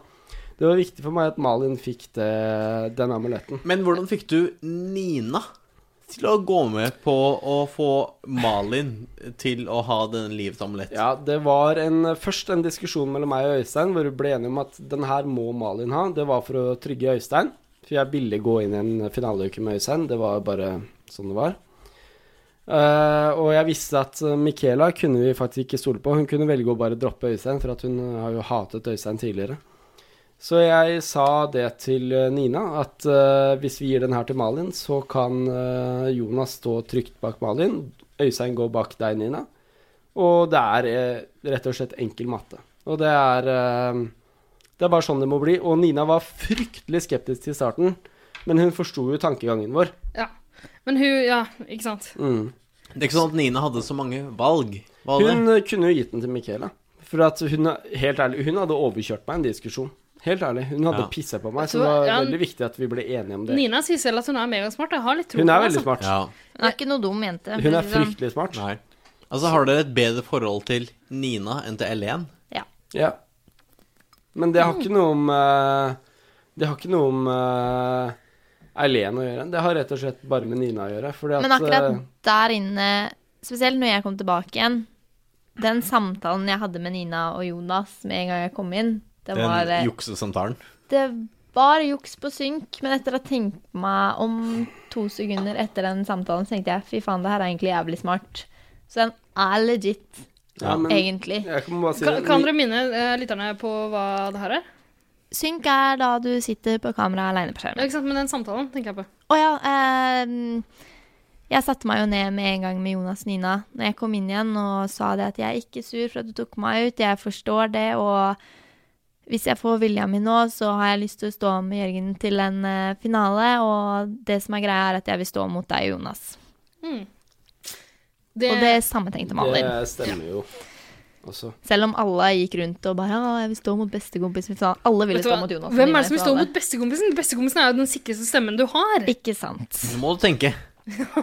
S1: det var viktig for meg at Malin fikk det, den amuletten.
S4: Men hvordan fikk du Nina til å gå med på å få Malin til å ha denne livets amulett?
S1: Ja, det var en, først en diskusjon mellom meg og Øystein hvor vi ble enige om at den her må Malin ha. Det var for å trygge Øystein. For jeg ville gå inn i en finaleuke med Øystein. Det var bare sånn det var. Eh, og jeg visste at eh, Michaela kunne vi faktisk ikke stole på. Hun kunne velge å bare droppe Øystein, for at hun eh, har jo hatet Øystein tidligere. Så jeg sa det til eh, Nina, at eh, hvis vi gir den her til Malin, så kan eh, Jonas stå trygt bak Malin. Øystein går bak deg, Nina. Og det er eh, rett og slett enkel matte. Og det er eh, Det er bare sånn det må bli. Og Nina var fryktelig skeptisk til starten, men hun forsto jo tankegangen vår.
S5: Ja. Men hun Ja, ikke sant.
S1: Mm.
S4: Det er ikke sånn at Nina hadde så mange valg. Var det?
S1: Hun eh, kunne jo gitt den til Michaela. For at hun, helt ærlig, hun hadde overkjørt meg i en diskusjon. Helt ærlig. Hun hadde
S4: Ja.
S1: pisset på meg, så
S5: Så,
S1: det var
S5: ja,
S1: veldig viktig at vi ble enige om det.
S5: Nina sier selv at hun er megasmart. Jeg har litt tro
S1: Hun
S5: på
S1: er
S5: det,
S1: veldig
S5: altså.
S1: smart.
S4: Ja.
S11: Hun er ikke noe dum jente.
S1: Hun er
S11: for å si det sånn.
S1: fryktelig smart.
S4: Nei. Altså, har dere et bedre forhold til Nina enn til Elen?
S1: Ja. Men det har ikke noe om eh, Det har ikke noe om eh, Eileen å gjøre. Det har rett og slett bare med Nina å gjøre. Fordi at,
S11: Men akkurat
S1: eh,
S11: der inne, spesielt når jeg kom tilbake igjen, den samtalen jeg hadde med Nina og Jonas med en gang jeg kom inn, det var,
S5: eh,
S11: eh,
S4: Den juksesamtalen?
S11: det var juks på synk. Men etter å ha tenkt meg om to sekunder etter den samtalen, så tenkte jeg fy faen, det her er egentlig jævlig smart. Så den er legit,
S1: ja, men,
S11: egentlig.
S1: jeg kan bare si
S5: Kan,
S1: det.
S5: kan dere minne eh, lytterne på hva det her er?
S11: Synk er da du sitter på kamera aleine på skjermen.
S5: Ja, ikke sant, Men den samtalen tenker jeg på.
S11: Å ja. ehm, jeg satte meg jo ned med en gang med Jonas Nina når jeg kom inn igjen og sa det at jeg er ikke sur for at du tok meg ut, jeg forstår det, og hvis jeg får vilja mi nå, så har jeg lyst til å stå med Jørgen til en eh, finale, og det som er greia, er at jeg vil stå mot deg, Jonas.
S5: Det,
S11: Og det samme tenkte Malin.
S1: Det stemmer jo også.
S11: Selv om alle gikk rundt og bare Å, jeg vil stå mot bestekompisen min. Så Alle ville
S5: vet du
S11: stå
S5: hva?
S11: mot Jonas.
S5: Hvem er
S11: Nina i
S5: det som vil stå
S11: finale.
S5: mot bestekompisen? Bestekompisen er jo den sikreste stemmen du har.
S11: Ikke sant.
S4: Nå må du tenke.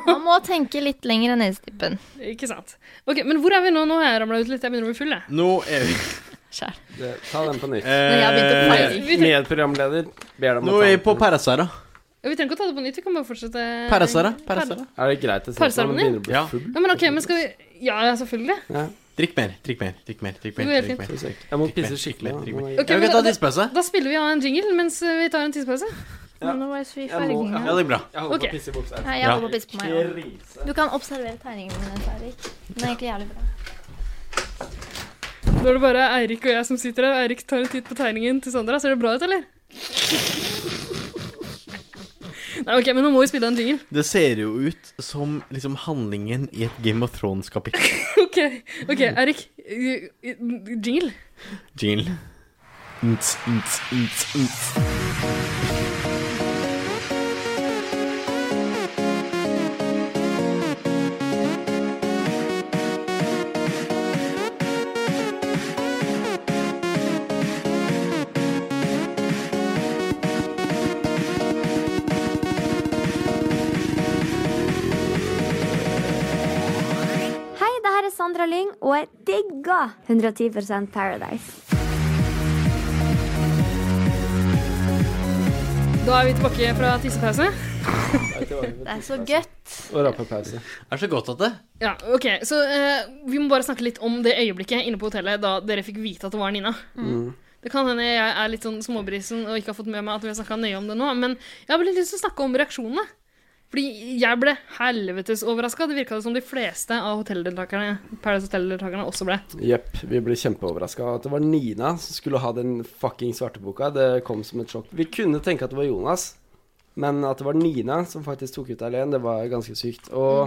S11: Man må tenke litt lenger enn nesetippen.
S5: Ikke sant. Ok, Men hvor er vi nå? Nå har jeg ramla ut litt. Jeg begynner å bli full, jeg.
S4: Nå er vi
S11: Sjæl.
S1: Det, ta den på nytt.
S11: Når jeg begynte å
S2: Eh,
S11: feire.
S5: Vi trenger,
S1: Medprogramleder ber deg om
S4: Eh, Nå
S1: å
S4: er
S1: ta
S4: vi
S1: den
S4: på
S1: på nytt.
S4: Persæra.
S5: vi trenger ikke å ta det på nytt. Vi kan bare fortsette.
S4: Persæra. Persæra.
S1: Er det greit å si at man
S5: Parseremoni?
S1: begynner å bli
S4: Ja.
S1: full?
S5: Ja, men ok, men skal vi Ja, ja, selvfølgelig.
S4: Drikk mer, drikk mer, drikk mer. drikk mer,
S5: Det
S4: drikk
S5: går helt
S4: mer.
S1: Skal vi se. Jeg må pisse skikkelig.
S4: Drikk
S1: da.
S4: mer,
S5: Ok,
S4: Ja, vi
S5: men
S4: kan ta
S5: da-
S4: tidspause.
S5: Da spiller vi av en jingle mens eh, vi tar en tidspause.
S1: Ja.
S11: Nå var jeg så i
S1: Jeg må-
S11: fargen.
S4: Ja, det er bra.
S1: Jeg holder
S5: Ok.
S1: på å pisse i buksa.
S11: Nei, jeg
S4: Ja.
S11: holder på å pisse på meg. Ja.
S1: Krise.
S11: Du kan observere tegningene mine, Eirik. Den er egentlig jævlig bra.
S5: Nå er det bare Eirik og jeg som sitter her. Eirik tar en titt på tegningen til Sandra. Ser det bra ut, eller? Nei, ok, men nå må vi spille av en jingle.
S4: Det ser jo ut som liksom handlingen i et Game of Thrones-kapittel.
S5: Ok, ok, Eirik. eh, eh, Jingle.
S4: Jingle. Nts, nts, nts, nts.
S12: Hei, det her er Sandra Lyng, og jeg digger 110 Paradise.
S5: Da er vi tilbake fra tissepause.
S11: Det er så godt.
S1: Og rappepause.
S4: Det er så godt at det
S5: Ja, ok, så eh, vi må bare snakke litt om det øyeblikket inne på hotellet da dere fikk vite at det var Nina. Det kan hende jeg er litt sånn småbrisen og ikke har fått med meg at vi har snakka nøye om det nå, men jeg har litt lyst til å snakke om reaksjonene. Fordi jeg ble helvetes overraska. Det virka som de fleste av hotelldeltakerne Paradise Hotel-deltakerne også ble.
S1: Jepp. Vi ble kjempeoverraska. At det var Nina som skulle ha den fucking svarteboka, det kom som et sjokk. Vi kunne tenke at det var Jonas, men at det var Nina som faktisk tok ut Eileen, det var ganske sykt. Og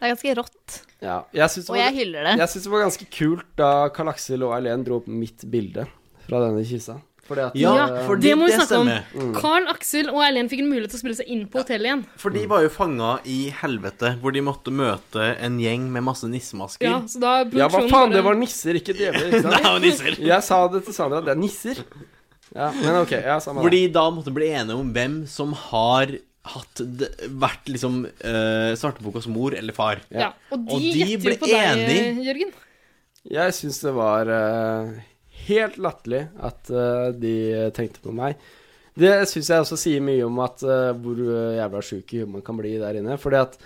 S11: Det er ganske rått.
S1: ja, jeg syns det,
S11: Mm. Og jeg
S1: var-
S11: hyller det.
S1: jeg syns det var ganske kult da Karl Aksel og Eileen dro opp mitt bilde fra denne kista. Fordi at eh,
S4: fordi
S5: det må vi snakke om.
S4: stemmer.
S5: Carl, Aksel og Eileen fikk en mulighet til å spille seg inn på hotellet igjen.
S4: For de var jo fanga i helvete, hvor de måtte møte en gjeng med masse nissemasker.
S5: Ja, så da
S1: Ja, hva
S5: produksjonen
S1: faen,
S5: bare-
S1: det var nisser, ikke djevler, ikke sant?
S4: Det er jo nisser.
S1: Jeg sa det til Sandra, det er nisser. Ja, men OK. Ja, samme
S4: Hvor
S1: det.
S4: de da måtte bli enige om hvem som har hatt d- vært liksom uh, svartebokas mor eller far.
S5: ja. Og de,
S4: Og de
S5: gjetter
S4: ble
S5: jo på deg,
S4: enig.
S5: Jørgen.
S1: Jeg syns det var eh, helt latterlig at eh, de tenkte på meg. Det syns jeg også sier mye om at, eh, hvor eh, jævla sjuk i huet man kan bli der inne. Fordi at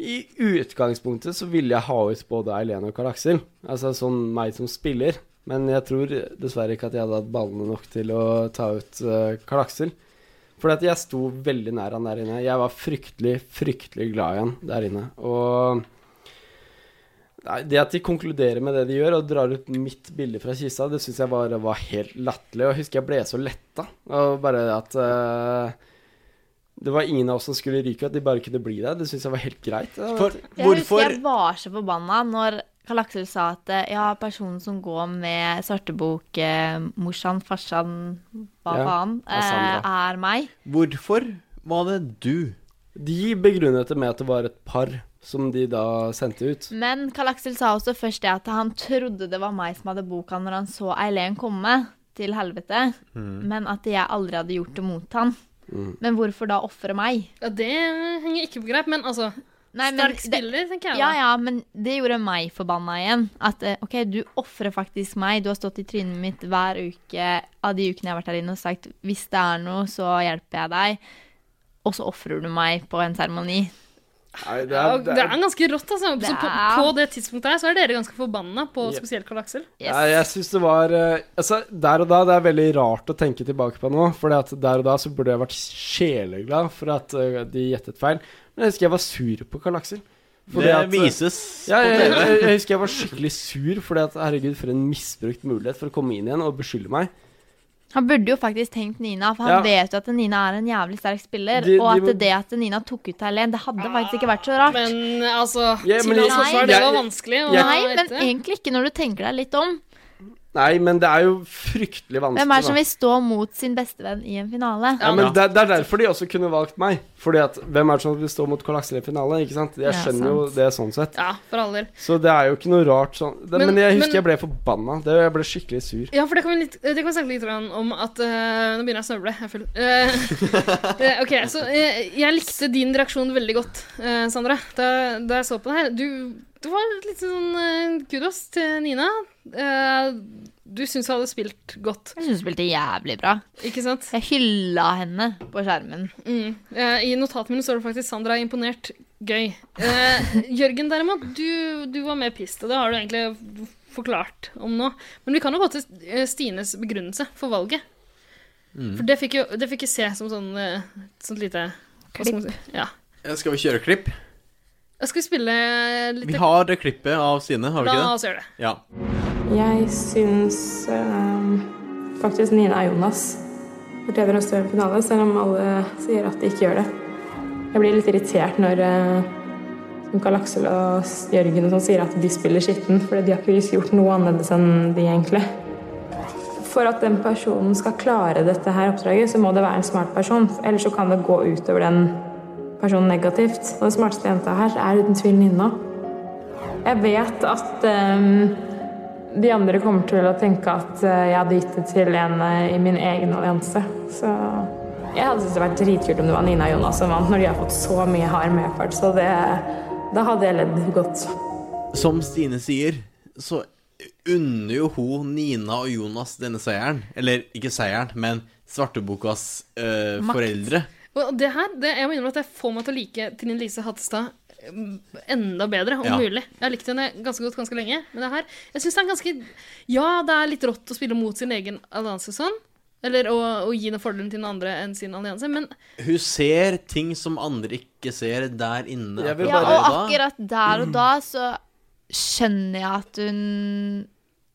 S1: i utgangspunktet så ville jeg ha ut både Eileen og Karl Aksel. Altså sånn meg som spiller. Men jeg tror dessverre ikke at jeg hadde hatt ballene nok til å ta ut eh, Karl Aksel. Fordi at jeg sto veldig nær han der inne. Jeg var fryktelig, fryktelig glad i han der inne. Og Nei, Det at de konkluderer med det de gjør, og drar ut mitt bilde fra kista, det syns jeg bare var helt latterlig. Og jeg husker jeg ble så letta. Og bare det at eh, Det var ingen av oss som skulle ryke, at de bare kunne bli der. Det syns jeg var helt greit. Det var-
S4: For
S11: Jeg husker
S4: hvorfor
S11: jeg var så forbanna når Karl Aksel sa at eh, ja, personen som går med svartebok, eh, morsan, farsan, hva
S1: Ja,
S11: faen,
S1: er
S11: eh,
S1: Sandra.
S11: er meg.
S4: Hvorfor var det du?
S1: De begrunnet det med at det var et par som de da sendte ut.
S5: Mm.
S11: Men Karl Aksel sa også først det at han trodde det var meg som hadde boka når han så Eileen komme.
S2: til helvete,
S5: Mm.
S2: men at jeg aldri hadde gjort det mot han.
S5: Mm.
S2: Men hvorfor da ofre meg?
S5: Ja, det henger ikke på greip, men altså
S2: men
S5: Sterk
S2: det-
S5: spiller, tenker jeg.
S2: Ja,
S5: da.
S2: ja, men det gjorde meg forbanna igjen. At eh, OK, du ofrer faktisk meg. Du har stått i trynet mitt hver uke av de ukene jeg har vært her inne og sagt hvis det er noe, så hjelper jeg deg. Og så ofrer du meg på en seremoni.
S1: Nei, det
S5: Ja,
S1: er,
S5: og Det er ganske rått, altså.
S2: Det
S5: Så på,
S2: er-
S5: på det tidspunktet her så er dere ganske forbanna på
S1: Yep.
S5: spesielt Karl Aksel.
S1: Ja, jeg syns det var eh, Altså, der og da, det er veldig rart å tenke tilbake på nå. For der og da så burde jeg vært sjeleglad for at eh, de gjettet feil. Men jeg husker jeg var sur på Karl Aksel. fordi
S4: Det
S1: at, eh,
S4: vises
S1: Ja,
S4: på
S1: jeg,
S4: TV.
S1: jeg, jeg husker jeg var skikkelig sur fordi at herregud, for en misbrukt mulighet for å komme inn igjen og beskylde meg.
S2: Han burde jo faktisk tenkt Nina, for
S1: Ja.
S2: han vet jo at Nina er en jævlig sterk spiller.
S1: De- de
S2: og at
S1: må-
S2: det at Nina tok ut Helen, det hadde faktisk ikke vært så rart.
S5: Men altså,
S1: Ja, men til jeg- hans forsvar, det jeg- var vanskelig å
S2: Nei,
S1: jeg-
S2: men egentlig ikke når du tenker deg litt om.
S1: Nei, men det er jo fryktelig vanskelig.
S2: Hvem
S1: da.
S2: er det som vil stå mot sin bestevenn i en finale?
S1: Ja, men det, det er derfor de også kunne valgt meg. Fordi at hvem er det som vil stå mot Karl Aksel i finale? Ikke sant? Jeg
S2: Ja,
S1: skjønner jo
S2: sant.
S1: det sånn sett.
S5: Ja, for all del.
S1: Så det er jo ikke noe rart sånn. Det,
S5: Men-
S1: men, jeg husker jeg
S5: men-
S1: ble forbanna. Det, jeg ble skikkelig sur.
S5: Ja, for det kan vi, litt, det kan vi snakke litt grann om at eh, Nå begynner jeg å snøvle. Jeg er full. Eh, eh, OK, så eh, jeg likte din reaksjon veldig godt, eh, Sandra, da, da jeg så på det her. Du, det var litt sånn eh, kudos til Nina. Eh, du syns hun hadde spilt godt.
S2: Jeg syns hun spilte jævlig bra.
S5: Ikke sant?
S2: Jeg hylla henne på skjermen.
S5: Mm. Eh, I notatene mine står det faktisk 'Sandra er imponert. Gøy'. Eh, Jørgen derimot, du, du var mer pissed, og det har du egentlig forklart om nå. Men vi kan jo gå til eh, Stines begrunnelse for valget.
S4: Mm.
S5: For det fikk jo det fikk jeg se som sånn eh, et sånt lite hva skal man si? Ja.
S4: Skal vi kjøre klipp?
S5: Skal vi spille eh, litt
S4: Vi har det klippet av Stine, har vi ikke det?
S5: La oss gjøre det.
S4: Ja.
S11: Jeg syns eh, faktisk Nina og Jonas fortjener å stå i en finale, selv om alle sier at de ikke gjør det. Jeg blir litt irritert når eh, som Karl Aksel og S- Jørgen og sånn sier at de spiller skitten, for de har ikke gjort noe annerledes enn de egentlig. For at den personen skal klare dette her oppdraget, så må det være en smart person. Ellers så kan det gå utover den personen negativt. Og den smarteste jenta her er uten tvil Nina. Jeg vet at eh, de andre kommer til å tenke at eh, jeg hadde gitt det til en eh, i min egen allianse. Så jeg hadde syntes det vært dritkult om det var Nina og Jonas som vant, når de har fått så mye hard medfart. Så det, da hadde jeg ledd godt.
S4: Som Stine sier, så unner jo hun Nina og Jonas denne seieren. Eller ikke seieren, men Svartebokas eh,
S5: Makt.
S4: foreldre.
S5: Og det her, det, jeg må innrømme at jeg får meg til å like Trine Lise Hattestad mm, enda bedre, om
S4: Ja.
S5: mulig. Jeg har likt henne ganske godt ganske lenge. Men det her, jeg synes det er ganske Ja, det er litt rått å spille mot sin egen allianse sånn. Eller å, å gi den fordelen til den andre enn sin allianse. Men
S4: Hun ser ting som andre ikke ser der inne.
S1: Jeg vil
S2: Ja,
S4: akkurat
S2: og
S4: da.
S2: akkurat der og da så skjønner jeg at hun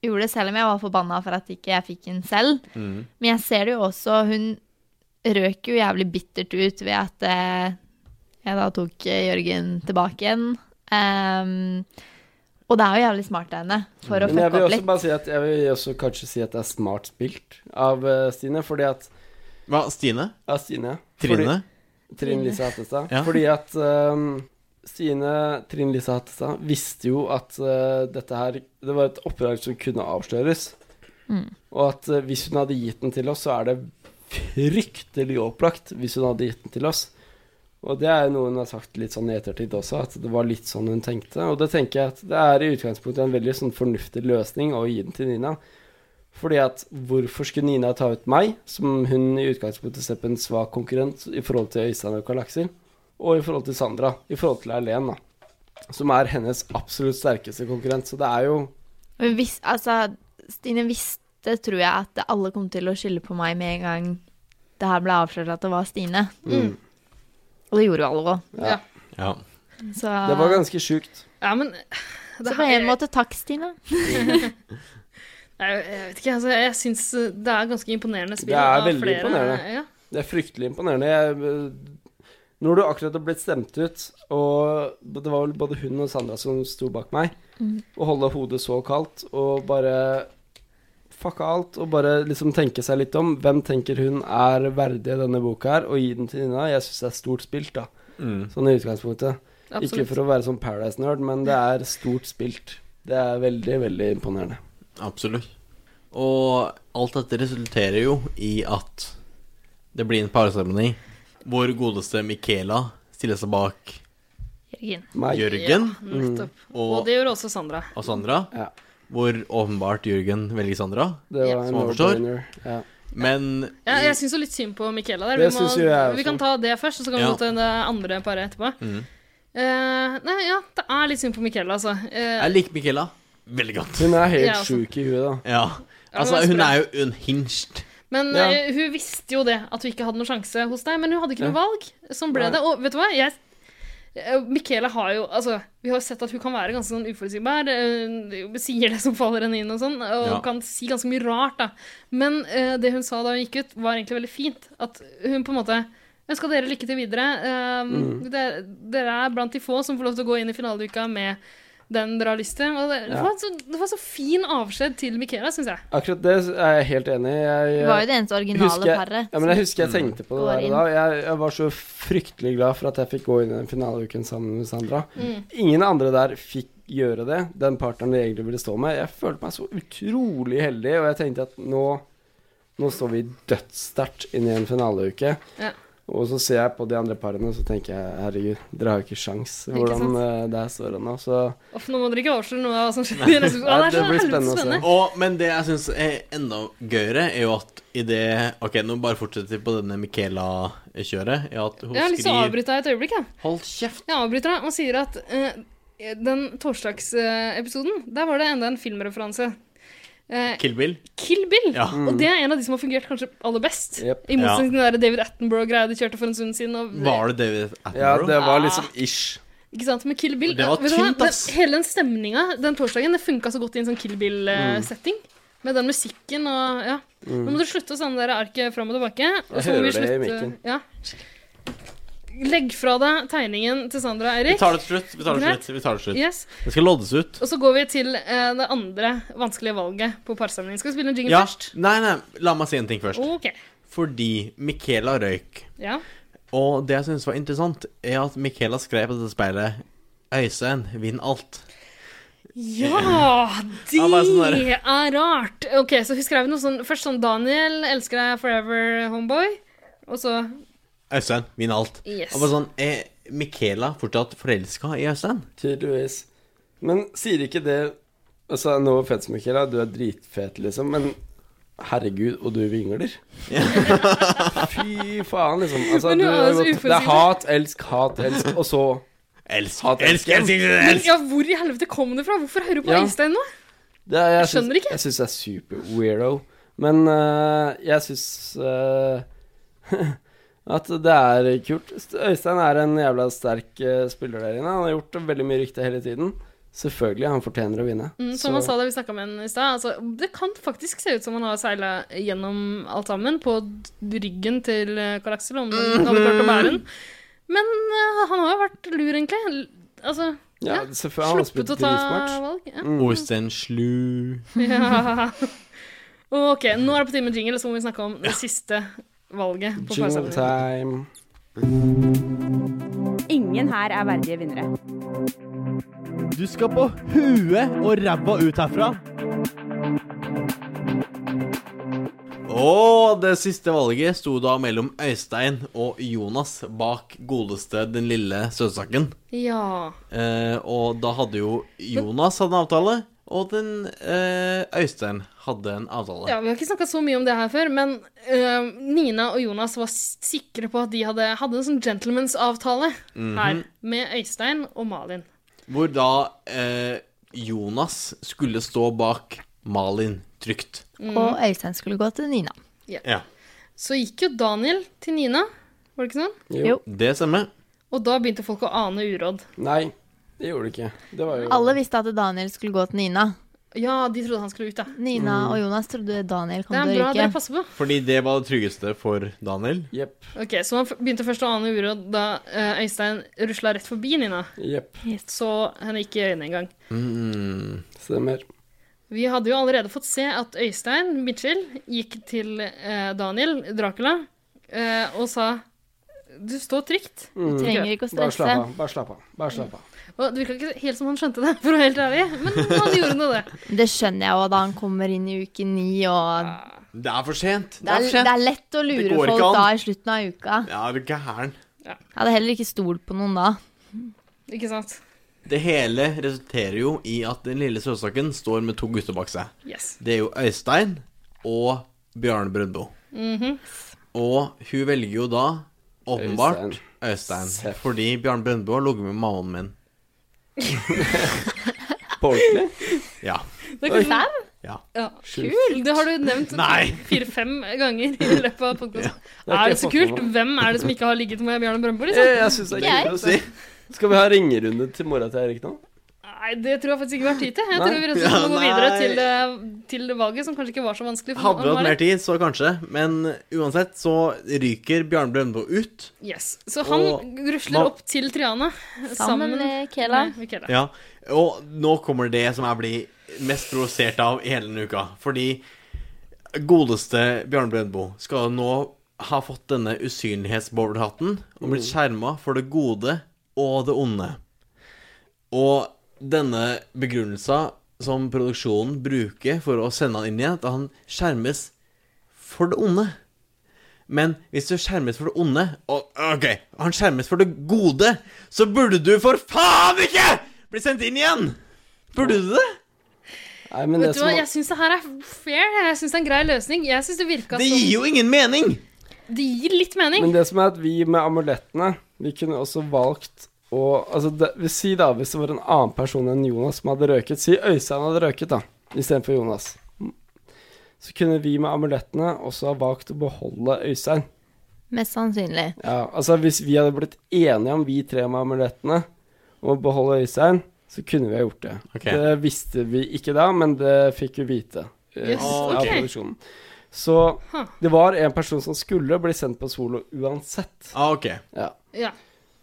S2: gjorde det, selv om jeg var forbanna for at ikke jeg fikk den selv.
S13: Mm.
S2: Men jeg ser det jo også, hun røk jo jævlig bittert ut ved at eh, jeg da tok eh, Jørgen tilbake igjen. Ehm, og det er jo jævlig smart av henne for å
S5: Mm.
S1: Men jeg
S2: fucke
S1: vil
S2: opp
S1: også
S2: litt.
S1: bare si at Jeg vil også kanskje si at det er smart spilt av eh, Stine, fordi at
S4: Hva, Stine?
S1: Ja, Stine.
S4: Trine?
S1: Fordi, Trine Lise Hattestad.
S4: Ja.
S1: Fordi at eh, Stine Trine Lise Hattestad visste jo at eh, dette her Det var et oppdrag som kunne avsløres.
S2: Mm.
S1: Og at eh, hvis hun hadde gitt den til oss, så er det fryktelig opplagt hvis hun hadde gitt den til oss. Og det er jo noe hun har sagt litt sånn i ettertid også, at det var litt sånn hun tenkte. Og det tenker jeg at det er i utgangspunktet en veldig sånn fornuftig løsning å gi den til Nina. Fordi at hvorfor skulle Nina ta ut meg, som hun i utgangspunktet ser på en svak konkurrent i forhold til Øystein og Karl Aksel, og i forhold til Sandra, i forhold til Erlén, da. Som er hennes absolutt sterkeste konkurrent. Så det er jo
S2: Hun vis, altså, Stine visste, tror jeg, at alle kom til å skylde på meg med en gang det her ble avslørt at det var Stine.
S1: Mm.
S2: Og det gjorde jo alle òg.
S5: ja.
S4: Ja.
S2: Så,
S1: Det var ganske sjukt.
S5: ja men
S2: så på en måte takk, Stine.
S5: Nei, jeg vet ikke, altså, jeg syns det er ganske imponerende spill.
S1: Det er
S5: av
S1: veldig
S5: flere-
S1: imponerende.
S5: Ja.
S1: Det er fryktelig imponerende. Jeg, eh, når du akkurat har blitt stemt ut, og det var vel både hun og Sandra som sto bak meg,
S5: Mhm.
S2: Mm.
S1: å holde hodet så kaldt og bare fucke alt og bare liksom tenke seg litt om hvem tenker hun er verdig i denne boka her, og gi den til Nina, jeg syns det er stort spilt, da.
S4: Mm.
S1: Sånn i utgangspunktet.
S4: Absolutt.
S1: Ikke for å være sånn Paradise-nerd, men det er stort spilt. Det er veldig, veldig imponerende.
S4: Absolutt. Og alt dette resulterer jo i at det blir en parseremoni hvor godeste Michaela stiller seg bak
S5: Jørgen.
S4: Jørgen
S5: Ja, nettopp.
S1: Mm.
S5: Og,
S4: og,
S5: det gjør også Sandra.
S4: og Sandra. Hvor åpenbart Jørgen velger Sandra,
S1: Det var en
S4: som han forstår.
S1: no-brainer, ja.
S4: Men
S5: Ja, jeg syns jo litt synd på Michaela der.
S1: Det
S5: Vi, må,
S1: syns jo jeg også.
S5: vi kan ta det først, og så kan vi
S4: Ja.
S5: gå til det andre paret etterpå.
S4: mm.
S5: Eh, nei, ja, det er litt synd på Michaela, altså. Eh,
S4: Jeg liker Michaela veldig godt.
S1: Hun er
S5: Ja,
S1: helt
S5: altså.
S1: sjuk i huet, da.
S4: Ja.
S5: Ja,
S4: Altså,
S5: men
S4: hun
S5: bra.
S4: er jo unhinged.
S5: Men
S1: Ja.
S5: eh, hun visste jo det, at hun ikke hadde noen sjanse hos deg. Men hun hadde ikke noe
S4: Ja.
S5: valg. Sånn ble
S4: Nei.
S5: det. Og vet du hva? Jeg, eh, Michaela har jo Altså, vi har jo sett at hun kan være ganske sånn uforutsigbar. eh, Hun sier det som faller henne inn, og sånn. Og
S13: Ja.
S5: kan si ganske mye rart, da. Men eh, det hun sa da hun gikk ut, var egentlig veldig fint. At hun på en måte ønska dere lykke til videre. Eh,
S13: Mm.
S5: dere, dere er blant de få som får lov til å gå inn i finaleuka med den dere har lyst til. Og det, det,
S1: Ja.
S5: var så, det var så fin avskjed til Michaela, syns jeg.
S1: Akkurat det er jeg helt enig i. Jeg, eh,
S5: Det var jo det eneste originale
S1: husker,
S5: paret
S1: Ja, men
S5: som
S1: jeg husker jeg tenkte på det
S5: går
S1: der og
S5: inn.
S1: da. og Jeg, jeg var så fryktelig glad for at jeg fikk gå inn i den finaleuken sammen med Sandra.
S5: Mm.
S1: Ingen andre der fikk gjøre det, den partneren de egentlig ville stå med. Jeg følte meg så utrolig heldig, og jeg tenkte at nå, nå står vi dødssterkt inn i en finaleuke.
S5: Ja.
S1: Og så ser jeg på de andre parene, så tenker jeg herregud, dere har jo ikke sjans
S5: Ikke
S1: hvordan
S5: sant?
S1: eh, der står det nå. Så
S5: Uff, nå må dere ikke avsløre noe av hva som skjedde. i resten- Å,
S1: Nei, det
S5: det er så
S1: blir
S5: helvete
S1: spennende å se.
S5: spennende.
S4: Og, men det jeg syns er enda gøyere, er jo at i det Ok, nå bare fortsetter vi på denne Michaela-kjøret. i at hun
S5: Jeg har lyst til å
S4: skriver
S5: avbryte deg et øyeblikk. Jeg.
S4: Hold kjeft.
S5: Jeg avbryter deg og sier at eh, den torsdagsepisoden, der var det enda en filmreferanse. Eh,
S4: Kill Bill.
S5: Kill Bill!
S4: Ja.
S5: Og
S1: Mm.
S5: det er en av de som har fungert kanskje aller best.
S4: Jep.
S5: I motsetning til den der David Attenborough-greia de kjørte for en stund siden. Og,
S4: Var det David
S1: Ja,
S4: Attenborough?
S1: det var liksom ish.
S5: Ikke sant, med Kill Bill
S4: Det var
S5: Vet du hva?
S4: tynt, ass.
S5: Den, hele den stemninga den torsdagen det funka så godt i en sånn Kill
S1: Mm.
S5: Bill-setting. Med den musikken og ja.
S1: Mm.
S5: Nå må dere slutte å sende dere arket fram og tilbake. Og
S1: Jeg
S5: så må vi
S1: hører det i
S5: slutte-
S1: mikken.
S5: Ja. Legg fra deg tegningen til Sandra og
S4: Vi
S5: Eirik.
S4: tar det til slutt. Vi tar det til
S5: Greit.
S4: slutt. Vi tar det til slutt.
S5: Yes.
S4: Det skal loddes ut.
S5: Og så går vi til eh, det andre vanskelige valget på parsamlingen. Skal vi spille en jingle
S4: Ja.
S5: først? Oh.
S4: Nei, nei, la meg si en ting først.
S5: Ok.
S4: Fordi Michaela røyk.
S5: Ja.
S4: Og det jeg syns var interessant, er at Michaela skrev på dette speilet Øystein, vinn alt.
S5: Ja, det
S4: Ja, bare sånn der.
S5: er rart. Ok, så hun skrev noe sånn Først sånn Daniel, elsker deg forever, homeboy. Og så
S4: Øystein, vinn alt.
S5: Yes.
S4: Og bare sånn, Er Michaela fortsatt forelska i Øystein?
S1: Tydeligvis. Men sier ikke det Altså, no offense, Michaela, du er dritfet, liksom, men herregud, og du vingler. Fy faen, liksom. Altså,
S5: Men
S1: du,
S5: hun er jo så
S1: det er
S5: uforutsigbar.
S1: hat, elsk, hat, elsk, og så
S4: Elsk,
S1: hat,
S4: elsk, elsk,
S5: Men, ja, hvor i helvete kom det fra? Hvorfor hører du på
S1: Ja.
S5: Øystein nå?
S1: Det er- jeg
S5: Jeg skjønner
S1: syns-
S5: ikke.
S1: Jeg syns det er super weirdo. Men øh, jeg syns øh, at det er kult. Øystein er en jævla sterk øh, spiller der inne. Han har gjort veldig mye riktig hele tiden. Selvfølgelig, han fortjener å vinne.
S5: Mm,
S1: Så-
S5: som han sa da vi snakka med henne i stad, altså, det kan faktisk se ut som han har seila gjennom alt sammen på d- ryggen til eh, Kalaksel, om han hadde klart å bære den. Men eh, han har jo vært lur, egentlig. L- Altså
S1: Ja, selvfølgelig. Han har
S5: Sluppet
S1: spilt
S5: å ta
S1: dritsmart.
S5: valg. Ja.
S4: Øystein slu.
S5: Ja. Ok, nå er det på tide med jingle, så må vi snakke om det siste valget. på
S1: Jingle
S5: parsamlingen.
S1: time.
S3: Ingen her er verdige vinnere.
S14: Du skal på huet og ræva ut herfra.
S4: Og det siste valget sto da mellom Øystein og Jonas bak godeste Den lille søtsaken.
S5: Ja.
S4: Eh, og da hadde jo Jonas hadde en avtale, og den eh, Øystein hadde en avtale.
S5: Ja, Vi har ikke snakka så mye om det her før, men eh, Nina og Jonas var s- sikre på at de hadde, hadde en sånn gentleman's-avtale her
S4: Mhm.
S5: med Øystein og Malin.
S4: Hvor da eh, Jonas skulle stå bak Malin trygt.
S2: Og Øystein skulle gå til Nina.
S5: Ja.
S4: Ja.
S5: Så gikk jo Daniel til Nina, var det ikke sånn?
S4: Det stemmer.
S5: Og da begynte folk å ane uråd.
S1: Nei, det gjorde det ikke. Det var jo
S2: Alle visste at Daniel skulle gå til Nina.
S5: Ja, de trodde han skulle ut, da.
S2: Nina
S4: Mm.
S2: og Jonas trodde Daniel kom
S5: Det er
S2: til å
S5: bra dere
S2: ryke.
S5: passer på.
S4: Fordi det var det tryggeste for Daniel.
S5: Ok, Så han f- begynte først å ane uråd da eh, Øystein rusla rett forbi Nina. Så henne ikke i øynene engang.
S4: Mm.
S1: Stemmer.
S5: Vi hadde jo allerede fått se at Øystein Mitchell gikk til eh, Daniel Dracula eh, og sa Du står trygt.
S1: Mm.
S5: Du trenger ikke å
S1: Bare
S5: stresse.
S1: slapp av. Bare slapp av. Bare slapp av.
S5: Og det virka ikke helt som han skjønte det, for å være helt ærlig. Men han gjorde nå det.
S2: Det skjønner jeg jo da han kommer inn i uke ni, og
S4: Det er for sent.
S2: det er,
S4: for sent.
S2: det er lett å
S4: Det
S2: lure
S4: går
S2: folk
S4: ikke
S2: da
S4: an.
S2: i slutten av uka.
S4: Ja, er du gæren?
S2: Jeg hadde heller ikke stolt på noen da.
S5: Ikke sant?
S4: Det hele resulterer jo i at den lille søtsaken står med to gutter bak seg.
S5: Yes.
S4: Det er jo Øystein og Bjarne Brøndbo.
S5: Mhm.
S4: Og hun velger jo da åpenbart Øystein. Fordi Bjarne Brøndbo har ligget med mammaen min.
S1: På ordentlig?
S4: Ja.
S5: Det er kanskje-
S4: Ja.
S5: Ja.
S4: Sjukt.
S5: Kult! Det har du nevnt
S4: Nei.
S5: fire-fem ganger i løpet av podkasten.
S1: Det har ikke
S5: Er
S1: jeg
S5: det så
S1: fått med
S5: kult?
S4: sånn.
S1: meg.
S5: Hvem er det som ikke har ligget med Bjarne Brøndbo? Liksom?
S4: Eh.
S1: Jeg, jeg syns det er kult å si. Skal vi ha ringerunde til mora til Erik nå?
S5: Nei, det tror jeg faktisk ikke vi har tid til. Jeg
S1: Nei.
S5: tror vi rett og slett må gå
S4: Ja,
S5: videre
S4: nei.
S5: til, eh, til det valget, som kanskje ikke var så vanskelig. for
S4: Hadde vi
S5: noen
S4: hatt
S5: var
S4: mer
S5: det.
S4: tid, så kanskje. Men uansett så ryker Bjarne Brøndbo ut.
S5: Yes. Så han
S4: Og
S5: rusler
S4: man-
S5: opp til Triana sammen,
S2: med Kela.
S5: med Kela.
S4: Ja. Og nå kommer det som jeg blir mest provosert av i hele denne uka. Fordi godeste Bjarne Brøndbo skal nå ha fått denne usynlighetsbowlerhatten og blitt skjerma for det gode og det onde. Og denne begrunnelsa som produksjonen bruker for å sende han inn igjen, at han skjermes for det onde. Men hvis du skjermes for det onde og, Ok, han skjermes for det gode, så burde du for faen ikke bli sendt inn igjen! Burde du det?
S1: Nei,
S5: Vet du hva, jeg syns det her er fair. Jeg syns det er en grei løsning. Jeg synes Det virka
S4: Det
S5: som-
S4: gir jo ingen mening!
S5: Det gir litt mening.
S1: Men det som er at vi med amulettene Vi kunne også valgt å Altså, det, vi si da hvis det var en annen person enn Jonas som hadde røket Si Øystein hadde røket, da, istedenfor Jonas. Så kunne vi med amulettene også ha valgt å beholde Øystein.
S2: Mest sannsynlig.
S1: Ja, altså Hvis vi hadde blitt enige om vi tre med amulettene om å beholde Øystein, så kunne vi ha gjort det.
S4: Ok.
S1: Det visste vi ikke da, men det fikk vi vite eh,
S4: Yes,
S1: av
S4: ok.
S1: produksjonen. Så det var en person som skulle bli sendt på solo uansett.
S4: Ah, ok.
S1: Ja.
S5: Ja.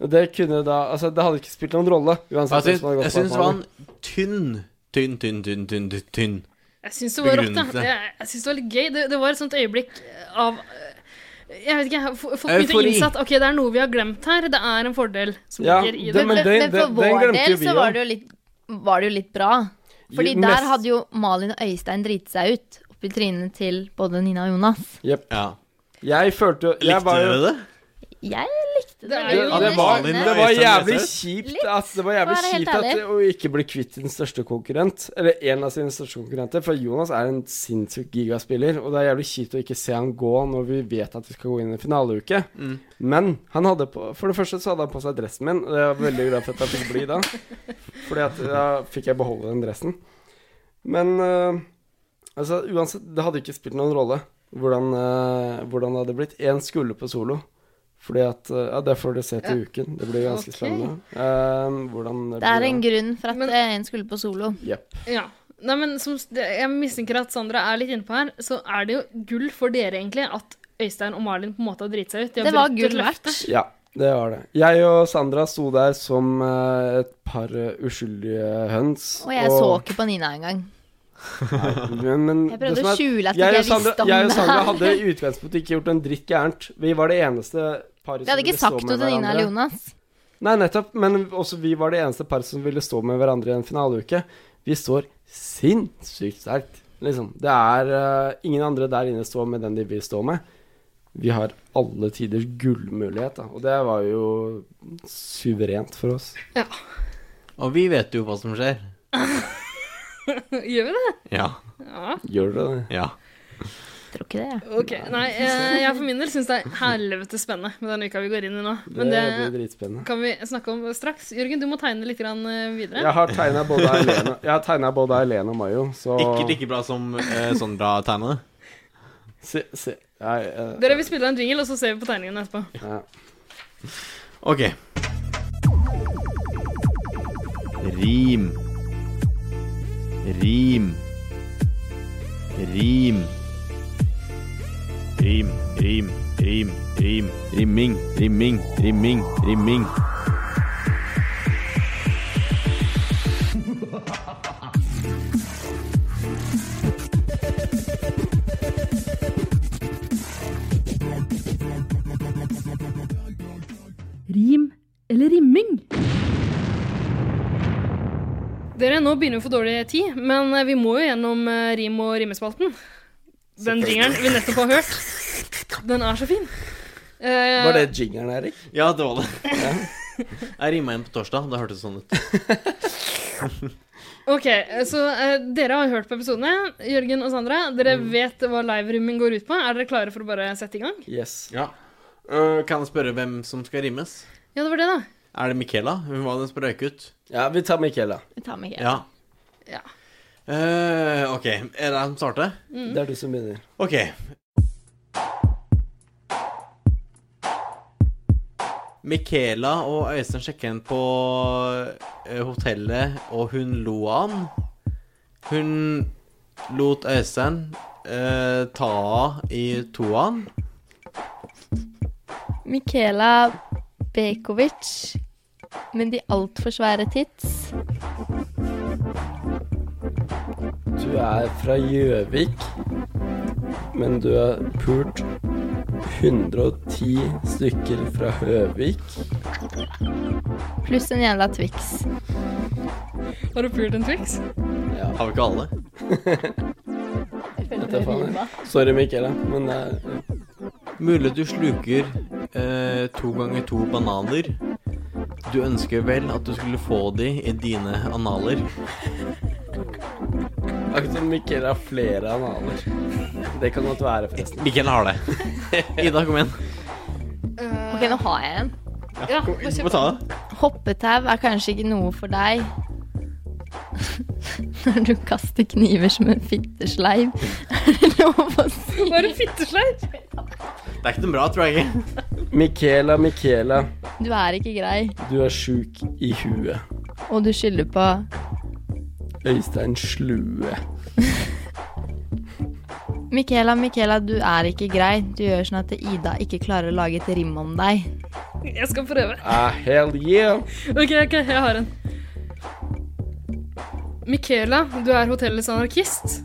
S1: Og Det kunne da Altså, det hadde ikke spilt noen rolle. Uansett hvem
S4: Jeg
S1: som hadde gått
S4: syns- jeg syns
S1: på
S4: det var en
S1: banen.
S4: tynn, tynn, tynn, tynn, tynn, tynn, tynn.
S5: Jeg syns det var rått, da.
S4: Begrunnelse.
S5: Jeg, jeg synes det var litt gøy. Det, det var et sånt øyeblikk av eh, Jeg vet ikke, jeg har f- fått mye
S4: Eufori.
S5: innsatt Ok, det er noe vi har glemt her. Det er en fordel som
S1: Ja,
S5: ligger i
S1: det-
S5: det.
S1: men det-
S2: Men for
S1: den- den
S2: vår
S1: glemte jo
S2: del
S1: vi
S2: så
S1: også.
S2: var det jo litt, var det jo litt bra. Fordi
S1: Jo, mest-
S2: der hadde jo Malin og Øystein driti seg ut oppi trynet til både Nina og Jonas.
S1: Jepp.
S4: Ja.
S1: Jeg følte jo jeg
S4: Likte
S1: var jo,
S4: dere det?
S2: Jeg likte det.
S5: er
S1: Det,
S5: jo-
S1: det, var,
S4: Malin og
S1: det var
S4: Øystein
S1: jævlig
S4: Løseth.
S1: kjipt at Det var jævlig
S2: for å være helt
S1: kjipt at
S2: ærlig.
S1: å ikke bli kvitt din største konkurrent, eller en av sine største konkurrenter, for Jonas er en sinnssyk gigaspiller, og det er jævlig kjipt å ikke se han gå når vi vet at vi skal gå inn i finaleuke.
S4: Mm.
S1: Men han hadde på For det første så hadde han på seg dressen min, og det er jeg veldig glad for at jeg fikk bli da, Fordi at da fikk jeg beholde den dressen. Men øh, altså, uansett, det hadde ikke spilt noen rolle hvordan, øh, hvordan det hadde blitt. Én skulle på solo. Fordi at, øh, ja, Det får dere se til uken. Det blir ganske
S5: Ok.
S1: spennende. Ehm, hvordan det,
S2: Det er
S1: blir
S2: en
S1: da.
S2: grunn for at eh, en skulle på solo.
S1: Jepp.
S5: Ja. Nei, men som, det- jeg mistenker at Sandra er litt inne på her, så er det jo gull for dere, egentlig, at Øystein og Malin på en måte har driti seg ut. De har
S2: Det var
S5: brutt et
S2: gull
S5: løfte.
S2: verdt.
S1: Ja, det var det. Jeg og Sandra sto der som øh, et par øh, uskyldige høns.
S2: Og jeg så ikke på Nina engang.
S1: Men, men
S2: Jeg prøvde
S1: det som
S2: å
S1: er at
S2: skjule at
S1: jeg
S2: ikke
S1: og
S2: jeg
S1: Sandra-
S2: visste om
S1: Jeg og
S2: det
S1: Sandra
S2: her.
S1: hadde i utgangspunktet ikke gjort en dritt gærent. Vi var det eneste paret
S2: Vi hadde ikke sagt noe til Nina eller Jonas.
S1: Nei, nettopp. Men også vi var det eneste paret som ville stå med hverandre i en finaleuke. Vi står sinnssykt sterkt, liksom. Det er eh, Ingen andre der inne står med den de vil stå med. Vi har alle tiders gullmulighet, da. Og det var jo suverent for oss.
S4: Og vi vet jo hva som skjer.
S5: Gjør vi det?
S4: Ja.
S5: Ja.
S1: Gjør dere det?
S4: Ja.
S2: Tror ikke det, jeg.
S5: Ok, Nei, eh, jeg for min del syns det er helvete spennende med den uka vi går inn i nå.
S1: Det,
S5: Men
S1: blir
S5: det
S1: dritspennende.
S5: kan vi snakke om straks. Jørgen, du må tegne litt grann eh, videre.
S1: Jeg har tegna både Ailene- jeg har tegnet både Ailene og Mayo, så
S4: Ikke like bra som eh, Sondra tegna det.
S1: Se, se. Nei, eh,
S5: Dere, vi spiller en jingle, og så ser vi på tegningen etterpå.
S1: ja.
S4: Ok. Rim. Rim. Rim. Rim, rim, rim, rim. Rimming, rimming, rimming, rimming.
S15: eller rimming?
S5: Dere, nå begynner vi å få dårlig tid, men eh, vi må jo gjennom eh, rim- og rimespalten. Den jingeren vi nettopp har hørt, den er så fin. Eh,
S1: Var det jingeren, Erik?
S4: Ja, det var det. Jeg rima igjen på torsdag. Det hørtes sånn ut.
S5: Ok, så eh, dere har hørt på episodene, Jørgen og Sandra. Dere
S1: Mm.
S5: vet hva live-rimming går ut på. Er dere klare for å bare sette i gang?
S1: Yes.
S4: Ja. Eh, kan jeg spørre hvem som skal rimes?
S5: Ja, det var det, da.
S4: Er det Michaela? Hun var den sprøykegutt.
S1: Ja, vi tar Michaela.
S11: Vi tar med helt.
S4: Ja.
S5: Ja.
S4: Eh, OK. Er det jeg som starter?
S11: Mm.
S1: Det er du som begynner.
S4: OK. Michaela og Øystein sjekket inn på eh, hotellet, og hun lo av han. Hun lot Øystein eh, ta av i toan.
S11: Michaela Bekovic med de altfor svære tits.
S1: Du er fra Gjøvik, men du er pult 110 stykker fra Høvik.
S11: Pluss en jævla Twix.
S5: Har du pult en Twix?
S1: Ja.
S4: Har vi ikke alle?
S1: Dette er faen meg- Sorry, Michaela, men det er
S4: Mulig du sluker eh, to ganger to bananer. Du ønsker vel at du skulle få de i dine analer.
S1: Akkurat som Michaela har flere analer. Det kan godt være, forresten.
S4: Michaela har det. Ida, kom igjen.
S11: Ok, nå har jeg en.
S5: Ja,
S4: Du må ta det.
S11: Hoppetau er kanskje ikke noe for deg. Når du kaster kniver som en fittesleiv. Er det lov å si?
S5: Var det fittesleiv?
S4: Det er ikke noe bra, tror jeg ikke.
S1: Michaela, Michaela,
S11: Du er ikke grei,
S1: du er sjuk i huet.
S11: og du skylder på
S1: Øystein Slue.
S11: Michaela, Michaela, du er ikke grei. Du gjør sånn at Ida ikke klarer å lage et rim om deg.
S5: Jeg skal prøve.
S1: Ah, hell yeah!
S5: Ok, ok, jeg har en. Michaela, du er hotellets anarkist.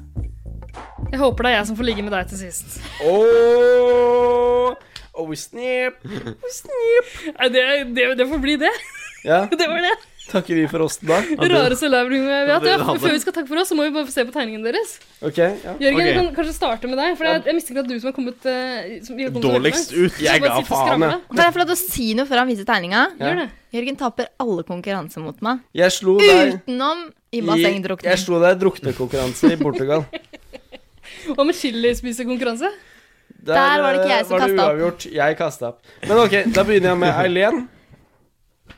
S5: Jeg håper det er jeg som får ligge med deg til sist.
S1: Oh, oh snip.
S5: Nei, Det, det, det får bli det.
S1: Ja,
S5: Det var det.
S1: takker vi for oss da.
S5: Det rareste live-room jeg vet.
S1: Ja, det
S5: Ja,
S1: hadde-
S5: før vi skal takke for oss, så må vi bare få se på tegningen deres.
S1: Ok, ja.
S5: Jørgen, vi kan kanskje starte med deg, for jeg, jeg mistenker at du som har kommet eh, som vi har kommet
S4: Dårligst
S5: til å
S4: ut. Jeg
S5: hjelpe meg. Du bare
S4: ga
S5: sitter og
S4: faen,
S5: skravler.
S4: jeg.
S11: Kan jeg få lov til å si noe før han viser tegninga?
S1: Ja. Gjør det.
S11: Jørgen taper alle konkurranser mot meg.
S1: Jeg slo deg
S11: Utenom i
S1: Jeg
S11: bassengdrukning.
S1: slo deg i druknekonkurranse i Portugal.
S5: Og med chilispisekonkurranse.
S1: Der, eh,
S5: Der var det ikke jeg som
S1: var det
S5: kastet opp.
S1: uavgjort. Jeg kasta opp. Men ok, da begynner jeg med Eileen.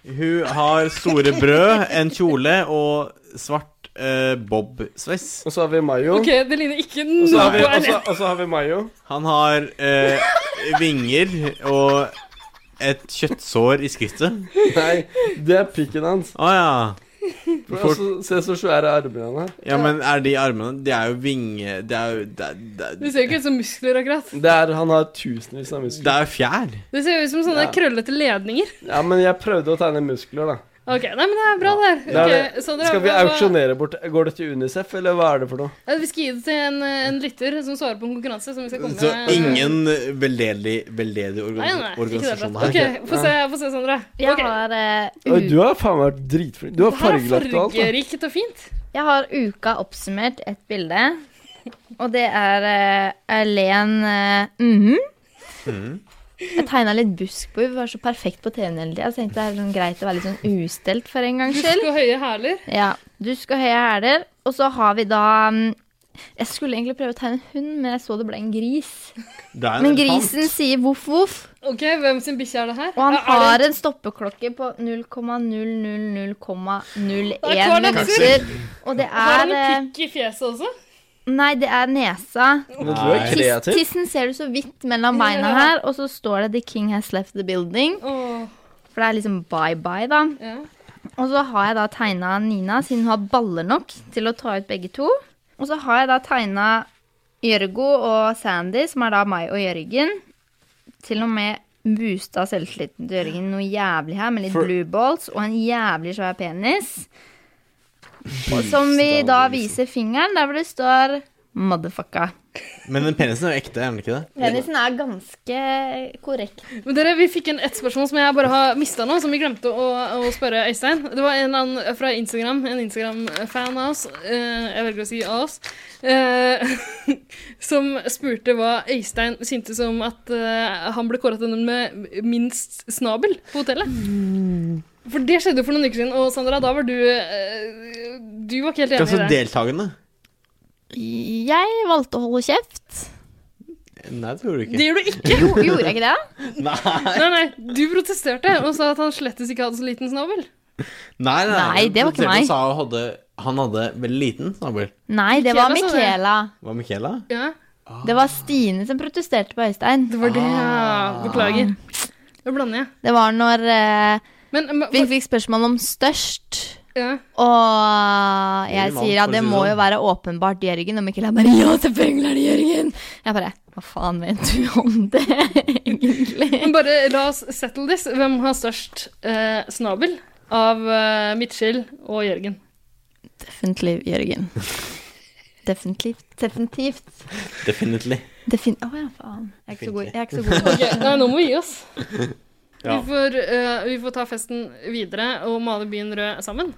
S4: Hun har store brød, en kjole og svart eh, bob-sveis.
S1: Og så har vi Mayo.
S5: Ok, det ligner ikke
S1: Og så
S5: noe
S1: har vi, og så,
S5: Erlend.
S1: og så har vi Mayo.
S4: Han har eh, vinger og et kjøttsår i skrittet.
S1: Nei, det er pikken hans.
S4: Å ja.
S1: Og så- Se så svære armene han har.
S4: Ja, men er de armene De er jo vinge... Det er jo Det, det,
S5: Det ser jo ikke ut som muskler, akkurat.
S1: Det er, han har tusenvis av muskler.
S4: Det er fjær.
S5: Det ser jo ut som sånne
S1: Ja.
S5: krøllete ledninger.
S1: Ja, men jeg prøvde å tegne muskler, da.
S5: Ok, Nei, men det er bra, det
S1: Det
S5: her.
S1: er
S5: Ok,
S1: det.
S5: så dere-
S1: Skal vi
S5: hva-
S1: auksjonere bort Går det til Unicef, eller hva er det for noe?
S5: Ja, vi skal gi det til en, en lytter som svarer på en konkurranse. Som vi skal komme
S4: Så
S5: med-
S4: ingen veldedig, veldedig
S5: Nei, nei,
S4: organ-
S5: ikke det.
S4: organisasjon
S5: Brett.
S4: her.
S5: Ok, Få se, få se, Sandra.
S11: Jeg har eh,
S1: Oi, Du har faen meg vært dritflink. Du har fargelagt og alt. da.
S5: og fint.
S11: Jeg har uka oppsummert et bilde, og det er uh, Erlen eh, mhm. Jeg tegna litt busk på henne, var så perfekt på TV-en hele tida. Tenkte det er sånn greit å være litt sånn ustelt for en gangs
S5: Husk
S11: skyld.
S5: og høye hæler.
S11: Ja, Dusk og høye hæler. Og så har vi da mm, Jeg skulle egentlig prøve å tegne en hund, men jeg så det ble en gris.
S4: Det er en
S11: Men
S4: elefant.
S11: grisen sier voff, voff.
S5: Ok, Hvem sin bikkje er det her?
S11: Og han
S5: Ja, er
S11: har
S5: det-
S11: en stoppeklokke på 0,000,01
S5: Det er kvalm,
S11: minutter. Og det
S5: Har han
S11: er eh,
S5: en pikk i fjeset også?
S11: Nei, det er nesa.
S1: Men du er
S11: Tiss-
S1: kreativ.
S11: Tissen ser du så vidt mellom beina
S5: Ja.
S11: her, og så står det 'The King has left the building'. For det er liksom bye-bye, da. Og så har jeg da tegna Nina, siden hun har baller nok til å ta ut begge to. Og så har jeg da tegna Jørgo og Sandy, som er da meg og Jørgen. Til og med boosta selvtilliten til Jørgen noe jævlig her, med litt
S2: For-
S11: blue balls og en jævlig svær penis. Og som vi da viser fingeren, der hvor det står Motherfucka.
S4: Men den penisen er jo ekte, er den ikke det?
S11: Penisen er ganske korrekt.
S5: Men dere, Vi fikk inn ett spørsmål som jeg bare har mista nå, som vi glemte å, å spørre Øystein. Det var en eller annen fra Instagram, en Instagram-fan av oss, eh, jeg velger å si av oss, eh, som spurte hva Øystein syntes om at eh, han ble kåra til den med minst snabel på hotellet. For det skjedde jo for noen uker siden, og Sandra, da var du eh, Du var ikke helt enig
S4: Ganske
S5: i det.
S4: deltakende.
S11: Jeg valgte å holde kjeft.
S4: Nei, det gjorde du ikke.
S5: Det gjør du ikke.
S11: Jo, gjorde jeg ikke det?
S4: Nei.
S5: Nei, nei, Du protesterte og sa at han slettes ikke hadde så liten snabel.
S4: Nei, nei,
S11: Nei, det var ikke meg.
S4: Han sa han hadde, han hadde veldig liten snabel.
S11: Nei, det
S5: Michaela
S11: var
S5: sa det.
S11: Michaela.
S4: Var Michaela?
S11: Det var Stine som protesterte på Øystein.
S5: Det var det, ja. Beklager. Da blander jeg.
S11: Det var når eh,
S5: men-
S11: vi fikk spørsmål om størst.
S5: Ja.
S11: Og
S5: Ingen
S11: jeg
S5: mann,
S11: sier ja,
S5: for å si
S11: det
S5: det
S11: må jo
S5: sånn.
S11: være åpenbart Jørgen. Og Michaela bare ja, selvfølgelig er det Jørgen. Jeg bare hva faen mente du om det?
S5: Men bare la oss settle this. Hvem har størst eh, snabel av eh, Mitchell og Jørgen?
S11: Definitivt Jørgen. Definitivt. Definitivt.
S4: Definitely.
S11: Defin Å ja, faen. Jeg er ikke så god. Jeg er ikke så god.
S5: Ok, nei, nå må vi gi oss.
S4: Ja.
S5: Vi, får, eh, vi får ta festen videre og male byen rød sammen.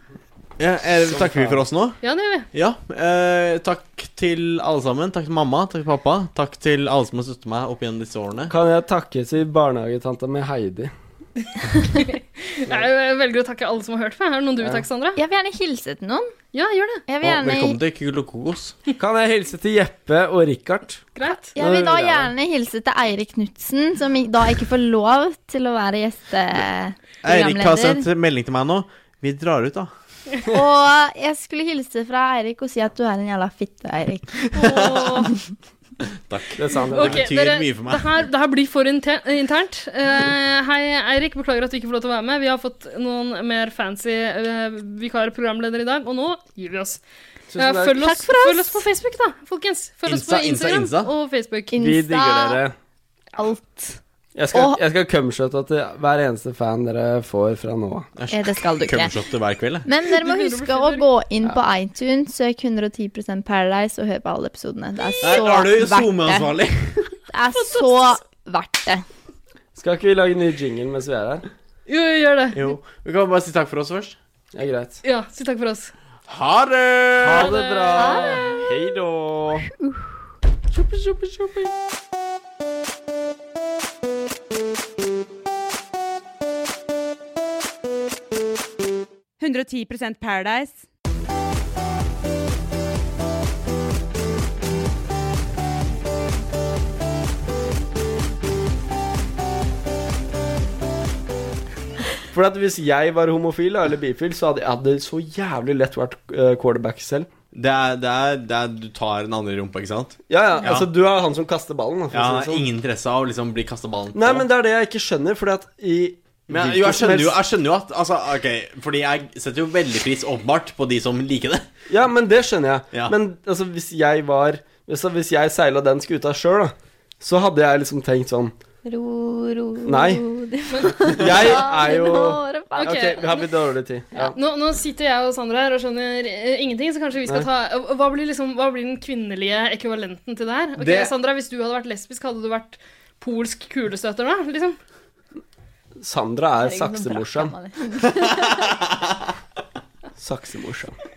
S4: Ja, eh, takker vi for oss nå?
S5: Ja, det gjør vi.
S4: Ja. Eh, takk til alle sammen. Takk til mamma, takk til pappa. Takk til alle som har støttet meg opp gjennom disse årene.
S1: Kan jeg takke til barnehagetanta mi Heidi?
S5: Jeg, jeg velger å takke alle som har hørt på. Er det noen du vil
S1: Ja.
S5: takke, Sandra?
S11: Jeg vil gjerne hilse til noen.
S5: Ja, gjør det.
S11: Jeg vil
S1: Og
S11: gjerne
S1: velkommen
S4: Velkommen til Kul og kokos.
S1: Kan jeg hilse til Jeppe og Richard?
S5: Greit.
S11: Jeg vil da gjerne hilse til Eirik Knutsen, som i- da ikke får lov til å være
S4: Eirik har sendt
S11: gjesteprogramleder.
S4: melding til meg nå. Vi drar ut, da.
S11: Og jeg skulle hilse fra Eirik og si at du er en jævla fitte, Eirik.
S4: Takk.
S1: Det sa han.
S5: Ok, dere, Det her, det her blir for inte- internt. Eh, hei, Eirik. Beklager at du ikke får lov til å være med. Vi har fått noen mer fancy eh, vikarprogramledere i dag, og nå gir vi oss.
S1: Tusen
S5: Eh,
S1: takk.
S5: følg,
S1: Takk
S5: oss,
S1: for oss.
S5: følg oss på Facebook, da, folkens. Følg
S1: Insta,
S5: oss på
S1: Insta,
S5: Instagram
S1: Insta.
S5: og Facebook.
S1: Vi digger dere.
S11: Alt.
S1: Jeg skal,
S11: Og-
S1: jeg skal cumshotte til hver eneste fan dere får fra nå av.
S11: Eh, det skal du ikke.
S4: Cumshotte hver kveld, jeg.
S11: Men dere må huske å gå inn på iTunes, søk 110 Paradise og hør på alle episodene. Det er
S4: Der
S11: så
S4: har du
S11: verdt det.
S4: SoMe-ansvarlig.
S11: Det er så verdt det.
S1: Skal ikke vi lage ny jingle mens vi er her?
S5: Jo, gjør det.
S4: Jo. Vi kan bare si takk for oss først.
S1: Ja, greit.
S5: Ja, si takk for oss.
S4: Ha det!
S1: Ha det bra.
S5: Ha
S1: Hei da.
S5: Tjoppi, tjoppi, tjoppi.
S16: Paradise.
S3: 110 Paradise.
S1: For at hvis jeg var homofil da, eller bifil, så hadde jeg hadde så jævlig lett vært eh, quarterback selv.
S4: Det er, det, er, det er Du tar den andre i rumpa, ikke sant?
S1: Ja, ja, altså du er han som kaster ballen. da, For
S4: Ja,
S1: å si det sånn.
S4: Ingen interesse av å liksom bli kasta ballen på.
S1: Nei, men det er det jeg ikke skjønner, fordi at i
S4: Men jeg, jo, jeg, skjønner jo, jeg skjønner jo at altså, Ok, fordi jeg setter jo veldig pris åpenbart på de som liker det.
S1: Ja, men det skjønner jeg.
S4: Ja.
S1: Men altså, hvis jeg var altså, Hvis jeg seila den skuta sjøl, da, så hadde jeg liksom tenkt sånn
S11: Ro, ro,
S1: Nei.
S11: ro det-
S1: Jeg er jo
S11: Nå er det ferdig.
S1: Ok, vi har blitt dårlig tid. Ja.
S5: Nå, nå sitter jeg og Sandra her og skjønner eh, ingenting, så kanskje vi skal
S1: Nei.
S5: ta hva blir, liksom, hva blir den kvinnelige ekvivalenten til det her? Ok,
S1: Det-
S5: Sandra, hvis du hadde vært lesbisk, hadde du vært polsk kulestøter da? Liksom?
S1: Sandra er
S5: Herregud, nå brakk jeg
S1: saksemorsom.
S5: meg
S1: saksemorsom.